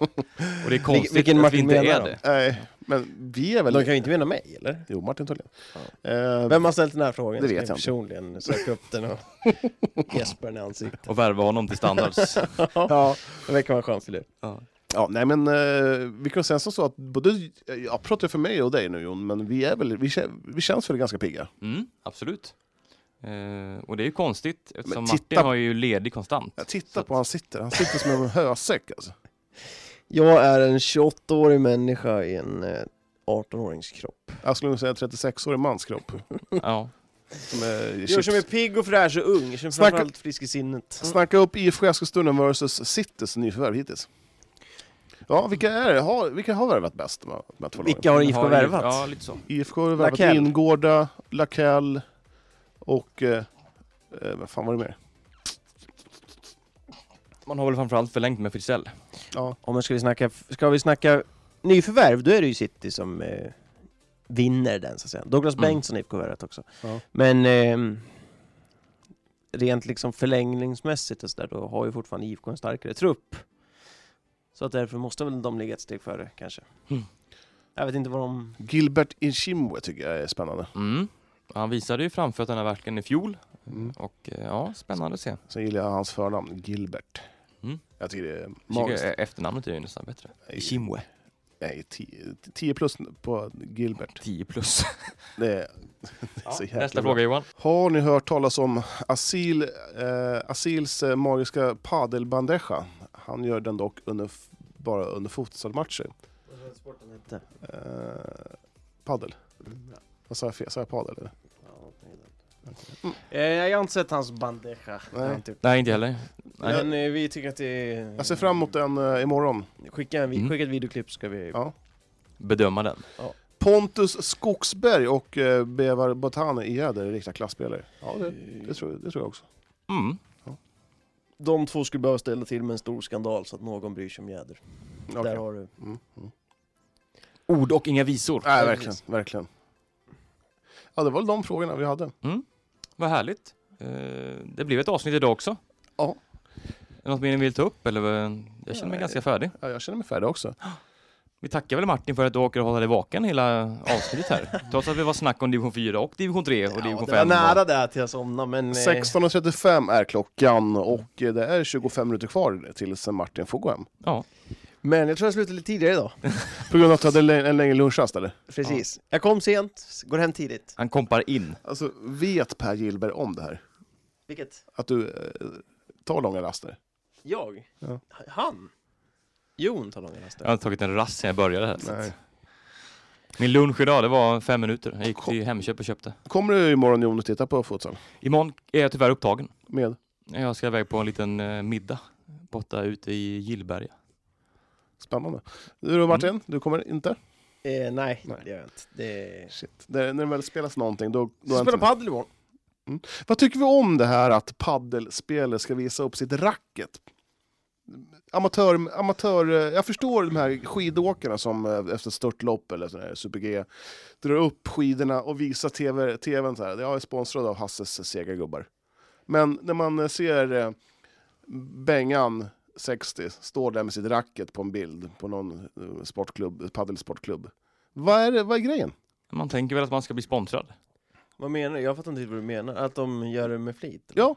[SPEAKER 2] och det är konstigt
[SPEAKER 1] vilken
[SPEAKER 2] att
[SPEAKER 1] Martin
[SPEAKER 2] vi inte
[SPEAKER 1] menar
[SPEAKER 2] är
[SPEAKER 1] då?
[SPEAKER 2] det.
[SPEAKER 3] Nej, men vi är väl...
[SPEAKER 1] De kan ju inte mena mig, eller?
[SPEAKER 3] Jo, Martin Thulin. Eh,
[SPEAKER 1] Vem har ställt den här frågan?
[SPEAKER 3] Det vet
[SPEAKER 1] Ska
[SPEAKER 3] jag inte.
[SPEAKER 1] personligen söka upp den och gäspa den i ansiktet.
[SPEAKER 2] Och värva honom till standards.
[SPEAKER 1] Ja, det verkar vara en skön filur.
[SPEAKER 2] ja.
[SPEAKER 3] Ja, nej men eh, vi kan säga som så att både, eh, jag pratar för mig och dig nu Jon, men vi är väl, vi, kä- vi känns väl ganska pigga.
[SPEAKER 2] mm, absolut. Eh, och det är ju konstigt eftersom
[SPEAKER 3] titta-
[SPEAKER 2] Martin har ju ledig konstant.
[SPEAKER 3] Jag tittar på hur han sitter, han sitter som en hösäck alltså.
[SPEAKER 1] Jag är en 28-årig människa i en eh, 18-årings kropp.
[SPEAKER 3] Jag skulle nog säga 36-årig mans kropp.
[SPEAKER 2] Ja.
[SPEAKER 3] Som är
[SPEAKER 1] Jag
[SPEAKER 3] chips.
[SPEAKER 1] som är pigg och fräsch och ung, känns
[SPEAKER 3] Snacka-
[SPEAKER 1] framförallt frisk i sinnet.
[SPEAKER 3] Snacka upp IFK Eskilstuna versus Citys nyförvärv hittills. Ja, vilka är det? Har, vilka har värvat bäst de här, de här två lagen?
[SPEAKER 1] Vilka har IFK
[SPEAKER 2] ju-
[SPEAKER 1] värvat?
[SPEAKER 2] Ja, lite så.
[SPEAKER 3] IFK har värvat
[SPEAKER 1] Lakell.
[SPEAKER 3] Vingårda, Lakell och... Eh, eh, vad fan var det mer?
[SPEAKER 2] Man har väl framförallt förlängt med Fritzell.
[SPEAKER 3] Ja,
[SPEAKER 1] Om men ska vi snacka, ska vi snacka nyförvärv, då är det ju City som eh, vinner den så att säga. Douglas
[SPEAKER 2] Mm.
[SPEAKER 1] Bengtsson är IFK värvat också.
[SPEAKER 3] Ja.
[SPEAKER 1] Men ehm, rent liksom förlängningsmässigt och så där, då har ju fortfarande IFK en starkare trupp. Så att därför måste väl de ligga ett steg före kanske.
[SPEAKER 2] Mm.
[SPEAKER 1] Jag vet inte vad de...
[SPEAKER 3] Gilbert Inchimwe tycker jag är spännande.
[SPEAKER 2] Mm. Han visade ju framfötterna verkligen i fjol.
[SPEAKER 3] Mm.
[SPEAKER 2] Och eh, ja, spännande att se.
[SPEAKER 3] Sen gillar jag hans förnamn, Gilbert.
[SPEAKER 2] Mm.
[SPEAKER 3] Jag tycker det är
[SPEAKER 2] Jag
[SPEAKER 3] magiskt.
[SPEAKER 2] e-, tycker, eh, Efternamnet är ju nästan bättre. Chimwe.
[SPEAKER 3] Nej, 10 10 plus på Gilbert.
[SPEAKER 2] 10 plus.
[SPEAKER 3] Det är, det är så jäkla
[SPEAKER 2] Nästa
[SPEAKER 3] bra.
[SPEAKER 2] fråga Johan.
[SPEAKER 3] Har ni hört talas om Asil, eh, Asils eh, magiska padelbandeja? Han gör den dock under, f- bara under futsalmatcher. Eh, padel?
[SPEAKER 1] Mm.
[SPEAKER 3] Vad sa jag fel? Sa jag padel? Eller?
[SPEAKER 1] Eh, Jag har inte sett hans bandeja.
[SPEAKER 3] Nej.
[SPEAKER 1] Typ.
[SPEAKER 2] Nej, inte heller. Nej.
[SPEAKER 1] Men eh, vi tycker att det är...
[SPEAKER 3] Jag ser fram emot den eh, imorgon.
[SPEAKER 1] Skicka, en, vi-
[SPEAKER 2] Mm.
[SPEAKER 1] skicka ett videoklipp ska vi...
[SPEAKER 3] Ja.
[SPEAKER 2] Bedöma den.
[SPEAKER 3] Pontus Skogsberg och eh, Bevar Botane i Jäder är riktiga klasspelare. Ja, det, det, tror, jag- det tror jag också.
[SPEAKER 2] Mm.
[SPEAKER 1] De två skulle behöva ställa till med en stor skandal så att någon bryr sig om Jäder.
[SPEAKER 3] Okej.
[SPEAKER 1] Där har du.
[SPEAKER 3] Mm, mm.
[SPEAKER 2] Ord och inga visor.
[SPEAKER 3] Nej, verkligen, verkligen. Ja, det var väl de frågorna vi hade.
[SPEAKER 2] Vad härligt. Eh, det blev ett avsnitt idag också.
[SPEAKER 3] Ja.
[SPEAKER 2] Är det Något mer ni vill ta upp? Eller? vad? Jag känner mig
[SPEAKER 3] Nej.
[SPEAKER 2] ganska färdig.
[SPEAKER 3] Ja, jag känner mig färdig också.
[SPEAKER 2] Vi tackar väl Martin för att du åker och håller dig vaken hela avsnittet här. Trots att vi var snack om division 4 och division 3 och division
[SPEAKER 1] det var
[SPEAKER 2] 5.
[SPEAKER 1] nära där till jag somnade men... eh,
[SPEAKER 3] 16.35 är klockan och eh, det är 25 minuter kvar tills Martin får gå hem.
[SPEAKER 2] Ja.
[SPEAKER 1] Men jag tror jag slutade lite tidigare idag.
[SPEAKER 3] På grund av att du hade lä- en längre lunchrast eller?
[SPEAKER 1] Precis. Jag kom sent, går hem tidigt.
[SPEAKER 2] Han kompar in.
[SPEAKER 3] Alltså, vet Per Gillberg om det här?
[SPEAKER 1] Vilket?
[SPEAKER 3] Att du eh, tar långa raster?
[SPEAKER 1] Jag?
[SPEAKER 3] Ja.
[SPEAKER 1] Han? Jon tar långa
[SPEAKER 2] Jag
[SPEAKER 1] raster.
[SPEAKER 2] har inte tagit en rast sedan jag började här. så att- Min lunch idag, det var fem minuter. Jag gick till Hemköp och köpte.
[SPEAKER 3] Kommer du imorgon Jon och titta på futsal?
[SPEAKER 2] Imorgon är jag tyvärr upptagen.
[SPEAKER 3] Med?
[SPEAKER 2] Jag ska iväg på en liten eh, middag borta ute i Gillberga.
[SPEAKER 3] Spännande. Du då Martin, du kommer inte?
[SPEAKER 1] Eh, nej,
[SPEAKER 3] Nej.
[SPEAKER 1] det gör jag inte. Det...
[SPEAKER 3] Shit. Det, när det väl spelas någonting då... då är
[SPEAKER 1] Ska
[SPEAKER 3] inte
[SPEAKER 1] spela
[SPEAKER 3] med.
[SPEAKER 1] padel imorgon.
[SPEAKER 3] Vad tycker vi om det här att paddelspelare ska visa upp sitt racket? Amatör, amatör, eh, jag förstår de här skidåkarna som eh, efter störtlopp eller sådär, super-G drar upp skidorna och visar TV, tvn så här. Jag är sponsrad av Hasses segergubbar. Men när man eh, ser eh, Bengan, 60, står där med sitt racket på en bild på någon eh, sportklubb, paddelsportklubb. Vad är, det- vad är grejen?
[SPEAKER 2] Man tänker väl att man ska bli sponsrad?
[SPEAKER 1] Vad menar du? Jag fattar inte riktigt vad du menar. Att de gör det med flit? eller?
[SPEAKER 3] Ja,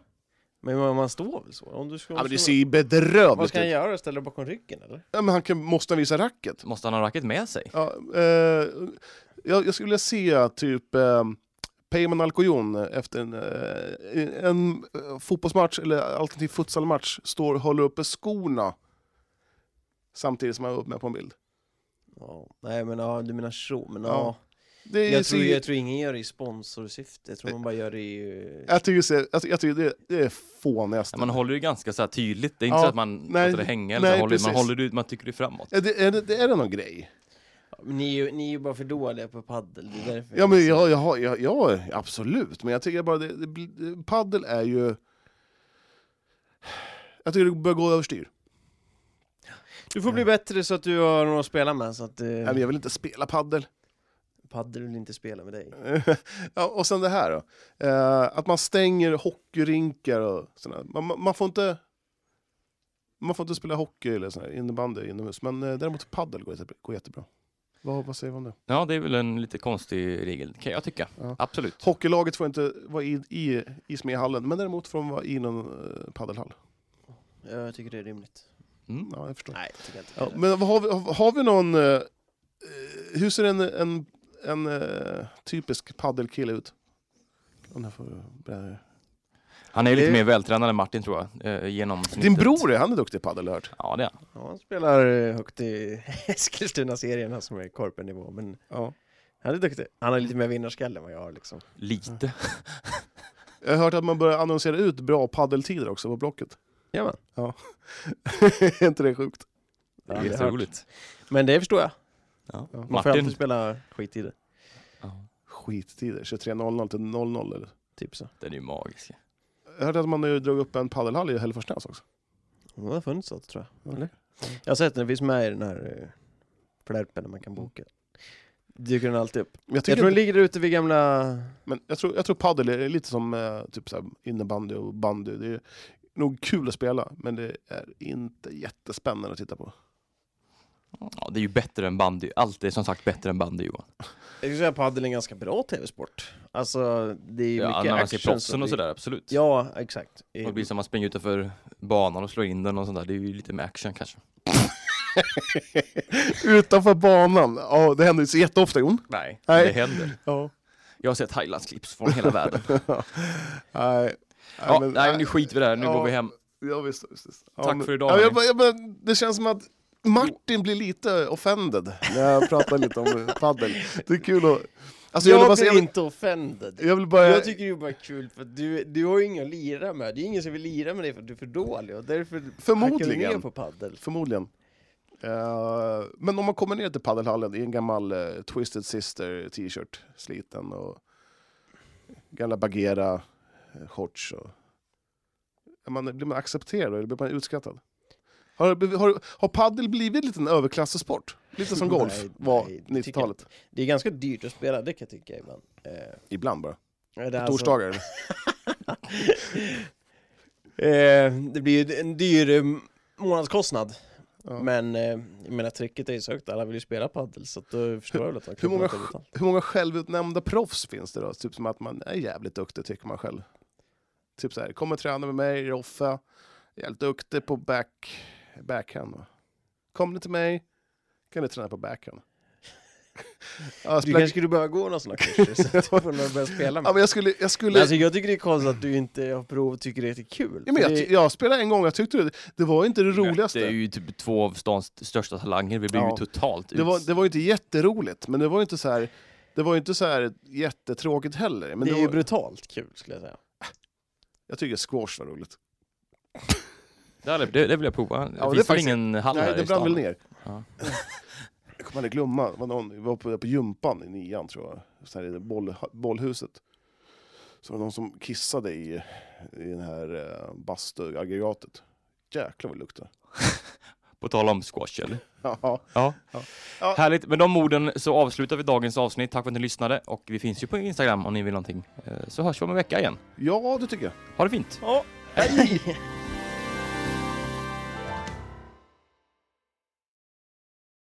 [SPEAKER 1] Men man, man står väl så? Om du ska,
[SPEAKER 3] ja men det
[SPEAKER 1] stå-
[SPEAKER 3] ser ju bedrövligt
[SPEAKER 1] Vad
[SPEAKER 3] ut.
[SPEAKER 1] ska han göra? Ställa dig bakom ryggen eller?
[SPEAKER 3] Ja, men han kan, måste han visa racket.
[SPEAKER 2] Måste han ha racket med sig?
[SPEAKER 3] Ja, eh, jag, jag skulle vilja se typ eh, Peyman Alcoyon efter en, eh, en eh, fotbollsmatch eller alternativ futsalmatch står och håller uppe skorna samtidigt som han är uppe med på en bild.
[SPEAKER 1] Ja. Nej men ja, du menar så. Men, ja.
[SPEAKER 3] Ja. Det är
[SPEAKER 1] Jag, tror,
[SPEAKER 3] Eh, så-
[SPEAKER 1] jag tror ingen gör det i sponsorsyfte. Jag tror man bara gör det i... eh,
[SPEAKER 3] jag tycker, så- jag, jag tycker det, det är fånigast.
[SPEAKER 2] Ja, Man håller ju ganska så här tydligt. Det är inte
[SPEAKER 3] Ja,
[SPEAKER 2] så att man
[SPEAKER 3] nej,
[SPEAKER 2] låter det hänga. Eller
[SPEAKER 3] nej,
[SPEAKER 2] så håller, man
[SPEAKER 3] precis.
[SPEAKER 2] håller det ut, man tycker det framåt.
[SPEAKER 3] Är det, är, det, är det någon grej?
[SPEAKER 1] men Ni, är ju- ni är ju bara för dåliga på paddel. Det är därför
[SPEAKER 3] Ja, men ja, ja, ja, ja, absolut. Men jag tycker bara det, det, blir- paddel är ju... Jag tycker det börjar gå överstyr.
[SPEAKER 1] Du får bli bättre så att du har någon att spela med. Så att eh,
[SPEAKER 3] Nej, men Jag vill inte spela paddel.
[SPEAKER 1] paddel vill inte spela med dig.
[SPEAKER 3] ja, och sen det här då. Eh, att man stänger hockeyrinkar och sådär. Man, man, man får inte... Man får inte spela hockey eller sådär, innebandy inomhus, men eh, däremot padel går, jätte- går jättebra. Vad, vad säger man om det?
[SPEAKER 2] Ja, det är väl en lite konstig regel, kan jag tycka.
[SPEAKER 3] Ja.
[SPEAKER 2] Absolut.
[SPEAKER 3] Hockeylaget får inte vara i, i, i smehallen, men däremot får de vara i någon eh, padelhall.
[SPEAKER 1] Jag tycker det är rimligt.
[SPEAKER 2] Mm.
[SPEAKER 3] Ja, jag förstår.
[SPEAKER 1] Nej, jag tycker jag inte.
[SPEAKER 3] Ja, men vad har, vi, har- har vi någon... eh, eh, hur ser en, en, en eh, typisk padelkille ut? Om jag får, berätta.
[SPEAKER 2] Han är lite
[SPEAKER 1] Det-
[SPEAKER 2] mer vältränad än Martin, tror jag. Eh, genomsnittet.
[SPEAKER 3] Din bror, är han är duktig i padel, har jag hört.
[SPEAKER 2] Ja, det är han.
[SPEAKER 1] Ja, han spelar eh, högt i Eskilstuna-serien här som är korpennivå, men
[SPEAKER 3] Ja.
[SPEAKER 1] han är duktig. Han har lite mer vinnarskalle än vad jag har liksom.
[SPEAKER 2] Lite.
[SPEAKER 3] Jag har hört att man börjar annonsera ut bra paddeltider också på Blocket.
[SPEAKER 1] Jajamän.
[SPEAKER 3] är inte det sjukt?
[SPEAKER 1] Ja,
[SPEAKER 2] Det är
[SPEAKER 1] det är
[SPEAKER 2] jätteroligt.
[SPEAKER 1] Men det förstår jag.
[SPEAKER 2] Ja.
[SPEAKER 3] Ja.
[SPEAKER 1] Man får alltid
[SPEAKER 2] Martin.
[SPEAKER 1] spela skit i det.
[SPEAKER 2] Ja,
[SPEAKER 3] Skittider, 23.00 till 00 eller?
[SPEAKER 1] Typ så.
[SPEAKER 2] den är ju magisk.
[SPEAKER 3] Jag hörde att man nu drog upp en paddelhall i Hälleforsnäs också.
[SPEAKER 1] Det har funnits något tror jag.
[SPEAKER 3] Ja.
[SPEAKER 1] Eller? Jag har sett den, den finns med i den här eh, flärpen där man kan boka. Dyker den alltid upp.
[SPEAKER 3] Men jag,
[SPEAKER 1] Jag
[SPEAKER 3] tycker
[SPEAKER 1] tror den ligger där ute vid gamla...
[SPEAKER 3] men jag tror, jag tror paddel är lite som eh, typ så här innebandy och bandy. Det är nog kul att spela, men det är inte jättespännande att titta på.
[SPEAKER 2] Ja, det är ju bättre än bandy. Allt är som sagt bättre än bandy, Johan.
[SPEAKER 1] Jag skulle säga att padel är en ganska bra tv-sport. Alltså, det är ju
[SPEAKER 2] Ja,
[SPEAKER 1] mycket
[SPEAKER 2] när man ser
[SPEAKER 1] action.
[SPEAKER 2] proffsen och
[SPEAKER 1] det-
[SPEAKER 2] sådär, absolut.
[SPEAKER 1] Ja, exakt.
[SPEAKER 2] Och det blir som att man springer utanför banan och slår in den och sånt där. Det är ju lite mer action kanske.
[SPEAKER 3] Utanför banan. Ja, det händer inte så jätteofta Jon.
[SPEAKER 2] Nej,
[SPEAKER 3] Nej.
[SPEAKER 2] det händer.
[SPEAKER 3] Ja.
[SPEAKER 2] Jag har sett Highlands-clips från hela världen.
[SPEAKER 3] Nej.
[SPEAKER 2] Ja,
[SPEAKER 3] men-
[SPEAKER 2] nej, men nu skiter vi där. Nu
[SPEAKER 3] Ja.
[SPEAKER 2] går vi hem.
[SPEAKER 3] Ja, visst, visst, visst. Ja,
[SPEAKER 2] Tack
[SPEAKER 3] men-
[SPEAKER 2] för idag,
[SPEAKER 3] Ja, jag,
[SPEAKER 2] hörni.
[SPEAKER 3] bara- jag, bara- det känns som att Martin blir lite offended när jag pratar lite om padel. Det är kul att... Alltså, jag, vill bara
[SPEAKER 1] jag
[SPEAKER 3] säga...
[SPEAKER 1] blir inte offended.
[SPEAKER 3] Jag vill bara...
[SPEAKER 1] Jag tycker det är bara kul för att du, du har ju inga att lira med, det är ingen som vill lira med dig för att du är för dålig och därför hackar du
[SPEAKER 3] Förmodligen.
[SPEAKER 1] ner på paddel.
[SPEAKER 3] Förmodligen. Eh, men om man kommer ner till padelhallen i en gammal eh, Twisted Sister t-shirt, sliten och gamla Bagheera eh, shorts. Och... Är man, blir man accepterad eller blir man utskrattad? Har, det blivit- har, har padel blivit lite en överklassesport? Lite som golf
[SPEAKER 1] Nej,
[SPEAKER 3] var
[SPEAKER 1] nej, det tycker
[SPEAKER 3] 90-talet.
[SPEAKER 1] Det är ganska dyrt att spela, det kan jag tycka ibland. Eh,
[SPEAKER 3] Ibland bara.
[SPEAKER 1] det är
[SPEAKER 3] På
[SPEAKER 1] alltså-
[SPEAKER 3] torsdagar. eller?
[SPEAKER 1] Eh, det blir ju en dyr eh, månadskostnad.
[SPEAKER 3] Ja.
[SPEAKER 1] Men eh, jag menar, tricket är ju sökt, alla vill ju spela padel så att då förstår jag väl att man
[SPEAKER 3] hur många
[SPEAKER 1] inte utan.
[SPEAKER 3] Hur många självutnämnda proffs finns det då? Typ som att man är jävligt duktig tycker man själv. Typ så här, kom och träna med mig, Roffe. Jävligt duktig på back, backhand. Va? Kom ni till mig, kan du träna på backhand. ja,
[SPEAKER 1] Du
[SPEAKER 3] spela...
[SPEAKER 1] kanske skulle börja gå några sådana kurser så att du får några att börja spela
[SPEAKER 3] ja,
[SPEAKER 1] med.
[SPEAKER 3] men jag skulle... Jag,
[SPEAKER 1] Men
[SPEAKER 3] skulle...
[SPEAKER 1] alltså, jag tycker det är konstigt att du inte har provat och tycker det är kul.
[SPEAKER 3] ja, men jag,
[SPEAKER 1] Det-
[SPEAKER 3] jag spelade en gång, jag tyckte det, det var inte det roligaste.
[SPEAKER 2] Det är ju typ två av stans största talanger. Vi blev
[SPEAKER 3] Ja.
[SPEAKER 2] ju totalt
[SPEAKER 3] Det var,
[SPEAKER 2] ut.
[SPEAKER 3] det var inte jätteroligt, men det var inte så här... Det var inte så här jättetråkigt heller. Men
[SPEAKER 1] det
[SPEAKER 3] det
[SPEAKER 1] är ju
[SPEAKER 3] var,
[SPEAKER 1] brutalt kul skulle jag säga.
[SPEAKER 3] jag tycker squash var roligt.
[SPEAKER 2] Det, det, det vill jag prova.
[SPEAKER 3] det är
[SPEAKER 2] Finns det
[SPEAKER 3] faktiskt-
[SPEAKER 2] ingen hall här
[SPEAKER 3] Nej, det
[SPEAKER 2] i
[SPEAKER 3] brann
[SPEAKER 2] stan?
[SPEAKER 3] väl ner.
[SPEAKER 2] Ja.
[SPEAKER 3] Jag kommer aldrig glömma, det var någon, vi var på, på gympan i nian tror jag, så här i det boll, bollhuset. Så var det någon som kissade i, i det här eh, bastuaggregatet. Jäklar vad det luktade.
[SPEAKER 2] På tal om squash, eller?
[SPEAKER 3] Ja,
[SPEAKER 2] Ja.
[SPEAKER 3] Ja.
[SPEAKER 2] Härligt. Med de orden så avslutar vi dagens avsnitt. Tack för att ni lyssnade. Och vi finns ju på Instagram om ni vill någonting. Eh, Så hörs vi om en vecka igen.
[SPEAKER 3] ja det tycker jag.
[SPEAKER 2] Ha det fint!
[SPEAKER 1] Ja,